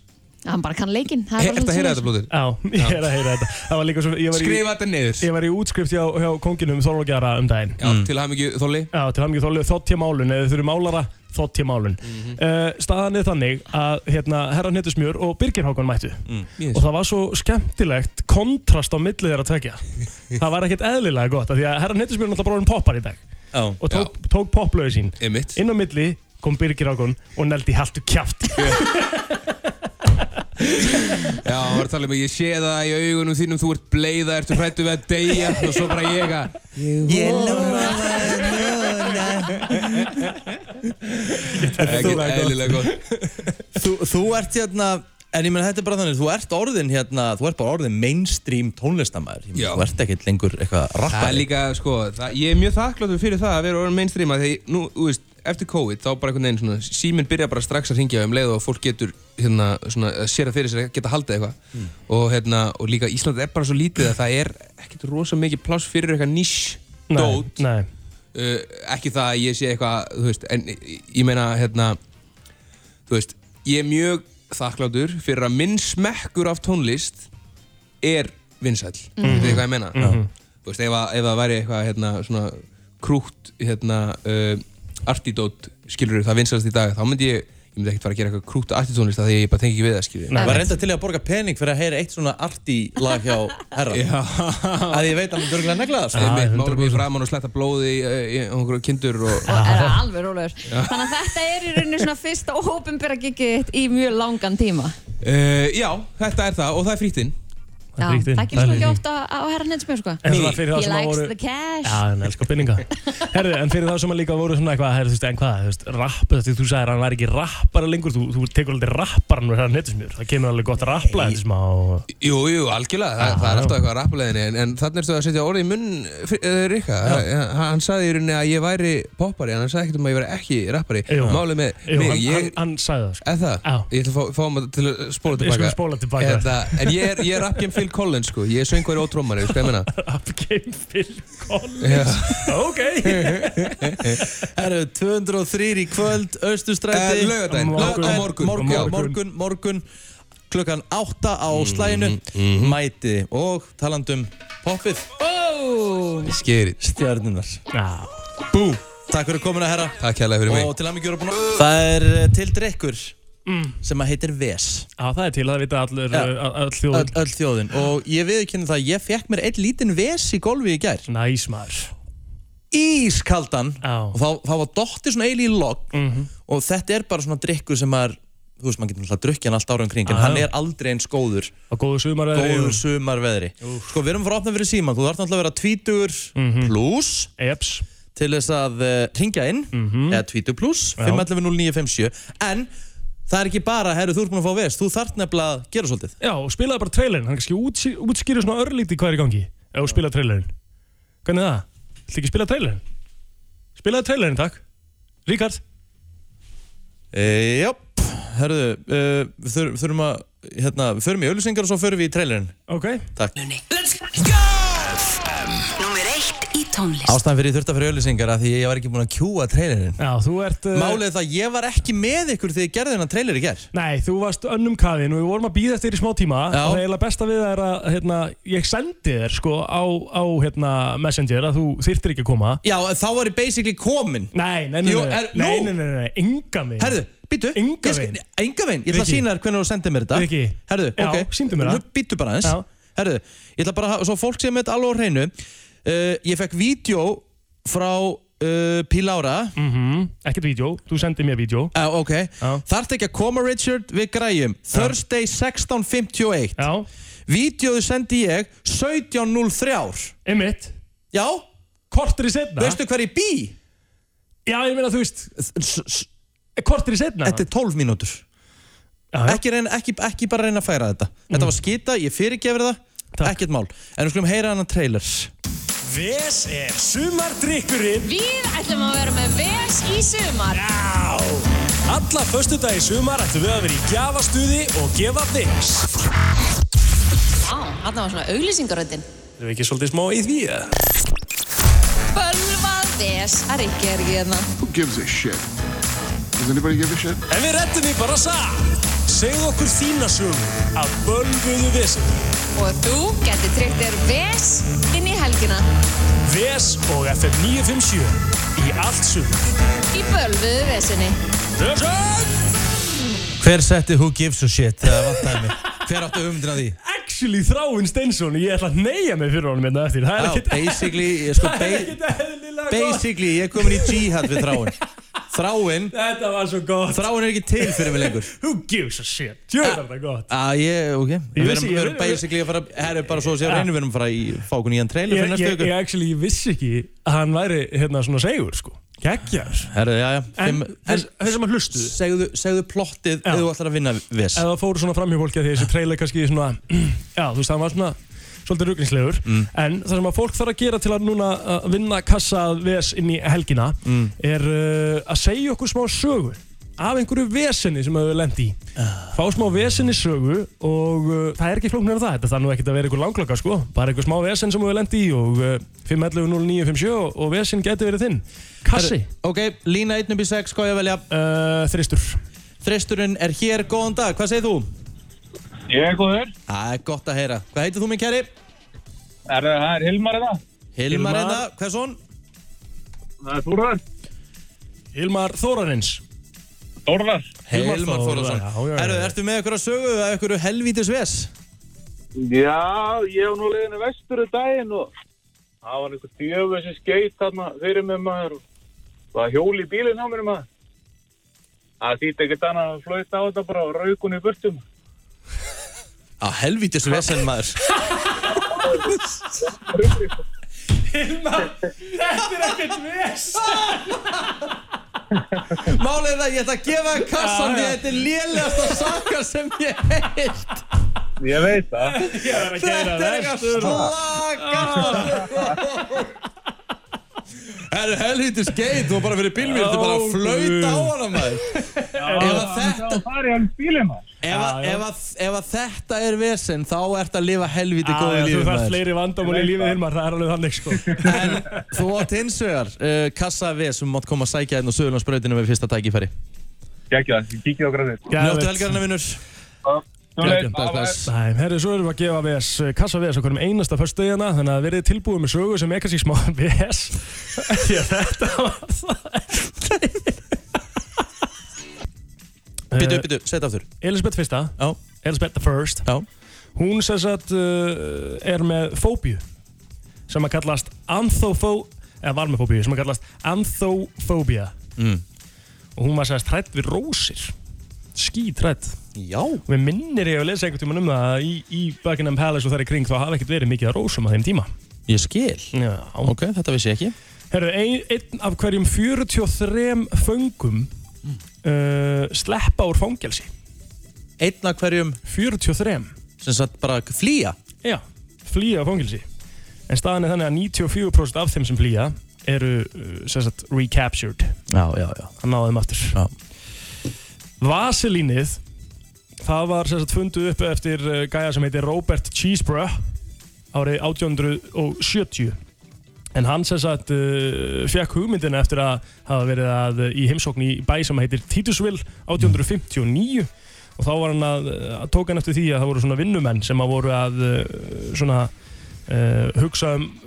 Speaker 1: hann bara kann leikinn það
Speaker 11: Er
Speaker 1: er bara
Speaker 11: þetta að heyra
Speaker 1: svolítið
Speaker 11: þetta blóðir?
Speaker 2: Já, ég er að heyra þetta Það var líka svo ég var í-
Speaker 11: Skrifa þetta niður
Speaker 2: Ég var í útskrift hjá, hjá konginum Þorlókjara um daginn
Speaker 11: Já, til hamingju Þolli
Speaker 2: Já, til hann ekki þólið þótt hjá málun Eða þau eru málara, þótt hjá málun mm
Speaker 11: Mhm.
Speaker 2: Staðan er þannig að hérna, herra Hnettusmjör og Birgir Hákon mættu
Speaker 11: Mm, Yes.
Speaker 2: Og það var svo skemmtilegt kontrast á millið þeirra tvekja Það var ekkert eðlilega gott af Því að herra Hnettusmjör er náttúrulega bróðin poppar í dag
Speaker 11: Já,
Speaker 2: Og tók, tók popplöðu sín
Speaker 11: Einmitt.
Speaker 2: Inn á milli kom Birgir Hákon og neldi haltu kjátt
Speaker 11: Já, hann var að tala um að ég sé það í augunum þínum Þú ert bleiða, ertu hrættu við að deyja Og svo bara ég að
Speaker 6: Ég lóma það núna
Speaker 11: Ekkert eðlilega gott
Speaker 3: þú, þú ert hérna En ég meina þetta er bara þannig, þú ert orðin hérna, þú ert bara orðin mainstream tónlistamæður
Speaker 11: Já.
Speaker 3: Þú ert ekkert lengur eitthvað
Speaker 11: Það er
Speaker 3: rappari
Speaker 11: líka, sko, það, ég er mjög þakkláttur fyrir það að vera orðin mainstream að því, nú, þú veist, eftir COVID þá bara einhvern veginn svona, síminn byrja bara strax að ringja um leið og fólk getur, hérna, svona, að sér að fyrir sér að geta haldið eitthvað og hérna, og líka Ísland er bara svo lítið að það er ekkert rosa mikið pláss fyrir eitthvað niche dót
Speaker 2: Nei,
Speaker 11: uh, ekki það að ég sé eitthvað þú veist, en ég meina hérna, þú veist, ég er mjög þakkláttur fyrir að minn smekkur af tónlist er vinsæll, mm. veitu hvað ég meina þú veist, ef, að- ef það væri eitthvað hérna, svona krútt hérna, uh, artidót skilur það vinsælst í dag, þá myndi ég ég myndi ekkert fara að gera eitthvað krútt artitónlist því að ég bara tengi ekki við það skilur
Speaker 3: Var reynda til í að borga pening fyrir að heyra eitt svona arti lag hjá herra
Speaker 11: Já,
Speaker 3: Að ég veit að hann dörglega negla það sko.
Speaker 11: einmitt, mála mér framann og sletta blóði í, í, í einhverju kindur og
Speaker 1: Og er alveg rólegur Þannig að þetta er í rauninu svona fyrsta ópenbæra gigið þitt í mjög langan tíma
Speaker 11: uh, Já, þetta er það og það er frítinn
Speaker 1: Já,
Speaker 2: frítt
Speaker 1: það
Speaker 2: inn. Það
Speaker 1: gerst
Speaker 2: er
Speaker 1: nú
Speaker 2: frítt
Speaker 1: ekki
Speaker 2: inn.
Speaker 1: ofta á herra netsmjör sko
Speaker 2: en svona fyrir það
Speaker 1: He
Speaker 2: sem að
Speaker 1: likes
Speaker 2: voru
Speaker 1: the cash
Speaker 2: Já, hann elskar pinninga Herðu, en fyrir það sem að líka voru svona eitthvað herðu, þú veist, en hvað, þú veist, rapp þú, þú sagðir að hann væri ekki rappara lengur þú, þú tekur aldrei rapparan við hann nettismjör það kemur alveg gott rappla þetta smá og-
Speaker 11: Jú, jú, algjörlega, Þa, það er alltaf eitthvað að rappuleginni en, en þannig erstu að setja orðið í munn uh, Rikka, hann, hann sagði í rauninni að ég væri poppari, en hann sagði ekkert um að ég væri ekki rappari,
Speaker 2: Jú.
Speaker 11: málið með
Speaker 2: Jú,
Speaker 11: mig,
Speaker 2: hann, hann,
Speaker 11: ég,
Speaker 2: hann sagði það sko.
Speaker 11: eða það,
Speaker 2: Já.
Speaker 11: ég ætla að fá, fá maður til að spóla
Speaker 2: Við
Speaker 11: tilbaka
Speaker 2: skulum spóla tilbaka.
Speaker 11: Eða- en ég er, ég er rappgjum Phil Collins sko, ég er söngvari og trómari, sko ég menna
Speaker 2: Rap Game Phil
Speaker 11: Já.
Speaker 2: Collins Ok
Speaker 3: Herru, 203 í kvöld, Östustræti
Speaker 11: Eh, laugardaginn, á morgun, á
Speaker 3: morgun, morgun,
Speaker 11: morgun.
Speaker 3: morgun, morgun Klukkan 8 á slæðinu mhm. Mæti og talandum poppið
Speaker 11: Skerit,
Speaker 3: Stjarnunar
Speaker 2: Já.
Speaker 3: Bú, takk fyrir komin að herra
Speaker 11: takk hérlega fyrir mig
Speaker 3: Og til að mikið búin að Það er eh, til drikkur
Speaker 2: Mm.
Speaker 3: sem að heitir Ves
Speaker 2: Já, það er til að vita allur
Speaker 3: Já.
Speaker 2: uh, all
Speaker 3: öll,
Speaker 2: þjóðin
Speaker 3: öll þjóðin og ég viðkynna það að ég fekk mér einn lítinn ves í golfi í gær
Speaker 2: Næs maður
Speaker 3: ískaldan
Speaker 2: Já.
Speaker 3: og þá, þá var dottið svona eil í logg
Speaker 2: Mhm.
Speaker 3: og þetta er bara svona drikkur sem maður þú veist maður getur náttúrulega drukkið hann allt ára um kring en
Speaker 2: Já.
Speaker 3: hann er aldrei eins góður
Speaker 2: Og góðu sumar
Speaker 3: góður sumarveðri sko við erum frá opna fyrir síman þú þarf náttúrulega að vera tvítugur mm pluss
Speaker 2: Mhm. Eps Mhm.
Speaker 3: til þess að uh, ringja inn eða tvítu pluss 511 0957 en það er ekki bara herru þú ert búin að fá ves þú þarf nefnilega að gera svolítið
Speaker 2: Já, og spilaði bara trailerin Hann kannski útský- útskýrir svona örlítið hvað er í gangi Ef þú spilaði trailerin Hvernig er það? Þú ekki spila trailerin? Spilaði trailerin, takk Ríkard
Speaker 3: E, Jáp, herruðu, uh, við þur, þurfum að, hérna, við förum í auðlýsingar og svo förum við í trailerinn.
Speaker 2: Ok
Speaker 3: Takk.
Speaker 12: Númer eitt í tónlist
Speaker 3: Ástæðan fyrir ég þurfti að fyrir auðlýsingar að því ég var ekki búinn að kjúa trailerinn.
Speaker 2: Já, þú ert uh,
Speaker 3: Málið er það, að ég var ekki með ykkur þegar ég gerði hennar trailer í gerð.
Speaker 2: Nei, þú varst önnum kaðin og við vorum að býða eftir í smá tíma og
Speaker 3: Já.
Speaker 2: það er eiginlega besta við það er að hérna, ég sendi þér sko á, á hérna, Messenger að þú þyrtir ekki að koma
Speaker 3: Já, en þá var ég basically komin.
Speaker 2: Nei, nei, nei,
Speaker 3: Jú,
Speaker 2: nei,
Speaker 3: er-
Speaker 2: nei,
Speaker 3: nú?
Speaker 2: nei, nei, nei, enga mig
Speaker 3: Herðu, býtu.
Speaker 2: Engan veginn.
Speaker 3: Engavein, ég ætla að
Speaker 2: Riki.
Speaker 3: sína þér hvernig þú sendið mér þetta.
Speaker 2: Riki.
Speaker 3: Herðu,
Speaker 2: Já,
Speaker 3: ok.
Speaker 2: sýndu mér það.
Speaker 3: Nú, Býtu bara aðeins.
Speaker 2: Já.
Speaker 3: Herðu, ég ætla bara að, hafa- svo fólk sé með þetta alveg á hreinu. Uh, ég fekk vídeo frá uh, Pílára.
Speaker 2: mm Ekkert vídeo, þú sendið mér vídeo
Speaker 3: Já, ok.
Speaker 2: Já.
Speaker 3: Þarft ekki að koma Richard við græjum. Thursday 16.51.
Speaker 2: Já,
Speaker 3: Vídeóðu sendi ég 17.03.
Speaker 2: einmitt
Speaker 3: Já,
Speaker 2: Kortir í setna
Speaker 3: veistu hver ég bý?
Speaker 2: Já, ég meina þú veist,
Speaker 3: S- s-
Speaker 2: kortir í setna
Speaker 3: Þetta er 12 mínútur.
Speaker 2: Já, já.
Speaker 3: Ekki, reyna, ekki, ekki bara reyna að færa þetta. Þetta var skita, ég fyrirgefur það.
Speaker 2: Takk.
Speaker 3: Ekkert mál. En við skulum heyra hana trailers.
Speaker 2: Ves er sumardrykkurinn
Speaker 1: Við ætlum að vera með ves í sumar
Speaker 2: Já Alla föstu dag í sumar ættum við að vera í gjafastuði og gefa þings
Speaker 1: Vá, þarna var svona auglýsingaröndin
Speaker 2: Erum við ekki svolítið smá í því eða?
Speaker 1: Bölvað ves að Rikki er ekki hérna
Speaker 15: Does anybody give a shit?
Speaker 16: En við rettum því bara satt. Segð okkur þína sögu af bölvuðu vesinu.
Speaker 1: Og þú getur tryggt þér ves inn í helgina
Speaker 16: Ves og FM 957 í allt sögur.
Speaker 1: í bölvuðu vesinni.
Speaker 16: Vesin!
Speaker 3: Hver setti Who Gives a Shit? Það vantaði mig. Hver áttu hugmyndina að því?
Speaker 2: Actually Þráinn Steinsson, ég ætla að neyja mig fyrir honum hérna eftir. Það er
Speaker 3: Já,
Speaker 2: ekkert...
Speaker 3: basically, ég sko,
Speaker 2: Það er
Speaker 3: ba-
Speaker 2: ekkert eðlilega gott.
Speaker 3: Basically, ég er komin í jihad við þráin. Þráin...
Speaker 2: Þetta var svo gott.
Speaker 3: Þráin er ekki til fyrir mig lengur.
Speaker 2: Who gives a shit? Tjóðar þetta gott.
Speaker 3: Á, ég, ok.
Speaker 2: Ég
Speaker 3: Við
Speaker 2: vissi- ég-
Speaker 3: erum, við erum basically að fara... Herru, bara svo að séu
Speaker 2: Ja.
Speaker 3: reynum, við erum að fara í fákun í enn trailer
Speaker 2: Ég,
Speaker 3: fyrir næstu
Speaker 2: ég, ég,
Speaker 3: viku.
Speaker 2: actually, ég vissi ekki að hann væri hérna svona segur, sko. Gekkjar.
Speaker 3: Herru, já, já.
Speaker 2: En
Speaker 3: Fimm-
Speaker 2: þeir þeir sem að hlustu.
Speaker 3: Segðu, segðu plottið ef þú ætlar að vinna ves.
Speaker 2: Eða fóru svona framhjá fólki að því þessi trailer kannski svona... Já, þú veist, hann var svona svolítið rugginslegur. En það sem að fólk þarf að gera til að núna að vinna kassa að VS inn í helgina er uh, að segja okkur smá sögu af einhverju vesenni sem þau lendi í. Fá smá vesenni sögu og uh, það er ekki flóknir en það, þetta þarf nú ekkert að vera einhver langlöka sko, bara einhver smá vesen sem þau lendi í og uh, 511-0957 og, og vesen geti verið þinn. Kassi.
Speaker 3: Ok, lína 1 upp í 6, hvað á ég að velja?
Speaker 2: Uh, þristur.
Speaker 3: Þristurinn er hér, góðan dag, hvað segir þú?
Speaker 10: Ég er góður.
Speaker 3: Það er gott að heyra. Hvað heitir þú minn kæri?
Speaker 10: Er það er Hilmar eða?
Speaker 3: Hilmar eða, hvað er svon?
Speaker 10: Það er Þórar.
Speaker 2: Hilmar Þórarins.
Speaker 10: Þórar.
Speaker 3: Hilmar Þórðarsson.
Speaker 2: já, já, já.
Speaker 3: Herru, ertu með okkur að sögu eða okkur helvítis ves?
Speaker 10: Já, ég var nú leiðinu vestur í daginn og það var einhver djöfu sem skeit þarna fyrir mig maður og það var hjól í bílinn á mér maður. Það þýtti ekkert annað að flöita á þetta bara og raukun í burtum.
Speaker 3: Á helvítis vesen maður.
Speaker 2: Hilmar, þetta er ekkert ves.
Speaker 3: Málið er það, ég ætla að gefa þér
Speaker 16: Já,
Speaker 3: kassan því
Speaker 16: já.
Speaker 3: að þetta er lélegasta sakar sem ég heilt.
Speaker 10: Ég veit það.
Speaker 2: Ég verð að gera
Speaker 3: Þetta er eitthvað
Speaker 2: vestur.
Speaker 3: slakast. Herru, helvítis geit, þú var bara fyrir bílmíl, þú bara
Speaker 10: Ó,
Speaker 3: að flauta á
Speaker 10: Guð.
Speaker 3: hana maður.
Speaker 10: Ef að þetta... Það var í hans bílinn maður.
Speaker 3: Ef, að, ef, að, ef að þetta er vesen, þá ert að lifa helvíti
Speaker 2: Já,
Speaker 3: góðu
Speaker 2: já,
Speaker 3: lífi
Speaker 2: Þú þarf fleiri vandamál í lífið Hilmar, það er alveg þannig sko.
Speaker 3: Þú átt hins vegar uh, kassa við sem mátt koma að sækja hérna einn og sögurlandsbrautinu við fyrsta tækifæri.
Speaker 10: Gekki það, kíkja á græðið.
Speaker 3: Njóttu helgarna vinnur.
Speaker 10: Bless,
Speaker 3: bless, bless.
Speaker 2: Nei, herri, svo erum við að gefa VS, kassa VS okkur um einasta föstudegjana, þannig að verið tilbúið með sögu sem er kannski smá VS. Því að þetta var það.
Speaker 3: Býtu, býtu, setja aftur.
Speaker 2: Elisabeth fyrsta.
Speaker 3: Já.
Speaker 2: Elisabeth the first.
Speaker 3: Já.
Speaker 2: Hún sem sagt uh, er með fóbíu sem að kallast anthofó, eða var með fóbíu, sem að kallast anthofóbía.
Speaker 3: Mm.
Speaker 2: og hún var sérst hrætt við rósir skítrætt
Speaker 3: Já
Speaker 2: Við minnir ég að lesa einhvern tímann um það að í, í Buckingham Palace og þar í kring þá hafa ekkert verið mikið að rósum á þeim tíma
Speaker 3: Ég skil.
Speaker 2: Já.
Speaker 3: Ok, þetta vissi ég ekki.
Speaker 2: Herru, ein, einn af hverjum 43 föngum
Speaker 3: Mm.
Speaker 2: uh, sleppa úr fangelsi
Speaker 3: Einn af hverjum
Speaker 2: 43
Speaker 3: sem sagt bara flýja
Speaker 2: Já, flýja á fangelsi En staðan er þannig að 94% af þeim sem flýja eru uh, sem sagt recaptured
Speaker 3: Mm. Já, já, já
Speaker 2: Hann náði þeim aftur
Speaker 3: já.
Speaker 2: Vasilínið Það var sem sagt funduð upp eftir uh, gæja sem heitir Robert Cheeseborough árið 1870 en hann sem sagt uh, fekk hugmyndina eftir að hafa verið að, uh, í heimsókn í bæ sem heitir Titusville 1859 og þá var hann að, að tók hann eftir því að það voru svona vinnumenn sem að voru að uh, svona uh, hugsa um uh,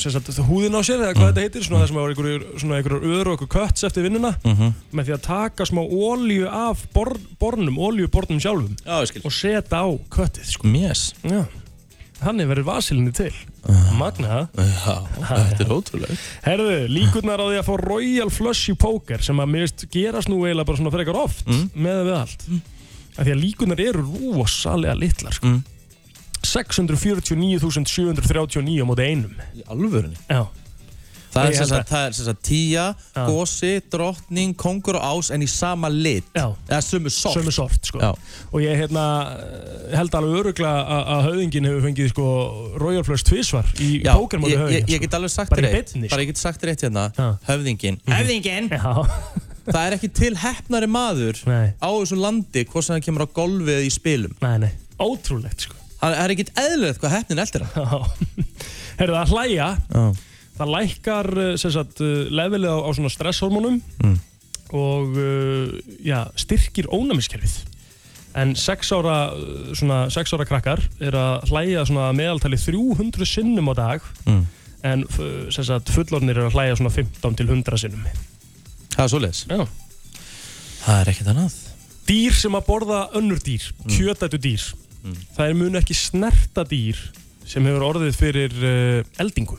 Speaker 2: sem sagt húðin á sér eða
Speaker 3: Mm.
Speaker 2: hvað þetta heitir svona það sem að voru einhverjur, svona einhverjur öður og einhver kötts eftir vinnuna
Speaker 3: Mhm.
Speaker 2: með því að taka smá ólíu af bor, bornum, ólíubornum sjálfum
Speaker 3: Já,
Speaker 2: og setja á köttið sko.
Speaker 3: Mjess Ah.
Speaker 2: Já. Þannig verður vasilinni til Magna
Speaker 3: Já, þetta er ótrúlega
Speaker 2: Herðu, líkurnar á því að fá Royal Flush í póker sem að mist gerast nú eiginlega bara svona frekar oft
Speaker 3: Mm.
Speaker 2: með við allt af því að líkurnar eru rosalega litlar sko.
Speaker 3: Mm.
Speaker 2: 649.739 á móti einum
Speaker 3: Í alvörunni?
Speaker 2: Já
Speaker 3: Það er
Speaker 2: Ég
Speaker 3: sem
Speaker 2: held
Speaker 3: sagt, það er sem sagt tíja, gósi, drottning, kongur og ás en í sama lit Já Eða sömu sort
Speaker 2: Sömu sort, sko
Speaker 3: Já
Speaker 2: og ég hérna, eh, held alveg örugla að höfðingin hefur fengið sko, Royal Flush tvísvar í
Speaker 3: Já,
Speaker 2: pókermóti
Speaker 3: ég, ég,
Speaker 2: höfðingin
Speaker 3: ég get alveg sagt
Speaker 2: sko. Bara
Speaker 3: þér
Speaker 2: í
Speaker 3: eitt
Speaker 2: beinni, sko. Mhm.
Speaker 3: Bara ég get sagt þér eitt hérna Höfðingin
Speaker 2: Höfðingin
Speaker 3: Það er ekki til hefnari maður
Speaker 2: Nei.
Speaker 3: á þessu landi hvort sem það kemur á golfið eða í spilum
Speaker 2: Nei, nei, ótrúlegt sko
Speaker 3: Það er ekkit eðlilegt hvað hefnin eldir hann
Speaker 2: Herðu, að hlæja
Speaker 3: Já. Mm.
Speaker 2: Það lækkar eh, sem sagt, eh, levelið á, á svona stresshormónum og uh, já, styrkir ónæmiskerfið en 6 ára, uh, svona, 6 ára krakkar er að hlæja svona að meðaltali 300 sinnum á dag
Speaker 3: Mm.
Speaker 2: en f- sem sagt, fullornir er að hlæja svona 15 til 100 sinnum
Speaker 3: Það er svoleiðis
Speaker 2: Já
Speaker 3: Það er ekkert annað
Speaker 2: dýr sem að borða önnur dýr,
Speaker 3: Mm.
Speaker 2: kjötætu dýr það er mun ekki snerta dýr sem hefur orðið fyrir uh, eldingu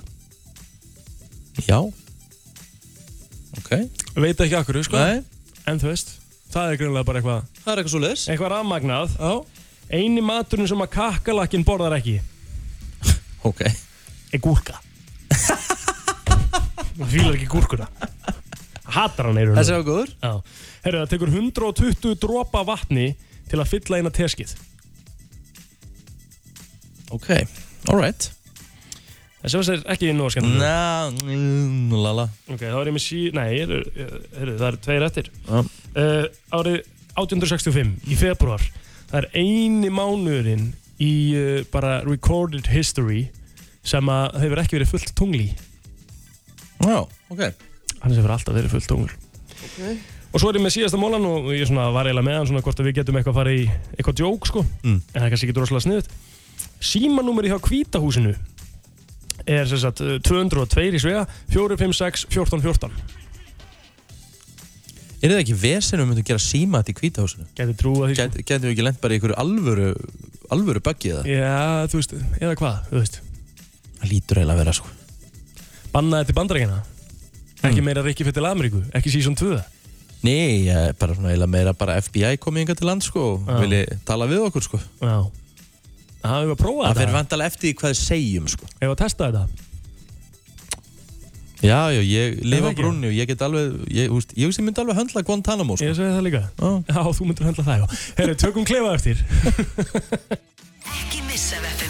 Speaker 3: Já Ok
Speaker 2: Veit ekki akkur, sko
Speaker 3: Nei.
Speaker 2: En þú veist, það er greinlega bara eitthvað
Speaker 3: Það er eitthvað svo leiðis
Speaker 2: Eitthvað rafmagnað
Speaker 3: Já
Speaker 2: Eini maturinn sem að kakkalakkin borðar ekki
Speaker 3: Ok
Speaker 2: Er gúrka Hún fílar ekki gúrkuna Hatar hann eirur
Speaker 3: Þessi var góður
Speaker 2: Já Herru, það tekur 120 dropa af vatni til að fylla eina teskið
Speaker 3: Ok, alright
Speaker 2: Þessi var sér ekki nú að skemmt
Speaker 3: Ná, mm, lala
Speaker 2: Ok, þá er ég með sí... Nei, heru, heru, það eru tveir eftir.
Speaker 3: Já.
Speaker 2: Uh, árið 1865 í februar, það er eini mánuðurinn í uh, bara recorded history sem að hefur ekki verið fullt tungli.
Speaker 3: Já, ok.
Speaker 2: Hann hefur alltaf verið fullt tungl. Og svo er ég með síðasta mólan og ég svona var eiginlega með hann svona hvort að við getum eitthvað að fara í eitthvað djók sko.
Speaker 3: Mm.
Speaker 2: En það er kannski ekki droslega sniðut. Símanúmeri hjá kvítahúsinu er sem sagt uh, 202 í svega, 456 1414.
Speaker 3: Er það ekki vesen við myndum gera síma þetta í kvítahúsinu?
Speaker 2: Gæti trúa því
Speaker 3: Gæti, sko. Gæti við ekki lent bara í einhverju alvöru alvöru buggi eða?
Speaker 2: Já, þú veist, eða hvað, þú veist
Speaker 3: Það lítur eiginlega að vera sko
Speaker 2: Bannaði til bandarækina Ekki meira Rikki fyrir til Ameríku, ekki season 2
Speaker 3: Nei, ég er bara svona eiginlega meira bara FBI komið yngar til land sko og
Speaker 2: Já.
Speaker 3: vilji tala við okkur sko
Speaker 2: Já Það hefur að prófa
Speaker 3: Það
Speaker 2: þetta
Speaker 3: fyrir vandalega eftir því hvað við segjum sko
Speaker 2: Ef að testa þetta
Speaker 3: Já, já, ég lifa á
Speaker 2: ekki?
Speaker 3: brunni og ég get alveg ég, úst, ég, ég myndi alveg höndla Guantanamo sko.
Speaker 2: Ég segi það líka Já, þú myndur höndla það, já Herru, tökum klefa eftir
Speaker 12: Ekki missa af